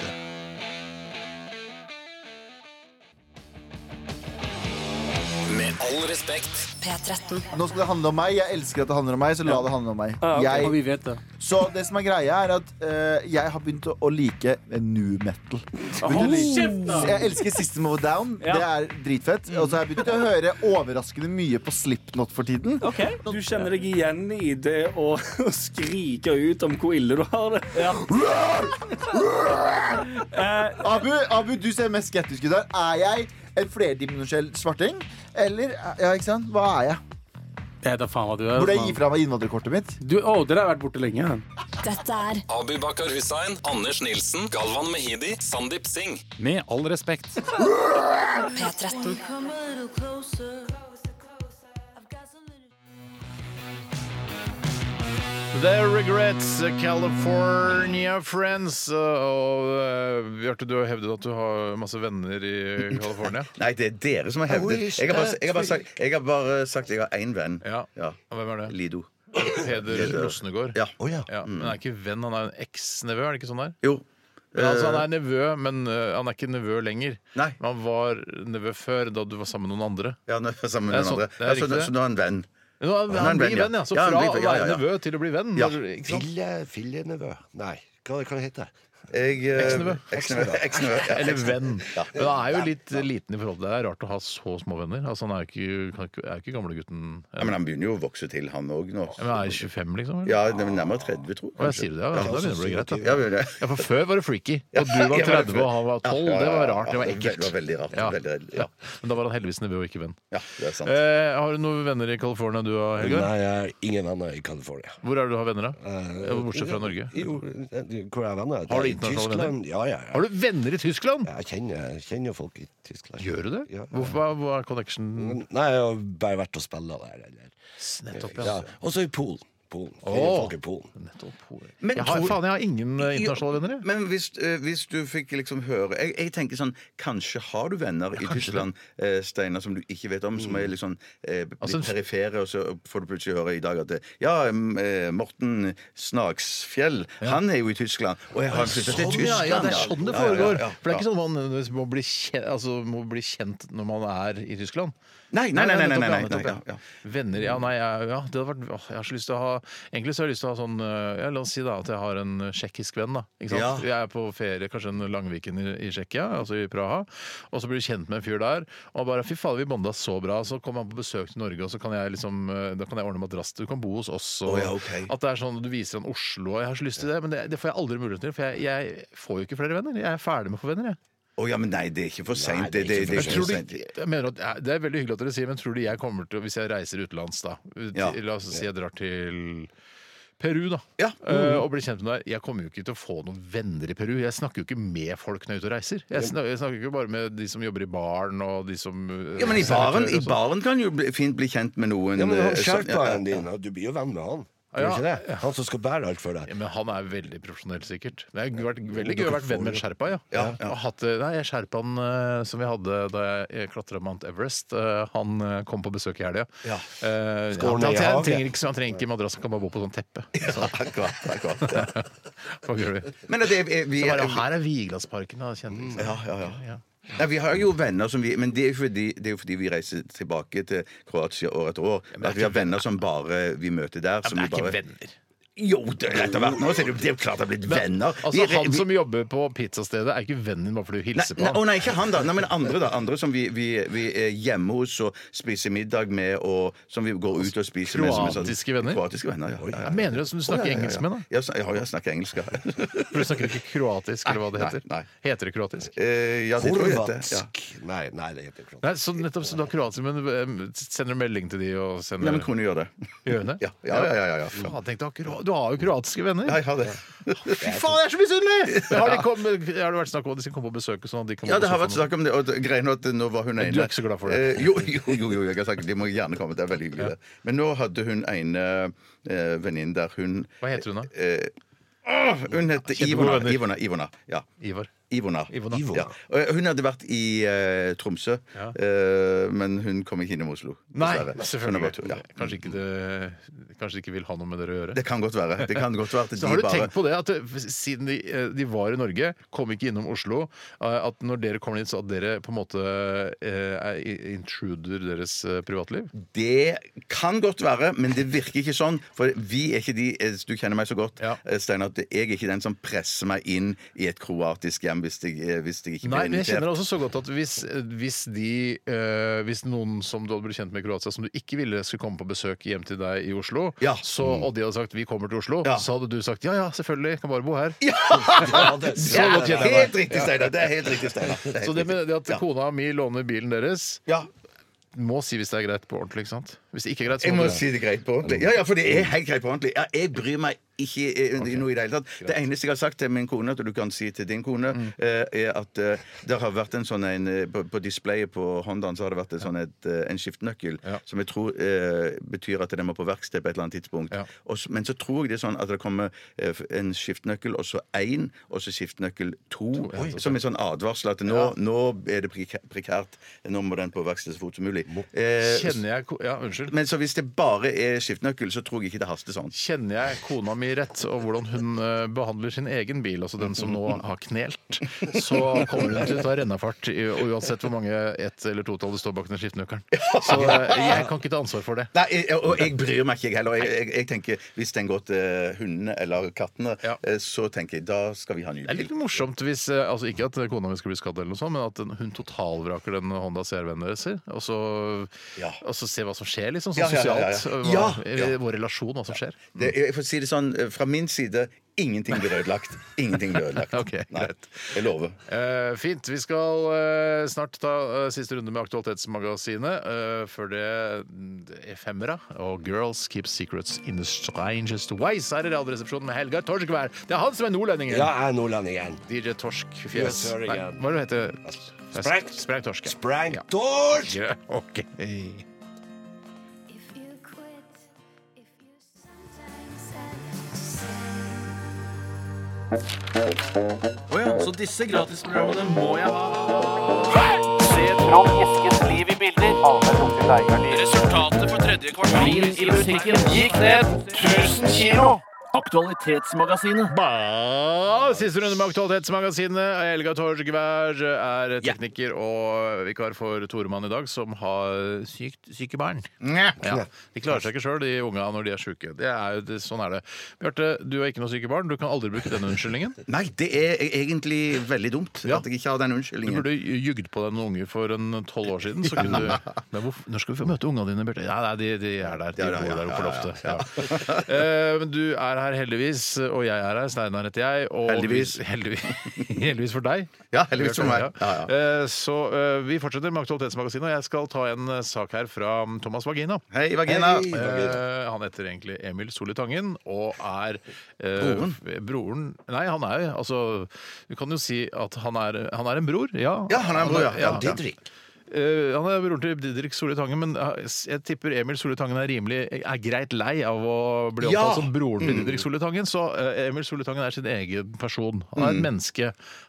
[SPEAKER 2] Med all respekt.
[SPEAKER 8] P13.
[SPEAKER 10] Nå skal det handle om meg. Jeg elsker at det handler om meg, så la det handle om meg.
[SPEAKER 11] Og
[SPEAKER 10] Jeg,
[SPEAKER 11] vi vet det.
[SPEAKER 10] så det som er greia, er at eh, jeg har begynt å- å like new metal.
[SPEAKER 11] Hold kjeft, da!
[SPEAKER 10] Jeg elsker System of a Down.
[SPEAKER 11] Ja.
[SPEAKER 10] Det er dritfett. Og så har jeg begynt å høre overraskende mye på Slipknot for tiden.
[SPEAKER 11] Ok, Du kjenner deg igjen i det å, å skrike ut om hvor ille du har det. Eh,
[SPEAKER 10] Abu, Abu, du ser mest skeptisk ut her. Er jeg en flerdimensjonell svarting? Eller ja, ikke sant? hva er jeg?
[SPEAKER 11] det heter faen hva du er.
[SPEAKER 10] Burde jeg gi
[SPEAKER 11] mann.
[SPEAKER 10] fra meg innvandrerkortet mitt?
[SPEAKER 11] Du, å, det der har vært borte lenge.
[SPEAKER 8] Dette er
[SPEAKER 2] Abu Bakar Hussein, Anders Nilsen, Galvan Mehidi, Sandeep Singh.
[SPEAKER 9] Med all respekt.
[SPEAKER 8] P13.
[SPEAKER 3] Come a little closer. I've got some little
[SPEAKER 5] The Regrets, eh, California Friends. Og eh, Bjarte, du har hevdet at du har masse venner i California.
[SPEAKER 6] Nei, det er dere som har hevdet. Jeg har bare, jeg har bare sagt jeg har bare sagt jeg har én venn.
[SPEAKER 5] Ja. Hvem er det?
[SPEAKER 6] Lido.
[SPEAKER 5] Peder Rosnegård.
[SPEAKER 6] Ja. Mm.
[SPEAKER 5] Ja, men han er ikke venn, han er en eksnevø, er det ikke sånn der?
[SPEAKER 6] Jo.
[SPEAKER 5] Men altså, han er nevø, men eh, han er ikke nevø lenger.
[SPEAKER 6] Eh. Nei.
[SPEAKER 5] Men han var nevø før, da du var sammen med noen andre.
[SPEAKER 6] Ja, nå er jeg sammen med
[SPEAKER 5] Det er
[SPEAKER 6] noen
[SPEAKER 5] sånn-
[SPEAKER 6] andre.
[SPEAKER 5] det er
[SPEAKER 6] Ja, så,
[SPEAKER 5] riktig,
[SPEAKER 6] nå-
[SPEAKER 5] det.
[SPEAKER 6] så nå er han venn.
[SPEAKER 5] Men han,
[SPEAKER 6] Han er
[SPEAKER 5] han
[SPEAKER 6] en venn,
[SPEAKER 5] blir
[SPEAKER 6] ja.
[SPEAKER 5] venn, ja. Så
[SPEAKER 6] Ja, han
[SPEAKER 5] fra
[SPEAKER 6] blir
[SPEAKER 5] å
[SPEAKER 6] venn, ja,
[SPEAKER 5] være
[SPEAKER 6] ja, ja.
[SPEAKER 5] nevø til å bli venn.
[SPEAKER 6] Ja.
[SPEAKER 5] når- Ikke sant?
[SPEAKER 1] Fille, fillenevø? Nei, hva, hva det heter det?
[SPEAKER 6] Jeg, eh,
[SPEAKER 5] Eksnevø.
[SPEAKER 6] Eksnevø. Eksnevø, ja.
[SPEAKER 5] Eller venn.
[SPEAKER 6] Ja.
[SPEAKER 5] Men han er jo litt eh, liten i forhold til det. Det er rart å ha så små venner. Altså, han er jo ikke, kan ikke- er jo ikke gamlegutten
[SPEAKER 6] Ja, men han begynner jo å vokse til, han òg nå.
[SPEAKER 5] Men han er 25, liksom? Eller?
[SPEAKER 6] Ja, det er nærmere 30, tror jeg.
[SPEAKER 5] Å, jeg sier det, ja. Da begynner det å bli greit. Da.
[SPEAKER 6] Ja, men det-
[SPEAKER 5] Ja, for før var det freaky. Og du var
[SPEAKER 6] Ja,
[SPEAKER 5] 30, og han var 12.
[SPEAKER 6] Ja, ja, ja,
[SPEAKER 5] Det var
[SPEAKER 6] ja.
[SPEAKER 5] rart. Det var
[SPEAKER 6] Det
[SPEAKER 5] ekkelt.
[SPEAKER 6] var veldig rart.
[SPEAKER 5] Ja.
[SPEAKER 6] Veldig rart, ja.
[SPEAKER 5] Ja. Men da var han heldigvis nevø og ikke venn.
[SPEAKER 6] Ja, det er sant.
[SPEAKER 5] Eh, har du noen venner i California, du og Helge?
[SPEAKER 1] Nei, jeg har ingen venner i California.
[SPEAKER 5] Hvor er det du har venner, da?
[SPEAKER 1] Eh,
[SPEAKER 5] Ja, Bortsett fra Norge.
[SPEAKER 1] Jo, eh, hvor er venner?
[SPEAKER 5] Har du
[SPEAKER 1] Det er i
[SPEAKER 5] internasjonale
[SPEAKER 1] Tyskland. Ja, ja, ja.
[SPEAKER 5] Har du venner i Tyskland?
[SPEAKER 1] Jeg kjenner, jeg kjenner folk i Tyskland.
[SPEAKER 5] Gjør du det?
[SPEAKER 1] Ja.
[SPEAKER 5] Hvorfor, hva- hva er
[SPEAKER 6] Oh,
[SPEAKER 5] connection?
[SPEAKER 1] Nei, jeg har bare vært og spilla der. Eller.
[SPEAKER 5] Nettopp,
[SPEAKER 1] Ja.
[SPEAKER 5] ja.
[SPEAKER 1] Og så i Polen. Polen. Jeg
[SPEAKER 5] Åh.
[SPEAKER 1] kjenner folk i Polen.
[SPEAKER 5] Nettopp.
[SPEAKER 6] Men
[SPEAKER 5] Jeg har,
[SPEAKER 6] tror-
[SPEAKER 5] faen, jeg har ingen eh, internasjonale venner, jeg.
[SPEAKER 6] Men hvis, eh, hvis du fikk liksom høre jeg, jeg tenker sånn Kanskje har du venner i Tyskland, eh, Steinar, som du ikke vet om, som er litt sånn eh, litt
[SPEAKER 5] Mm. Altså-
[SPEAKER 6] perifere, og så får du plutselig høre i dag at eh, Ja, mm, eh, Morten Snagsfjell, han er jo i Tyskland. Og jeg har flyttet til
[SPEAKER 5] Sånn, ja,
[SPEAKER 6] Tyskland.
[SPEAKER 5] ja, det er sånn det foregår.
[SPEAKER 6] Ja, ja, ja, ja.
[SPEAKER 5] For det er ikke sånn man nødvendigvis må bli, kjent, altså, må bli kjent når man er i Tyskland.
[SPEAKER 6] Nei, nei, nei, nei, nei,
[SPEAKER 5] nettopp,
[SPEAKER 6] nei,
[SPEAKER 5] ja,
[SPEAKER 6] nei,
[SPEAKER 5] nettopp,
[SPEAKER 6] ja, ja.
[SPEAKER 5] Venner, ja, nei, ja, ja det hadde vært, åh, jeg har så lyst til å ha Egentlig så har jeg lyst til å ha sånn eh, ja, La oss si da at jeg har en tsjekkisk venn, da. Ikke sant?
[SPEAKER 6] Ja.
[SPEAKER 5] Jeg er på ferie, kanskje en Langviken i, i Tsjekkia, altså i Praha. Og så blir du kjent med en fyr der, og bare fy fader, vi bonda så bra. Så kommer han på besøk til Norge, og så kan jeg liksom eh, Da kan jeg ordne madrass, du kan bo hos oss. Og,
[SPEAKER 6] Å, ja, ok.
[SPEAKER 5] At det er sånn, du viser han Oslo, og jeg har så lyst til det, men det, det får jeg aldri mulighet til. For jeg, jeg får jo ikke flere venner. Jeg er ferdig med å få venner, jeg.
[SPEAKER 6] Å ja, men nei, det er ikke for seint. Det, det, det,
[SPEAKER 5] Jeg
[SPEAKER 6] er ikke
[SPEAKER 5] tror
[SPEAKER 6] for
[SPEAKER 5] de,
[SPEAKER 6] sent.
[SPEAKER 5] jeg mener at, det er veldig hyggelig at dere sier, men tror du jeg kommer til, å- hvis jeg reiser utenlands da ut-
[SPEAKER 6] Ja.
[SPEAKER 5] La oss si jeg drar til Peru, da.
[SPEAKER 6] Ja.
[SPEAKER 5] eh, og blir kjent med deg. Jeg kommer jo ikke til å få noen venner i Peru. Jeg snakker jo ikke med folk når jeg er ute og reiser. Jeg snakker, jeg snakker ikke bare med de som jobber i baren og de som eh,
[SPEAKER 6] Ja, men i baren,
[SPEAKER 5] servitører
[SPEAKER 6] i
[SPEAKER 5] og sånn.
[SPEAKER 6] baren kan jo bli, fint bli kjent med noen
[SPEAKER 1] Ja, men
[SPEAKER 6] eh,
[SPEAKER 1] han
[SPEAKER 6] sånn-
[SPEAKER 1] Sherpaen din, og du blir jo venn med han. Gjør
[SPEAKER 5] Ja.
[SPEAKER 1] du ikke det? Han som skal bære alt for
[SPEAKER 5] Ja,
[SPEAKER 1] deg.
[SPEAKER 5] men han er veldig profesjonell, sikkert. Det har vært veldig gøy å være venn med en sherpa. Ja.
[SPEAKER 6] Ja, ja.
[SPEAKER 5] Og Hatt, eh, nei, Sherpaen eh, som vi hadde da jeg klatra Mount Everest, eh, han eh, kom på besøk i helga.
[SPEAKER 6] Ja.
[SPEAKER 5] Eh,
[SPEAKER 1] Skål
[SPEAKER 5] han,
[SPEAKER 1] ned i
[SPEAKER 5] han,
[SPEAKER 1] hagen.
[SPEAKER 5] trenger ikke, han trenger ikke madrass, han kan bare bo på sånn teppe.
[SPEAKER 6] Ja, akkurat, akkurat, ja.
[SPEAKER 5] Hva gjør vi?
[SPEAKER 6] Men det, er- vi,
[SPEAKER 5] Så bare,
[SPEAKER 6] vi,
[SPEAKER 5] her er Vigelandsparken, da. Kjenner vi.
[SPEAKER 6] Ja, ja, ja. Nei, vi har jo venner som vi Men det er jo fordi, det er jo fordi vi reiser tilbake til Kroatia år etter år. at vi har venner som bare vi møter der.
[SPEAKER 5] Ja,
[SPEAKER 6] som
[SPEAKER 5] men det
[SPEAKER 6] vi
[SPEAKER 5] er
[SPEAKER 6] bare,
[SPEAKER 5] ikke venner.
[SPEAKER 6] Jo, det er etter hvert nå, så er det, jo- det er jo klart det har blitt venner.
[SPEAKER 5] Altså, han som jobber på pizzastedet, er ikke vennen din bare fordi du
[SPEAKER 6] Nei,
[SPEAKER 5] hilser på
[SPEAKER 6] nei, å
[SPEAKER 5] ham.
[SPEAKER 6] nei, ikke han, da. Nei, men andre da Andre som vi, vi, vi er hjemme hos og spiser middag med, og som vi går ut og spiser med. som er sånn
[SPEAKER 5] Kroatiske venner?
[SPEAKER 6] Kroatiske venner, ja. ja, ja.
[SPEAKER 5] Mener du som du snakker
[SPEAKER 6] Å, ja, ja, ja.
[SPEAKER 5] engelsk med, da?
[SPEAKER 6] Ja, sn- ja, jeg snakker engelsk, ja.
[SPEAKER 5] For du snakker ikke kroatisk, eller hva det
[SPEAKER 6] Nei,
[SPEAKER 5] heter.
[SPEAKER 6] nei.
[SPEAKER 5] Heter det kroatisk?
[SPEAKER 6] Eh, ja, det tror jeg det heter. Ja.
[SPEAKER 1] Horvatsk. Nei, nei, det heter ikke
[SPEAKER 5] Nei, så nettopp så du har kroatisk, men eh, sender du melding til de og sender
[SPEAKER 6] Nei, men kunne gjøre det.
[SPEAKER 5] Gjør hun det?
[SPEAKER 6] Ja, ja, ja, ja, ja.
[SPEAKER 5] Faen, tenk, du, har, kro- du har jo kroatiske venner!
[SPEAKER 6] Ja, jeg har det.
[SPEAKER 5] Fy faen, jeg er så misunnelig! Har, de kommet- har det vært snakk om at de skal komme på besøk? og Sånn at de kan
[SPEAKER 6] Ja, det har vært snakk om det. Og det- greien er at nå var hun
[SPEAKER 5] Men
[SPEAKER 6] ene
[SPEAKER 5] du er ikke så glad for det.
[SPEAKER 6] Eh, jo, jo, jo, jo, jeg har sagt, de må gjerne komme. Det er veldig hyggelig. det. Men nå hadde hun ene eh, venninne der hun
[SPEAKER 5] Hva heter hun, da?
[SPEAKER 6] eh, åh, Hun heter
[SPEAKER 5] Kjente
[SPEAKER 6] Ivona.
[SPEAKER 5] gode venner.
[SPEAKER 6] Ivona, Ivona, ja.
[SPEAKER 5] Ivar.
[SPEAKER 6] Ivona.
[SPEAKER 5] Ivona.
[SPEAKER 6] Ja. Og Hun hadde vært i eh, Tromsø,
[SPEAKER 5] Ja.
[SPEAKER 6] eh, men hun kom ikke innom Oslo.
[SPEAKER 5] Nei,
[SPEAKER 6] dessverre. Hun har
[SPEAKER 5] selvfølgelig.
[SPEAKER 6] vært- ja.
[SPEAKER 5] Kanskje, ikke det, kanskje ikke vil ha noe med dere å gjøre.
[SPEAKER 6] Det kan godt være. Det kan godt være at de
[SPEAKER 5] så har du
[SPEAKER 6] bare-
[SPEAKER 5] tenkt på det, at det, siden de, eh, de var i Norge, kom ikke innom Oslo, eh, at når dere kommer dit, så at dere på en måte eh, er i- intruder deres eh, privatliv?
[SPEAKER 6] Det kan godt være, men det virker ikke sånn. For vi er ikke de eh, Du kjenner meg så godt, eh, Steinar, at jeg er ikke den som presser meg inn i et kroatisk hjem hvis jeg, eh, hvis jeg ikke
[SPEAKER 5] Nei,
[SPEAKER 6] blir
[SPEAKER 5] men jeg kjenner
[SPEAKER 6] invitert.
[SPEAKER 5] også så godt at hvis, eh, hvis de eh, Hvis noen som du hadde blitt kjent med i Kroatia, som du ikke ville skulle komme på besøk hjem til deg i Oslo, så,
[SPEAKER 6] Mm.
[SPEAKER 5] og de hadde sagt 'vi kommer til Oslo', så hadde du sagt 'ja ja, selvfølgelig, kan bare bo her'.
[SPEAKER 6] det-
[SPEAKER 5] så godt
[SPEAKER 6] det er
[SPEAKER 5] kjenner jeg meg.
[SPEAKER 6] helt riktig, Steinar. Det er helt riktig, Steinar. Det er helt
[SPEAKER 5] Så det med det at
[SPEAKER 6] Ja.
[SPEAKER 5] kona mi låner bilen deres Må si hvis det er greit på ordentlig, ikke sant? Hvis det ikke er greit, så
[SPEAKER 6] Jeg må
[SPEAKER 5] du-
[SPEAKER 6] si det greit på ordentlig. Ja, ja, for det er helt greit på ordentlig. Ja, jeg bryr meg ikke eh, i noe i det hele tatt. Det eneste jeg har sagt til min kone, at du kan si til din kone, eh, er at eh, det har vært en sånn en eh, På, på displayet på Hondaen så har det vært en sånn et, eh, en skiftenøkkel, som jeg tror eh, betyr at den må på verksted på et eller annet tidspunkt. Og så- men så tror jeg det er sånn at det kommer eh, en skiftenøkkel, og så én, og så skiftenøkkel to,
[SPEAKER 5] Oi.
[SPEAKER 6] som en sånn advarsel at nå, nå er det prekæ- prekært. Nå må den på verksted så fort som mulig. Eh,
[SPEAKER 5] Kjenner jeg ko- Ja, unnskyld.
[SPEAKER 6] men så hvis det bare er skiftenøkkel, så tror jeg ikke det haster sånn.
[SPEAKER 5] Kjenner jeg kona mi rett, og hvordan hun eh, behandler sin egen bil, altså den som nå har knelt, så kommer hun til å ta rennafart i- og uansett hvor mange ett- eller totall det står bak den skiftenøkkelen. Så eh, jeg kan ikke ta ansvar for det.
[SPEAKER 6] Nei, jeg, og jeg bryr meg ikke, jeg heller. Jeg, jeg, jeg tenker, Hvis den går til eh, hundene eller kattene, eh, så tenker jeg da skal vi ha ny
[SPEAKER 5] Det er
[SPEAKER 6] bil.
[SPEAKER 5] litt morsomt hvis eh, altså Ikke at kona mi skal bli skadd, eller noe sånt, men at den- hun totalvraker den Honda CR-vennen deres. Og så, og så se hva som skjer, liksom. Sånn
[SPEAKER 6] Ja, ja, ja, ja.
[SPEAKER 5] sosialt.
[SPEAKER 6] Ja,
[SPEAKER 5] Hva,
[SPEAKER 6] ja.
[SPEAKER 5] eh, Vår relasjon, hva som skjer.
[SPEAKER 6] Det, jeg får si det sånn, eh, Fra min side ingenting blir ødelagt. Ingenting blir ødelagt. Nei, jeg lover.
[SPEAKER 5] Eh, fint. Vi skal eh, snart ta eh, siste runde med Aktualitetsmagasinet. Eh, før det det er femmera og Girls Keep Secrets in the Strangest Ways her i Radioresepsjonen med Helgar Torskvær. Det er han som er nordlendingen!
[SPEAKER 1] Ja, jeg er nordlendingen.
[SPEAKER 5] DJ Torsk Fjes.
[SPEAKER 1] Yes, sir,
[SPEAKER 5] Nei,
[SPEAKER 1] again.
[SPEAKER 5] hva er det du heter
[SPEAKER 1] Sprengt.
[SPEAKER 5] Sprengt torsk.
[SPEAKER 1] Sprengt torsk!
[SPEAKER 5] Ja, ok.
[SPEAKER 4] Så disse gratisprogrammene må jeg ha. Se Trond Eskens liv i bilder. Resultatet for tredje kvartal i musikken gikk ned 1000 kilo. Aktualitetsmagasinet.
[SPEAKER 5] Ja, Siste runde med Aktualitetsmagasinet. Helga Torskvær er tekniker og vikar for Toremann i dag, som har sykt syke barn.
[SPEAKER 6] Ja.
[SPEAKER 5] De klarer seg ikke sjøl, de unga, når de er sjuke. Det er jo, det, sånn er det. Bjarte, du er ikke noe syke barn. Du kan aldri bruke denne unnskyldningen.
[SPEAKER 6] Nei, det er egentlig veldig dumt at jeg ikke har den
[SPEAKER 5] Du
[SPEAKER 6] unnskyldningen.
[SPEAKER 5] burde jugd på deg noen unger for en tolv år siden. Så
[SPEAKER 6] Ja.
[SPEAKER 5] kunne du, men hvorfor, når skal vi få møte ungene dine, Bjarte? Ja, nei, de, de er der. De
[SPEAKER 6] Ja, ja,
[SPEAKER 5] bor
[SPEAKER 6] ja,
[SPEAKER 5] der oppe på
[SPEAKER 6] ja, ja,
[SPEAKER 5] loftet. Ja. Eh, Men du er her heldigvis, og jeg er her. Steinar heter jeg. Og
[SPEAKER 6] Heldigvis.
[SPEAKER 5] vi- heldigvis. heldigvis for deg.
[SPEAKER 6] Ja, heldigvis for meg. Ja, ja.
[SPEAKER 5] Eh, Så eh, vi fortsetter med Aktualitetsmagasinet, og jeg skal ta en eh, sak her fra Thomas Vagina.
[SPEAKER 6] Hei, Vagina. Hei, Vagina.
[SPEAKER 5] Eh, Han heter egentlig Emil Solli Tangen, og er eh,
[SPEAKER 6] Broren?
[SPEAKER 5] broren Nei, han er jo altså Du kan jo si at han er, han er en bror, ja.
[SPEAKER 6] Ja, han er en bror, ja. Ja, Didrik.
[SPEAKER 5] Eh, han er broren til Didrik Solli Tangen, men eh, jeg tipper Emil Solli Tangen er rimelig er greit lei av å bli
[SPEAKER 6] Ja!
[SPEAKER 5] omtalt som broren til
[SPEAKER 6] Mm.
[SPEAKER 5] Didrik Solli Tangen. Så eh, Emil Solli Tangen er sin egen person. Han er et
[SPEAKER 6] Mm.
[SPEAKER 5] menneske,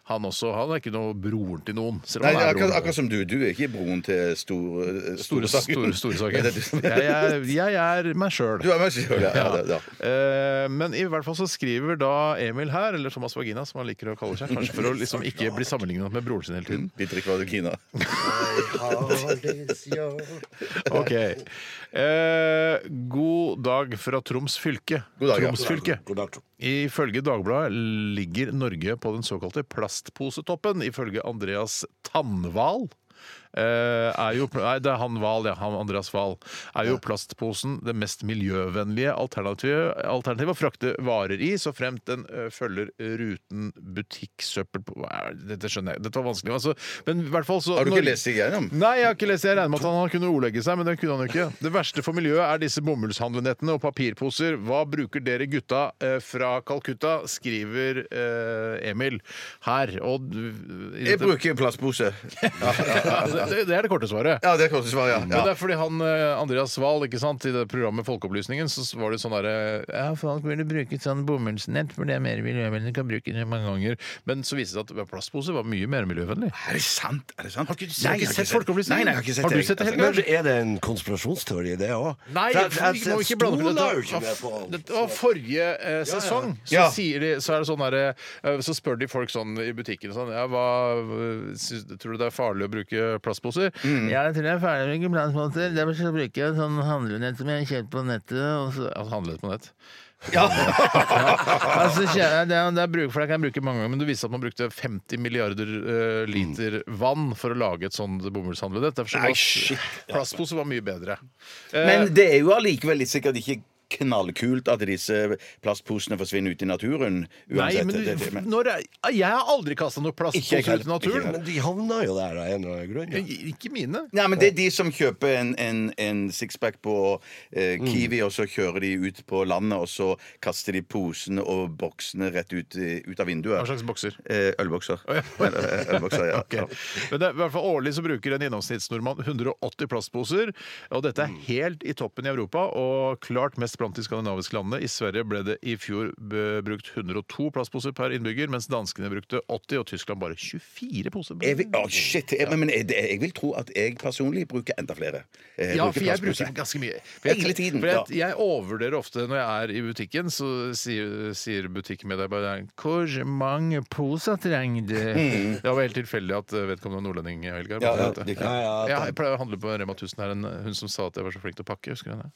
[SPEAKER 5] han også. Han er ikke noe broren til noen. Selv
[SPEAKER 6] Nei,
[SPEAKER 5] om
[SPEAKER 6] det
[SPEAKER 5] han
[SPEAKER 6] er
[SPEAKER 5] er
[SPEAKER 6] akkurat,
[SPEAKER 5] broren.
[SPEAKER 6] akkurat som du. Du er ikke broren til stor, eh,
[SPEAKER 5] Store, store, store
[SPEAKER 6] Ja,
[SPEAKER 5] saker.
[SPEAKER 6] det er du som-
[SPEAKER 5] Jeg er, jeg er meg sjøl.
[SPEAKER 6] Du er meg selv, ja, ja, det- ja.
[SPEAKER 5] Eh, Men i hvert fall så skriver da Emil her, eller Thomas Vagina, som han liker å kalle seg, kanskje for å liksom ikke bli sammenlignet med broren sin hele tiden. Ok. Eh, god dag fra Troms fylke.
[SPEAKER 6] God dag, ja.
[SPEAKER 5] Troms fylke.
[SPEAKER 1] God dag, Tro.
[SPEAKER 5] Ifølge Dagbladet ligger Norge på den såkalte plastposetoppen, ifølge Andreas Tandval. eh, er jo Nei, det er han Wahl, ja. Han Andreas Wahl. Er jo plastposen det mest miljøvennlige alternativet alternativet å frakte varer i, så fremt den eh, følger ruten butikksøppel på Hva er det? Dette skjønner jeg. Dette var vanskelig. Altså, men i hvert fall så
[SPEAKER 6] Har du ikke
[SPEAKER 5] Norge-
[SPEAKER 6] lest deg gjennom?
[SPEAKER 5] Nei, jeg har ikke lest det. Jeg regner med at han kunne ordlegge seg, men det kunne han jo ikke. Det verste for miljøet er disse bomullshandlenettene og papirposer. Hva bruker dere gutta eh, fra Calcutta, skriver eh, Emil her. Og, du- i
[SPEAKER 6] Jeg
[SPEAKER 5] dette-
[SPEAKER 6] bruker plastpose. Ja,
[SPEAKER 5] ja, det, det er det korte svaret.
[SPEAKER 6] Ja, det er korte svar, ja.
[SPEAKER 5] Men det
[SPEAKER 6] ja.
[SPEAKER 5] er fordi han eh, Andreas Wahl ikke sant, i det programmet Folkeopplysningen så var det sånn derre Ja, folk ville bruke sånn bomullsnett, for det er mer miljøvennlig, kan bruke det mange ganger. Men så viste det seg at plastpose var mye mer miljøvennlig.
[SPEAKER 6] Er det sant? Er det sant? Har du ikke,
[SPEAKER 5] Nei, jeg har ikke sett Folkeopplysningen.
[SPEAKER 6] Nei, nei, jeg har ikke sett
[SPEAKER 5] Har du
[SPEAKER 6] det.
[SPEAKER 5] sett det, Helge?
[SPEAKER 1] Men er det en konspirasjonsteori, det òg?
[SPEAKER 5] Nei, jeg, må ikke blande med dette. Det var forrige eh, sesong. Så,
[SPEAKER 1] Ja.
[SPEAKER 5] sier de, så, er det sånn der, eh, så spør de folk sånn i butikken sånn, ja, hva, eh, syns- Tror du det er farlig å bruke plastposer?
[SPEAKER 12] Mm.
[SPEAKER 5] Ja, jeg tror det er farlig å bruke plastposer. Derfor så bruker jeg sånn handlenett som jeg har kjøpt på nettet. Og så, altså handlet på nett. Ja. altså, kjø- det, er, det er bruk for det kan jeg bruke mange ganger, men du viste at man brukte 50 milliarder eh,
[SPEAKER 1] Mm.
[SPEAKER 5] liter vann for å lage et sånt bomullshandlenett. Derfor så
[SPEAKER 6] Nei, shit.
[SPEAKER 5] var plastpose var mye bedre. Eh.
[SPEAKER 6] Men det er jo allikevel litt sikkert ikke knallkult at disse plastposene forsvinner ut i naturen.
[SPEAKER 5] Nei, men, du,
[SPEAKER 6] det- det- men-
[SPEAKER 5] når jeg, ah, jeg har aldri kasta noe
[SPEAKER 6] Ikke
[SPEAKER 5] plastposer ut
[SPEAKER 6] jeg
[SPEAKER 5] i
[SPEAKER 6] heller, ikke jeg
[SPEAKER 5] naturen.
[SPEAKER 6] heller. Men
[SPEAKER 1] de havna jo der av en eller annen grunn.
[SPEAKER 5] Ikke mine.
[SPEAKER 6] Nei, men det er de som kjøper en, en, en sixpack på
[SPEAKER 5] Mm.
[SPEAKER 6] eh, Kiwi, og så kjører de ut på landet, og så kaster de posene og boksene rett ut, i- ut av vinduet.
[SPEAKER 5] Hva slags bokser?
[SPEAKER 6] Eh, ølbokser. Øl- øl- Ølbokser, ja.
[SPEAKER 5] Ok. Men det, er- i hvert fall Årlig så bruker en gjennomsnittsnordmann 180 plastposer. og Dette
[SPEAKER 6] Mm.
[SPEAKER 5] er helt i toppen i Europa og klart mest blant de skandinaviske landene. I Sverige ble det i fjor b- brukt 102 plastposer per innbygger, mens danskene brukte 80 og Tyskland bare 24 poser.
[SPEAKER 6] Jeg vil,
[SPEAKER 5] Mm.
[SPEAKER 6] å, shit, jeg, men jeg, jeg vil tro at jeg personlig bruker enda flere. Eh,
[SPEAKER 5] Ja, for jeg
[SPEAKER 6] plastposer.
[SPEAKER 5] bruker ganske mye.
[SPEAKER 6] Hele tiden,
[SPEAKER 5] for jeg,
[SPEAKER 6] ja.
[SPEAKER 5] jeg overvurderer ofte når jeg er i butikken, så sier, sier butikkmedarbeideren 'Hvor mange poser trenger du?'
[SPEAKER 6] Mm.
[SPEAKER 5] Det var helt tilfeldig at eh, vedkommende var nordlending. Helga,
[SPEAKER 6] Ja,
[SPEAKER 5] men
[SPEAKER 6] ja,
[SPEAKER 5] det-
[SPEAKER 6] det- ja, ja, det-
[SPEAKER 5] Jeg pleier å handle på Rema 1000 her, en- hun som sa at jeg var så flink til å pakke. Husker du det?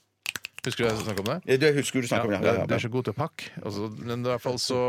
[SPEAKER 5] Husker du jeg snakket om det?
[SPEAKER 6] Ja, det husker Eh, du snakket om, ja. Ja, ja, ja.
[SPEAKER 5] Du er så god til å pakke. Altså, men i hvert fall så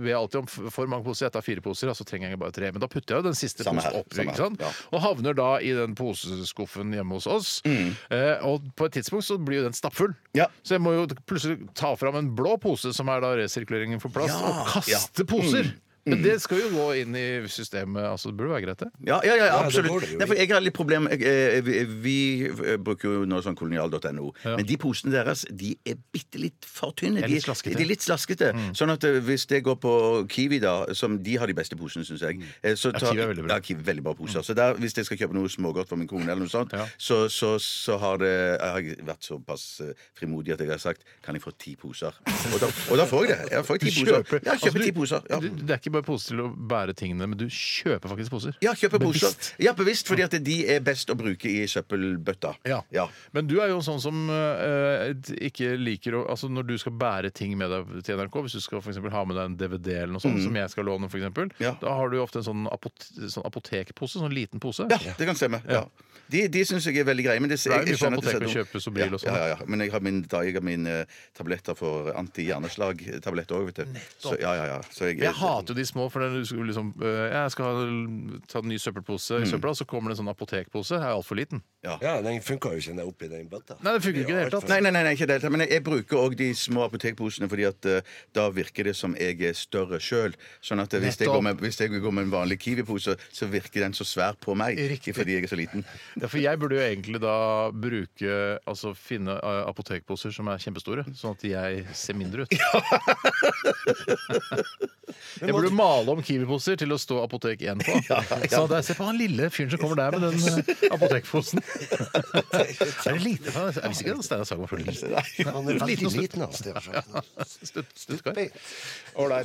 [SPEAKER 5] ber jeg alltid om f- for mange poser. Jeg tar fire poser, og så trenger jeg bare tre. Men da putter jeg jo den siste
[SPEAKER 6] Samme
[SPEAKER 5] posen
[SPEAKER 6] her,
[SPEAKER 5] opp.
[SPEAKER 6] samme
[SPEAKER 5] Ikke
[SPEAKER 6] her,
[SPEAKER 5] sant? Og havner da i den poseskuffen hjemme hos oss.
[SPEAKER 6] Mm.
[SPEAKER 5] Eh, og på et tidspunkt så blir jo den stappfull. Så jeg må jo plutselig ta fram en blå pose, som er da resirkuleringen for plast,
[SPEAKER 6] Ja.
[SPEAKER 5] og kaste
[SPEAKER 6] Ja.
[SPEAKER 5] poser.
[SPEAKER 6] Mm.
[SPEAKER 5] Men det skal jo gå inn i systemet. altså Det burde være greit, det.
[SPEAKER 6] Ja, ja, ja, absolutt.
[SPEAKER 5] det går det jo
[SPEAKER 6] Nei,
[SPEAKER 5] i.
[SPEAKER 6] for jeg har litt problem jeg, eh, vi- Vi eh, bruker jo nå sånn kolonial.no. Men de posene deres de er bitte litt for tynne.
[SPEAKER 5] Er
[SPEAKER 6] De,
[SPEAKER 5] litt slaskete. Mm.
[SPEAKER 6] de er litt slaskete. Sånn at eh, hvis det går på Kiwi, da, som de har de beste posene, syns jeg eh,
[SPEAKER 5] Mm.
[SPEAKER 6] så
[SPEAKER 5] Ja,
[SPEAKER 6] tar-
[SPEAKER 5] Kiwi er veldig bra. Mm.
[SPEAKER 6] Ja, Kiwi er veldig bra poser. Så der, hvis jeg skal kjøpe noe smågodt for min kone, eller noe sånt, så, så, så har det jeg har vært såpass eh, frimodig at jeg har sagt kan jeg få ti poser? Og da, og da får jeg det. Jeg
[SPEAKER 5] Du
[SPEAKER 6] får ti poser.
[SPEAKER 5] kjøper-
[SPEAKER 6] Ja, jeg
[SPEAKER 5] altså,
[SPEAKER 6] kjøper
[SPEAKER 5] du-
[SPEAKER 6] ti poser. Ja.
[SPEAKER 5] du- Det er ikke bare poser til å bære tingene, men du kjøper faktisk poser.
[SPEAKER 6] Ja, kjøper poser.
[SPEAKER 5] Bevisst.
[SPEAKER 6] Ja, bevisst, fordi at de er best å bruke i søppelbøtta.
[SPEAKER 5] Ja.
[SPEAKER 6] Ja.
[SPEAKER 5] Men du er jo en sånn som eh, ikke liker å Altså Når du skal bære ting med deg til NRK, hvis du skal for eksempel ha med deg en DVD eller noe sånt
[SPEAKER 6] Mm.
[SPEAKER 5] som jeg skal låne, for eksempel, da har du jo ofte en sånn, apot sånn apotekpose, sånn liten pose.
[SPEAKER 6] Ja, det kan stemme. Ja. De, de syns jeg er veldig greie. Men det,
[SPEAKER 5] Det er jo mye sånn på
[SPEAKER 6] skjønner at det
[SPEAKER 5] apoteket
[SPEAKER 6] ser
[SPEAKER 5] å kjøpe Sobril
[SPEAKER 6] ja,
[SPEAKER 5] og sånn.
[SPEAKER 6] Ja, ja, ja. Men jeg har min, da, jeg har mine tabletter for anti-hjerneslag-tabletter òg, vet du. Så, ja, ja, ja. Så jeg,
[SPEAKER 5] Jeg hater jo de små, for når du skal liksom, eh, jeg skal ha- ta en ny søppelpose i
[SPEAKER 1] Mm.
[SPEAKER 5] søpla, så kommer det en sånn apotekpose. Jeg er altfor liten.
[SPEAKER 6] Ja.
[SPEAKER 1] den funka jo ikke ned oppi den bøtta.
[SPEAKER 5] Nei, det funker ikke i det hele tatt.
[SPEAKER 6] eh, Nei, nei, nei, nei, ikke i det hele tatt. Men jeg, jeg bruker òg de små apotekposene, fordi at eh, da virker det som jeg er større sjøl. Sånn at eh, hvis jeg,
[SPEAKER 5] Nettopp.
[SPEAKER 6] går med, hvis jeg går med en vanlig Kiwi-pose, så virker den så svær på meg.
[SPEAKER 5] Riktig.
[SPEAKER 6] Fordi jeg er så liten.
[SPEAKER 5] Ja, for jeg burde jo egentlig da bruke Altså finne eh, apotekposer som er kjempestore, sånn at jeg ser mindre ut. jeg burde male om Kiwi-poser til å stå Apotek 1 på. Så hadde jeg sett på han lille fyren som kommer der med den eh, apotekposen. er det lite? Jeg visste ikke at Steinar Sagen var så liten.
[SPEAKER 1] Han er veldig
[SPEAKER 5] og stutt.
[SPEAKER 1] liten, altså. Det er sånn.
[SPEAKER 5] Stutt- Stuttkar.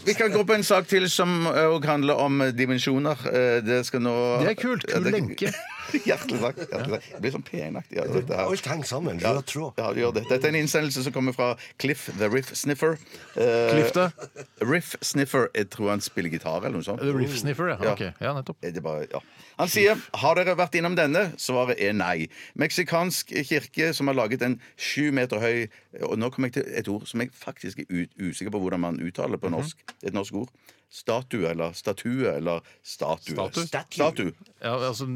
[SPEAKER 6] Vi kan gå på en sak til som òg handler om eh, dimensjoner. Eh, Det skal nå
[SPEAKER 5] Det er kult. Kul lenke.
[SPEAKER 6] Hjertelig takk. hjertelig takk. Det blir sånn penaktig av dette her.
[SPEAKER 1] Alt henger sammen.
[SPEAKER 6] Ja,
[SPEAKER 1] Rød tråd.
[SPEAKER 6] ja, det gjør det. Dette er en innsendelse som kommer fra Cliff the Riff Sniffer. Eh,
[SPEAKER 5] Cliff da?
[SPEAKER 6] Riff Sniffer. Jeg tror han spiller gitar eller noe sånt.
[SPEAKER 5] The Riff Sniffer, ja. Ok. Ja, nettopp.
[SPEAKER 6] Eh, Det er bare, ja. Han sier har dere vært innom denne? Svaret er nei. Meksikansk kirke som har laget
[SPEAKER 5] Mhm.
[SPEAKER 6] en sju meter høy Og nå kommer jeg til et ord som jeg faktisk er u- usikker på hvordan man uttaler på norsk, et norsk ord. Statue eller statue eller statue.
[SPEAKER 5] Statue?
[SPEAKER 6] Statue.
[SPEAKER 5] Ja, altså,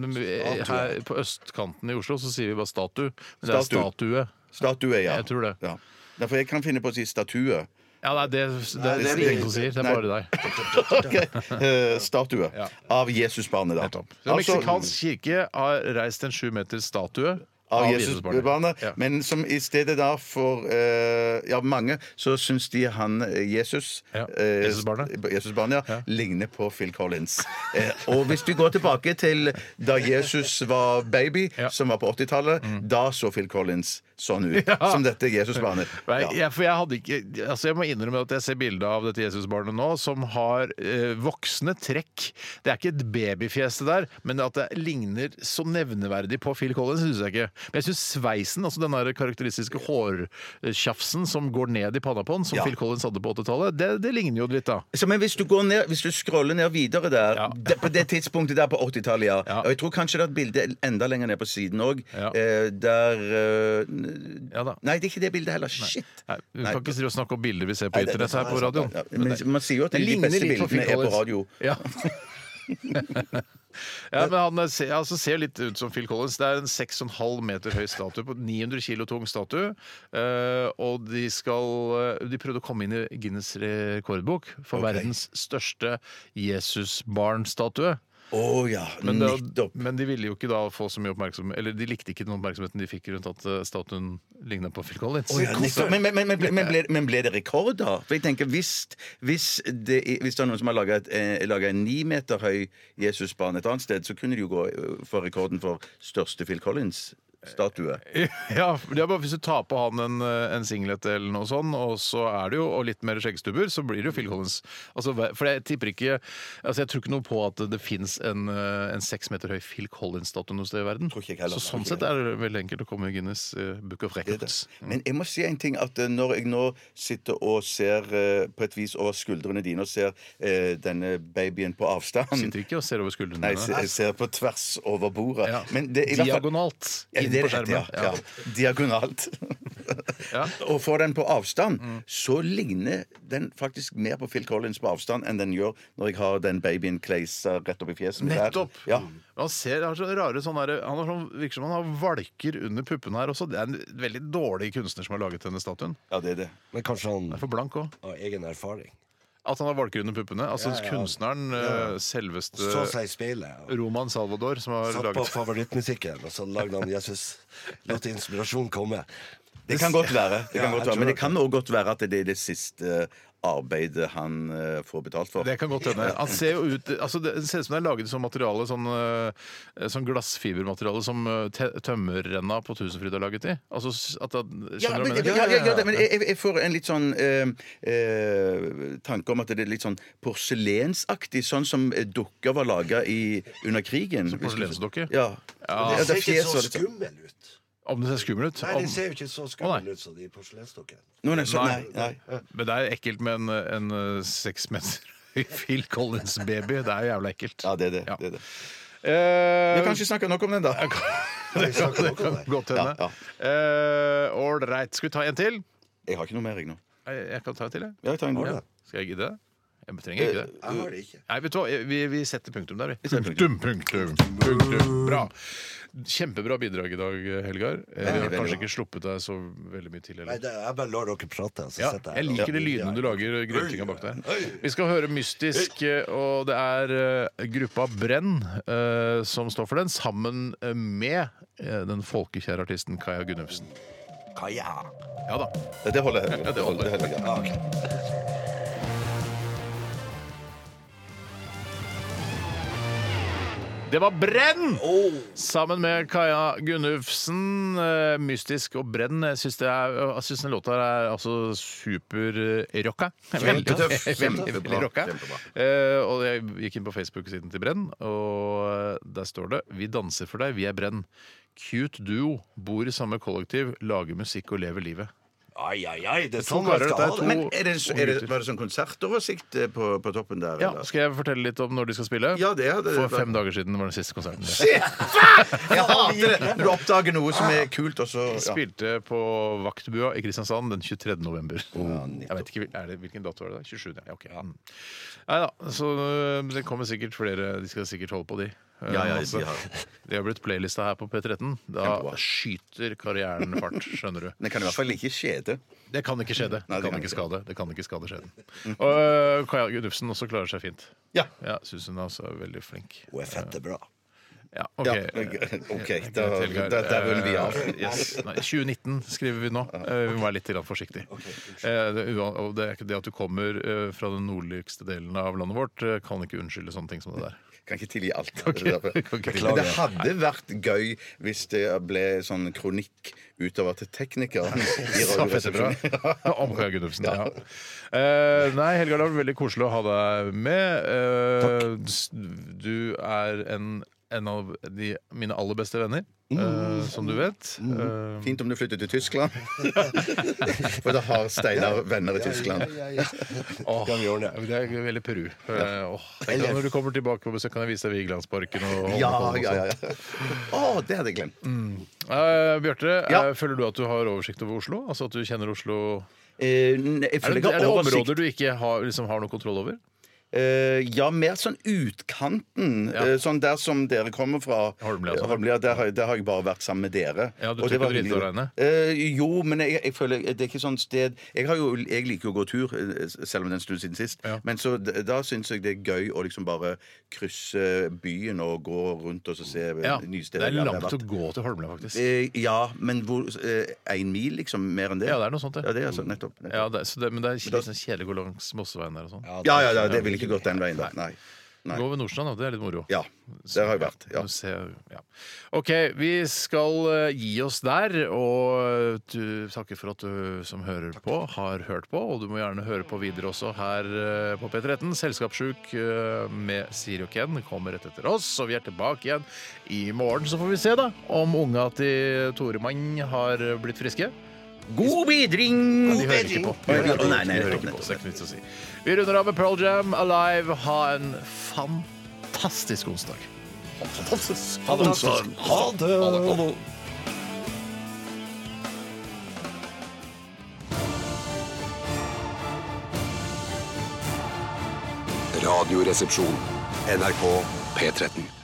[SPEAKER 5] her på østkanten i Oslo så sier vi bare statue, men det er statue.
[SPEAKER 6] Statue. Statue, ja.
[SPEAKER 5] Jeg tror det.
[SPEAKER 6] Ja. Nei, for jeg kan finne på å si statue.
[SPEAKER 5] Ja, nei, det, det,
[SPEAKER 6] Nei,
[SPEAKER 5] det er det ingen som sier. Det er
[SPEAKER 6] Nei.
[SPEAKER 5] bare deg.
[SPEAKER 6] Ok, eh, Statue av Jesusbarnet, da. Altså-
[SPEAKER 5] Så Meksikansk kirke har reist en sju meter statue
[SPEAKER 6] av Jesusbarnet. Men som i stedet da for eh, Ja, mange så syns de han eh, Jesus eh,
[SPEAKER 5] Jesusbarnet.
[SPEAKER 6] Jesusbarnet, ja, ligner på Phil Collins. Eh, og hvis vi går tilbake til da Jesus var baby, som var på 80-tallet, da så Phil Collins sånn ut.
[SPEAKER 5] Ja.
[SPEAKER 6] Som dette Jesusbarnet.
[SPEAKER 5] Nei, jeg, for jeg, hadde ikke, altså jeg må innrømme at jeg ser bilde av dette Jesusbarnet nå, som har eh, voksne trekk. Det er ikke et babyfjes det der, men at det ligner så nevneverdig på Phil Collins, syns jeg ikke. Men jeg syns sveisen, altså den der karakteristiske hårtjafsen som går ned i panna på han, som
[SPEAKER 6] Ja.
[SPEAKER 5] Phil Collins hadde på 80-tallet, det, det ligner jo litt, da.
[SPEAKER 6] Så, men hvis du, går ned, hvis du scroller ned videre der, det- på det tidspunktet der på 80-tallet, ja. Og jeg tror kanskje det er et bilde enda lenger ned på siden òg, eh, der eh, n- Nei, det er ikke det bildet heller. Shit!
[SPEAKER 5] Nei, vi
[SPEAKER 6] Nei.
[SPEAKER 5] kan ikke drive og snakke om bilder vi ser på
[SPEAKER 6] Nei, det-
[SPEAKER 5] internett
[SPEAKER 6] det-
[SPEAKER 5] her på radioen.
[SPEAKER 6] Ja, men man sier jo at
[SPEAKER 5] Det
[SPEAKER 6] de
[SPEAKER 5] ligner
[SPEAKER 6] beste
[SPEAKER 5] litt på Phil
[SPEAKER 6] bildene er på
[SPEAKER 5] Collins.
[SPEAKER 6] radio.
[SPEAKER 5] Ja. ja, men han ser, altså, ser litt ut som Phil Collins. Det er en 6,5 meter høy statue, på 900 kilo tung statue. Eh, og de skal eh, De prøvde å komme inn i Guinness rekordbok for
[SPEAKER 6] Ok.
[SPEAKER 5] verdens største Jesusbarnstatue.
[SPEAKER 6] Å ja,
[SPEAKER 5] Men, da-
[SPEAKER 6] nettopp.
[SPEAKER 5] men de ville jo ikke da få så mye oppmerksomhet Eller de likte ikke den oppmerksomheten de fikk rundt at eh, statuen ligna på Phil Collins.
[SPEAKER 6] Å, ja, nettopp. men, men, men, men, ble, men, ble, men ble det rekord, da? For jeg tenker, Hvis, hvis, det, er- hvis det er noen som har laga eh, en ni meter høy Jesusbarn et annet sted, så kunne de jo gå eh, for rekorden for største Phil Collins-statue.
[SPEAKER 5] Ja, det er bare Hvis du tar på han en, eh, en singlet eller noe sånn, og så er det jo, og litt mer skjeggstubber, så blir det jo Phil Collins. Altså, hva- for jeg tipper ikke altså Jeg tror ikke noe på at det fins en, eh, en seks meter høy Phil Collins-statue noe sted i verden.
[SPEAKER 6] heller.
[SPEAKER 5] så sånn sett er det veldig enkelt å komme i Guinness eh, Book of Records.
[SPEAKER 6] Men jeg må si en ting at eh, når jeg nå sitter og ser eh, på et vis over skuldrene dine og ser eh, denne babyen på avstand
[SPEAKER 5] Sitter ikke og ser over skuldrene
[SPEAKER 6] Nei, jeg ser- jeg ser på tvers over bordet.
[SPEAKER 5] Ja.
[SPEAKER 6] Men det er i hvert fall-
[SPEAKER 5] Diagonalt
[SPEAKER 6] Ja,
[SPEAKER 5] inn
[SPEAKER 6] det er
[SPEAKER 5] på
[SPEAKER 6] rett,
[SPEAKER 5] skjermen.
[SPEAKER 6] Ja, ja. Diagonalt. Og får den på avstand,
[SPEAKER 5] Mm.
[SPEAKER 6] så ligner den faktisk mer på Phil Collins på avstand enn den gjør når jeg har den babyen Kleisa rett opp i fjeset. mitt her.
[SPEAKER 5] Nettopp.
[SPEAKER 6] Ja.
[SPEAKER 5] Han ser, har så rare sånne der, han har sånn, virker som han har valker under puppene her også. Det er en veldig dårlig kunstner som har laget denne statuen.
[SPEAKER 6] Ja, det er det.
[SPEAKER 1] Men kanskje han
[SPEAKER 5] er for blank òg.
[SPEAKER 1] Av egen erfaring.
[SPEAKER 5] At han har valker under puppene. Altså
[SPEAKER 1] Ja, ja.
[SPEAKER 5] kunstneren,
[SPEAKER 1] Ja.
[SPEAKER 5] eh, selveste
[SPEAKER 1] Så seg i speilet.
[SPEAKER 5] Roman Salvador, som har
[SPEAKER 1] Satt på
[SPEAKER 5] laget
[SPEAKER 1] favorittmusikken, og så lagde han Jesus. Lot inspirasjon komme.
[SPEAKER 6] Det kan godt være. Det kan
[SPEAKER 1] Ja,
[SPEAKER 6] godt
[SPEAKER 1] jeg
[SPEAKER 6] være. Men det
[SPEAKER 1] tror
[SPEAKER 6] kan også godt være at det er det siste arbeidet han eh, får betalt for.
[SPEAKER 5] Det kan godt hende. Han ser jo ut altså Det ser ut som det er laget som materiale, sånn, eh, sånn glassfibermateriale som eh, te- tømmerrenna på Tusenfryd har laget i. Altså s- at, at, skjønner
[SPEAKER 6] Ja,
[SPEAKER 5] du
[SPEAKER 6] men,
[SPEAKER 5] hva jeg
[SPEAKER 6] ja,
[SPEAKER 5] mener?
[SPEAKER 6] ja, ja, ja, men jeg, jeg- jeg får en litt sånn eh, eh, tanke om at det er litt sånn porselensaktig, sånn som eh, dukker var laga under krigen.
[SPEAKER 5] Som porselensdukke?
[SPEAKER 6] Ja.
[SPEAKER 5] Ja.
[SPEAKER 1] Den ser
[SPEAKER 6] fjes
[SPEAKER 1] ikke
[SPEAKER 6] var
[SPEAKER 1] så
[SPEAKER 6] litt sånn-
[SPEAKER 1] skummel ut.
[SPEAKER 5] Om det ser skummel ut?
[SPEAKER 1] Nei,
[SPEAKER 5] Om-
[SPEAKER 1] den ser jo ikke så skummel ut som de porselensdukkene.
[SPEAKER 6] Nå, nei, så, nei, nei.
[SPEAKER 5] Men det er ekkelt med en, en eh, seks meter høy Phil Collins-baby. Det er jo jævla ekkelt.
[SPEAKER 6] Ja, det er det. det, er det.
[SPEAKER 5] Eh,
[SPEAKER 6] Vi har kanskje snakka nok om den, da.
[SPEAKER 5] Det kan, det kan godt hende.
[SPEAKER 6] Ja,
[SPEAKER 5] Eh, Ålreit. Skal vi ta en til?
[SPEAKER 6] Jeg har ikke noe mer, jeg nå.
[SPEAKER 5] Jeg, jeg kan ta en til, jeg.
[SPEAKER 6] Ja, jeg tar en til.
[SPEAKER 5] Ja. Skal jeg gidde? Jeg trenger ikke det.
[SPEAKER 1] Jeg har det ikke.
[SPEAKER 5] Nei, vet du hva? Vi, vi setter punktum der, vi. Punktum, punktum, punktum. Bra. Kjempebra bidrag i dag, Helgar. Eh, Vi
[SPEAKER 1] Veldig,
[SPEAKER 5] har
[SPEAKER 1] veldig
[SPEAKER 5] kanskje
[SPEAKER 1] bra.
[SPEAKER 5] ikke sluppet deg så veldig mye til.
[SPEAKER 1] Nei,
[SPEAKER 5] Eller?
[SPEAKER 1] det, jeg bare lar dere prate. Så
[SPEAKER 5] Ja,
[SPEAKER 1] sitter
[SPEAKER 5] jeg liker de lydene du lager, grøntinga bak deg. Vi skal høre Mystisk, eh, og det er eh, gruppa Brenn eh, som står for den, sammen eh, med eh, den folkekjære artisten Kaja Gunnufsen.
[SPEAKER 1] Kaja.
[SPEAKER 5] Ja da.
[SPEAKER 6] Det holder. jeg.
[SPEAKER 5] det holder.
[SPEAKER 6] Det holder. jeg.
[SPEAKER 1] Ja, ok.
[SPEAKER 5] Det var Brenn! Sammen med Kaja Gunnufsen. eh, Mystisk og Brenn. Jeg syns det er- jeg syns den låta er altså eh, superrocka.
[SPEAKER 6] Kjempetøff.
[SPEAKER 5] Veldig,
[SPEAKER 6] Kjempebra.
[SPEAKER 5] veldig rocka.
[SPEAKER 6] Kjempebra.
[SPEAKER 5] Eh, og jeg gikk inn på Facebook-siden til Brenn, og eh, der står det 'Vi danser for deg, vi er Brenn'. Cute duo, bor i samme kollektiv, lager musikk og lever livet.
[SPEAKER 1] Ai, ai, ai. Det er
[SPEAKER 5] To
[SPEAKER 1] sånn man
[SPEAKER 5] karer,
[SPEAKER 1] skal
[SPEAKER 5] dette er
[SPEAKER 1] ha
[SPEAKER 5] to-
[SPEAKER 1] det.
[SPEAKER 6] Men er det, så, er det,
[SPEAKER 5] gutter.
[SPEAKER 6] var det sånn konsertoversikt eh, på, på toppen der?
[SPEAKER 5] Ja,
[SPEAKER 6] eller?
[SPEAKER 5] Skal jeg fortelle litt om når de skal spille?
[SPEAKER 6] Ja, det er det.
[SPEAKER 5] For fem dager siden var den siste konserten.
[SPEAKER 6] Shit! Jeg hater det! Når du oppdager noe som er kult, og
[SPEAKER 5] Jeg
[SPEAKER 6] så ja.
[SPEAKER 5] spilte på Vaktbua i Kristiansand den 23. november. jeg vet ikke, hvil- er det, Hvilken dato var det? da? 27? Ja, ok. Mm. Nei da, så øh, det kommer sikkert flere. De skal sikkert holde på, de. Eh,
[SPEAKER 6] Ja, ja,
[SPEAKER 5] masse.
[SPEAKER 6] de har-
[SPEAKER 5] de har blitt playlista her på P13. Da
[SPEAKER 6] Kjempebra.
[SPEAKER 5] skyter karrieren fart, skjønner du.
[SPEAKER 6] Det kan i hvert fall ikke skjede.
[SPEAKER 5] Det kan ikke skje, det.
[SPEAKER 6] Nei,
[SPEAKER 5] Det kan ikke skade. Det kan ikke skade skjeden. Og øh, Kaja Gunnufsen også klarer seg fint.
[SPEAKER 6] Ja.
[SPEAKER 5] ja Syns hun er også veldig flink.
[SPEAKER 1] Hun er fette bra.
[SPEAKER 5] Ja, OK. Eh,
[SPEAKER 6] Ja, ok, da-
[SPEAKER 5] Helgar.
[SPEAKER 6] da- der runder vi av.
[SPEAKER 5] Eh, Yes. Nei, 2019 skriver vi nå. Eh, Vi må være litt grann forsiktige. Eh, Det, er uan- og det er ikke det at du kommer eh, fra den nordligste delen av landet vårt, eh, kan ikke unnskylde sånne ting som det der.
[SPEAKER 6] Kan ikke tilgi alt.
[SPEAKER 5] ikke-
[SPEAKER 6] Det der.
[SPEAKER 5] kan ikke tilgi
[SPEAKER 6] Men det
[SPEAKER 5] alt.
[SPEAKER 6] hadde vært gøy hvis det ble sånn kronikk utover til teknikeren. i
[SPEAKER 5] Sa Fettebra.
[SPEAKER 6] Radioresepsjonen.
[SPEAKER 5] Om Kaja Gunnufsen, ja. Eh, Nei, Helgar, det var veldig koselig å ha deg med. Eh, s- Du er en, en av de, mine aller beste venner,
[SPEAKER 6] Mm.
[SPEAKER 5] eh, som du vet. Eh,
[SPEAKER 6] Fint om du flytter til Tyskland. For da har Steinar venner i Tyskland.
[SPEAKER 5] Åh,
[SPEAKER 1] Skal vi ordne det?
[SPEAKER 5] det er veldig Peru. Eh, åh, tenk deg når du kommer tilbake på besøk, kan jeg vise deg Vigelandsparken. Og
[SPEAKER 6] Ja,
[SPEAKER 5] Holmenkollen og
[SPEAKER 6] ja, ja.
[SPEAKER 5] sånt.
[SPEAKER 6] ja. Å, det hadde jeg glemt.
[SPEAKER 5] Eh, Bjarte, eh,
[SPEAKER 6] Ja.
[SPEAKER 5] føler du at du har oversikt over Oslo? Altså at du kjenner Oslo
[SPEAKER 6] Eh, nei, jeg
[SPEAKER 5] Er det, er
[SPEAKER 6] føler jeg har
[SPEAKER 5] det
[SPEAKER 6] oversikt.
[SPEAKER 5] områder du ikke har, liksom, har noe kontroll over?
[SPEAKER 6] Eh, ja, mer sånn utkanten.
[SPEAKER 5] Ja.
[SPEAKER 6] eh, sånn der som dere kommer fra.
[SPEAKER 5] Holmlia, altså.
[SPEAKER 6] Eh, Holmlia, der, har, jeg- der har jeg bare vært sammen med dere.
[SPEAKER 5] Ja, du tror
[SPEAKER 6] Og
[SPEAKER 5] ikke
[SPEAKER 6] var
[SPEAKER 5] du driter
[SPEAKER 6] hyggelig.
[SPEAKER 5] deg
[SPEAKER 6] Eh, jo, men jeg, jeg føler det er ikke sånn sted Jeg, har jo, jeg liker jo å gå tur, eh, selv om det er en stund siden sist.
[SPEAKER 5] Ja.
[SPEAKER 6] Men så, d- da syns jeg det er gøy å liksom bare krysse byen og gå rundt og så se eh,
[SPEAKER 5] Ja,
[SPEAKER 6] nye
[SPEAKER 5] Det
[SPEAKER 6] steder.
[SPEAKER 5] er
[SPEAKER 6] jeg aldri
[SPEAKER 5] langt
[SPEAKER 6] har
[SPEAKER 5] å
[SPEAKER 6] vært.
[SPEAKER 5] gå til Holmlia, faktisk.
[SPEAKER 6] Eh, ja, men hvor Én mil, liksom? Mer enn det?
[SPEAKER 5] Ja, det er noe sånt, det.
[SPEAKER 6] Ja, det er altså, nettopp. nettopp.
[SPEAKER 5] Ja, det, så det, men det er litt sånn kjedelig å gå langs Mosseveien der og sånn.
[SPEAKER 6] Ja, ja, ja, det ville ikke gått den veien, da. Nei. Nei.
[SPEAKER 5] Gå ved Nordstrand, da. Det er litt moro.
[SPEAKER 6] Ja. Der har jeg vært. Ja.
[SPEAKER 5] Du ser- ja. OK, vi skal eh, gi oss der, og du takker for at du som hører på, har hørt på. Og du må gjerne høre på videre også her eh, på P13. Selskapssjuk eh, med Siri og Ken kommer rett etter oss, og vi er tilbake igjen i morgen. Så får vi se da om unga til Toremann har blitt friske.
[SPEAKER 6] God bedring!
[SPEAKER 5] Men de hører ikke på.
[SPEAKER 6] Nei, nei, nei,
[SPEAKER 5] De hører ikke på, så det er ikke noe vits å si. Vi runder av med Pearl Jam Alive. Ha en fantastisk onsdag.
[SPEAKER 1] Ha det. Onsdag. Ha det. Ha det.
[SPEAKER 2] Radioresepsjon. NRK P13.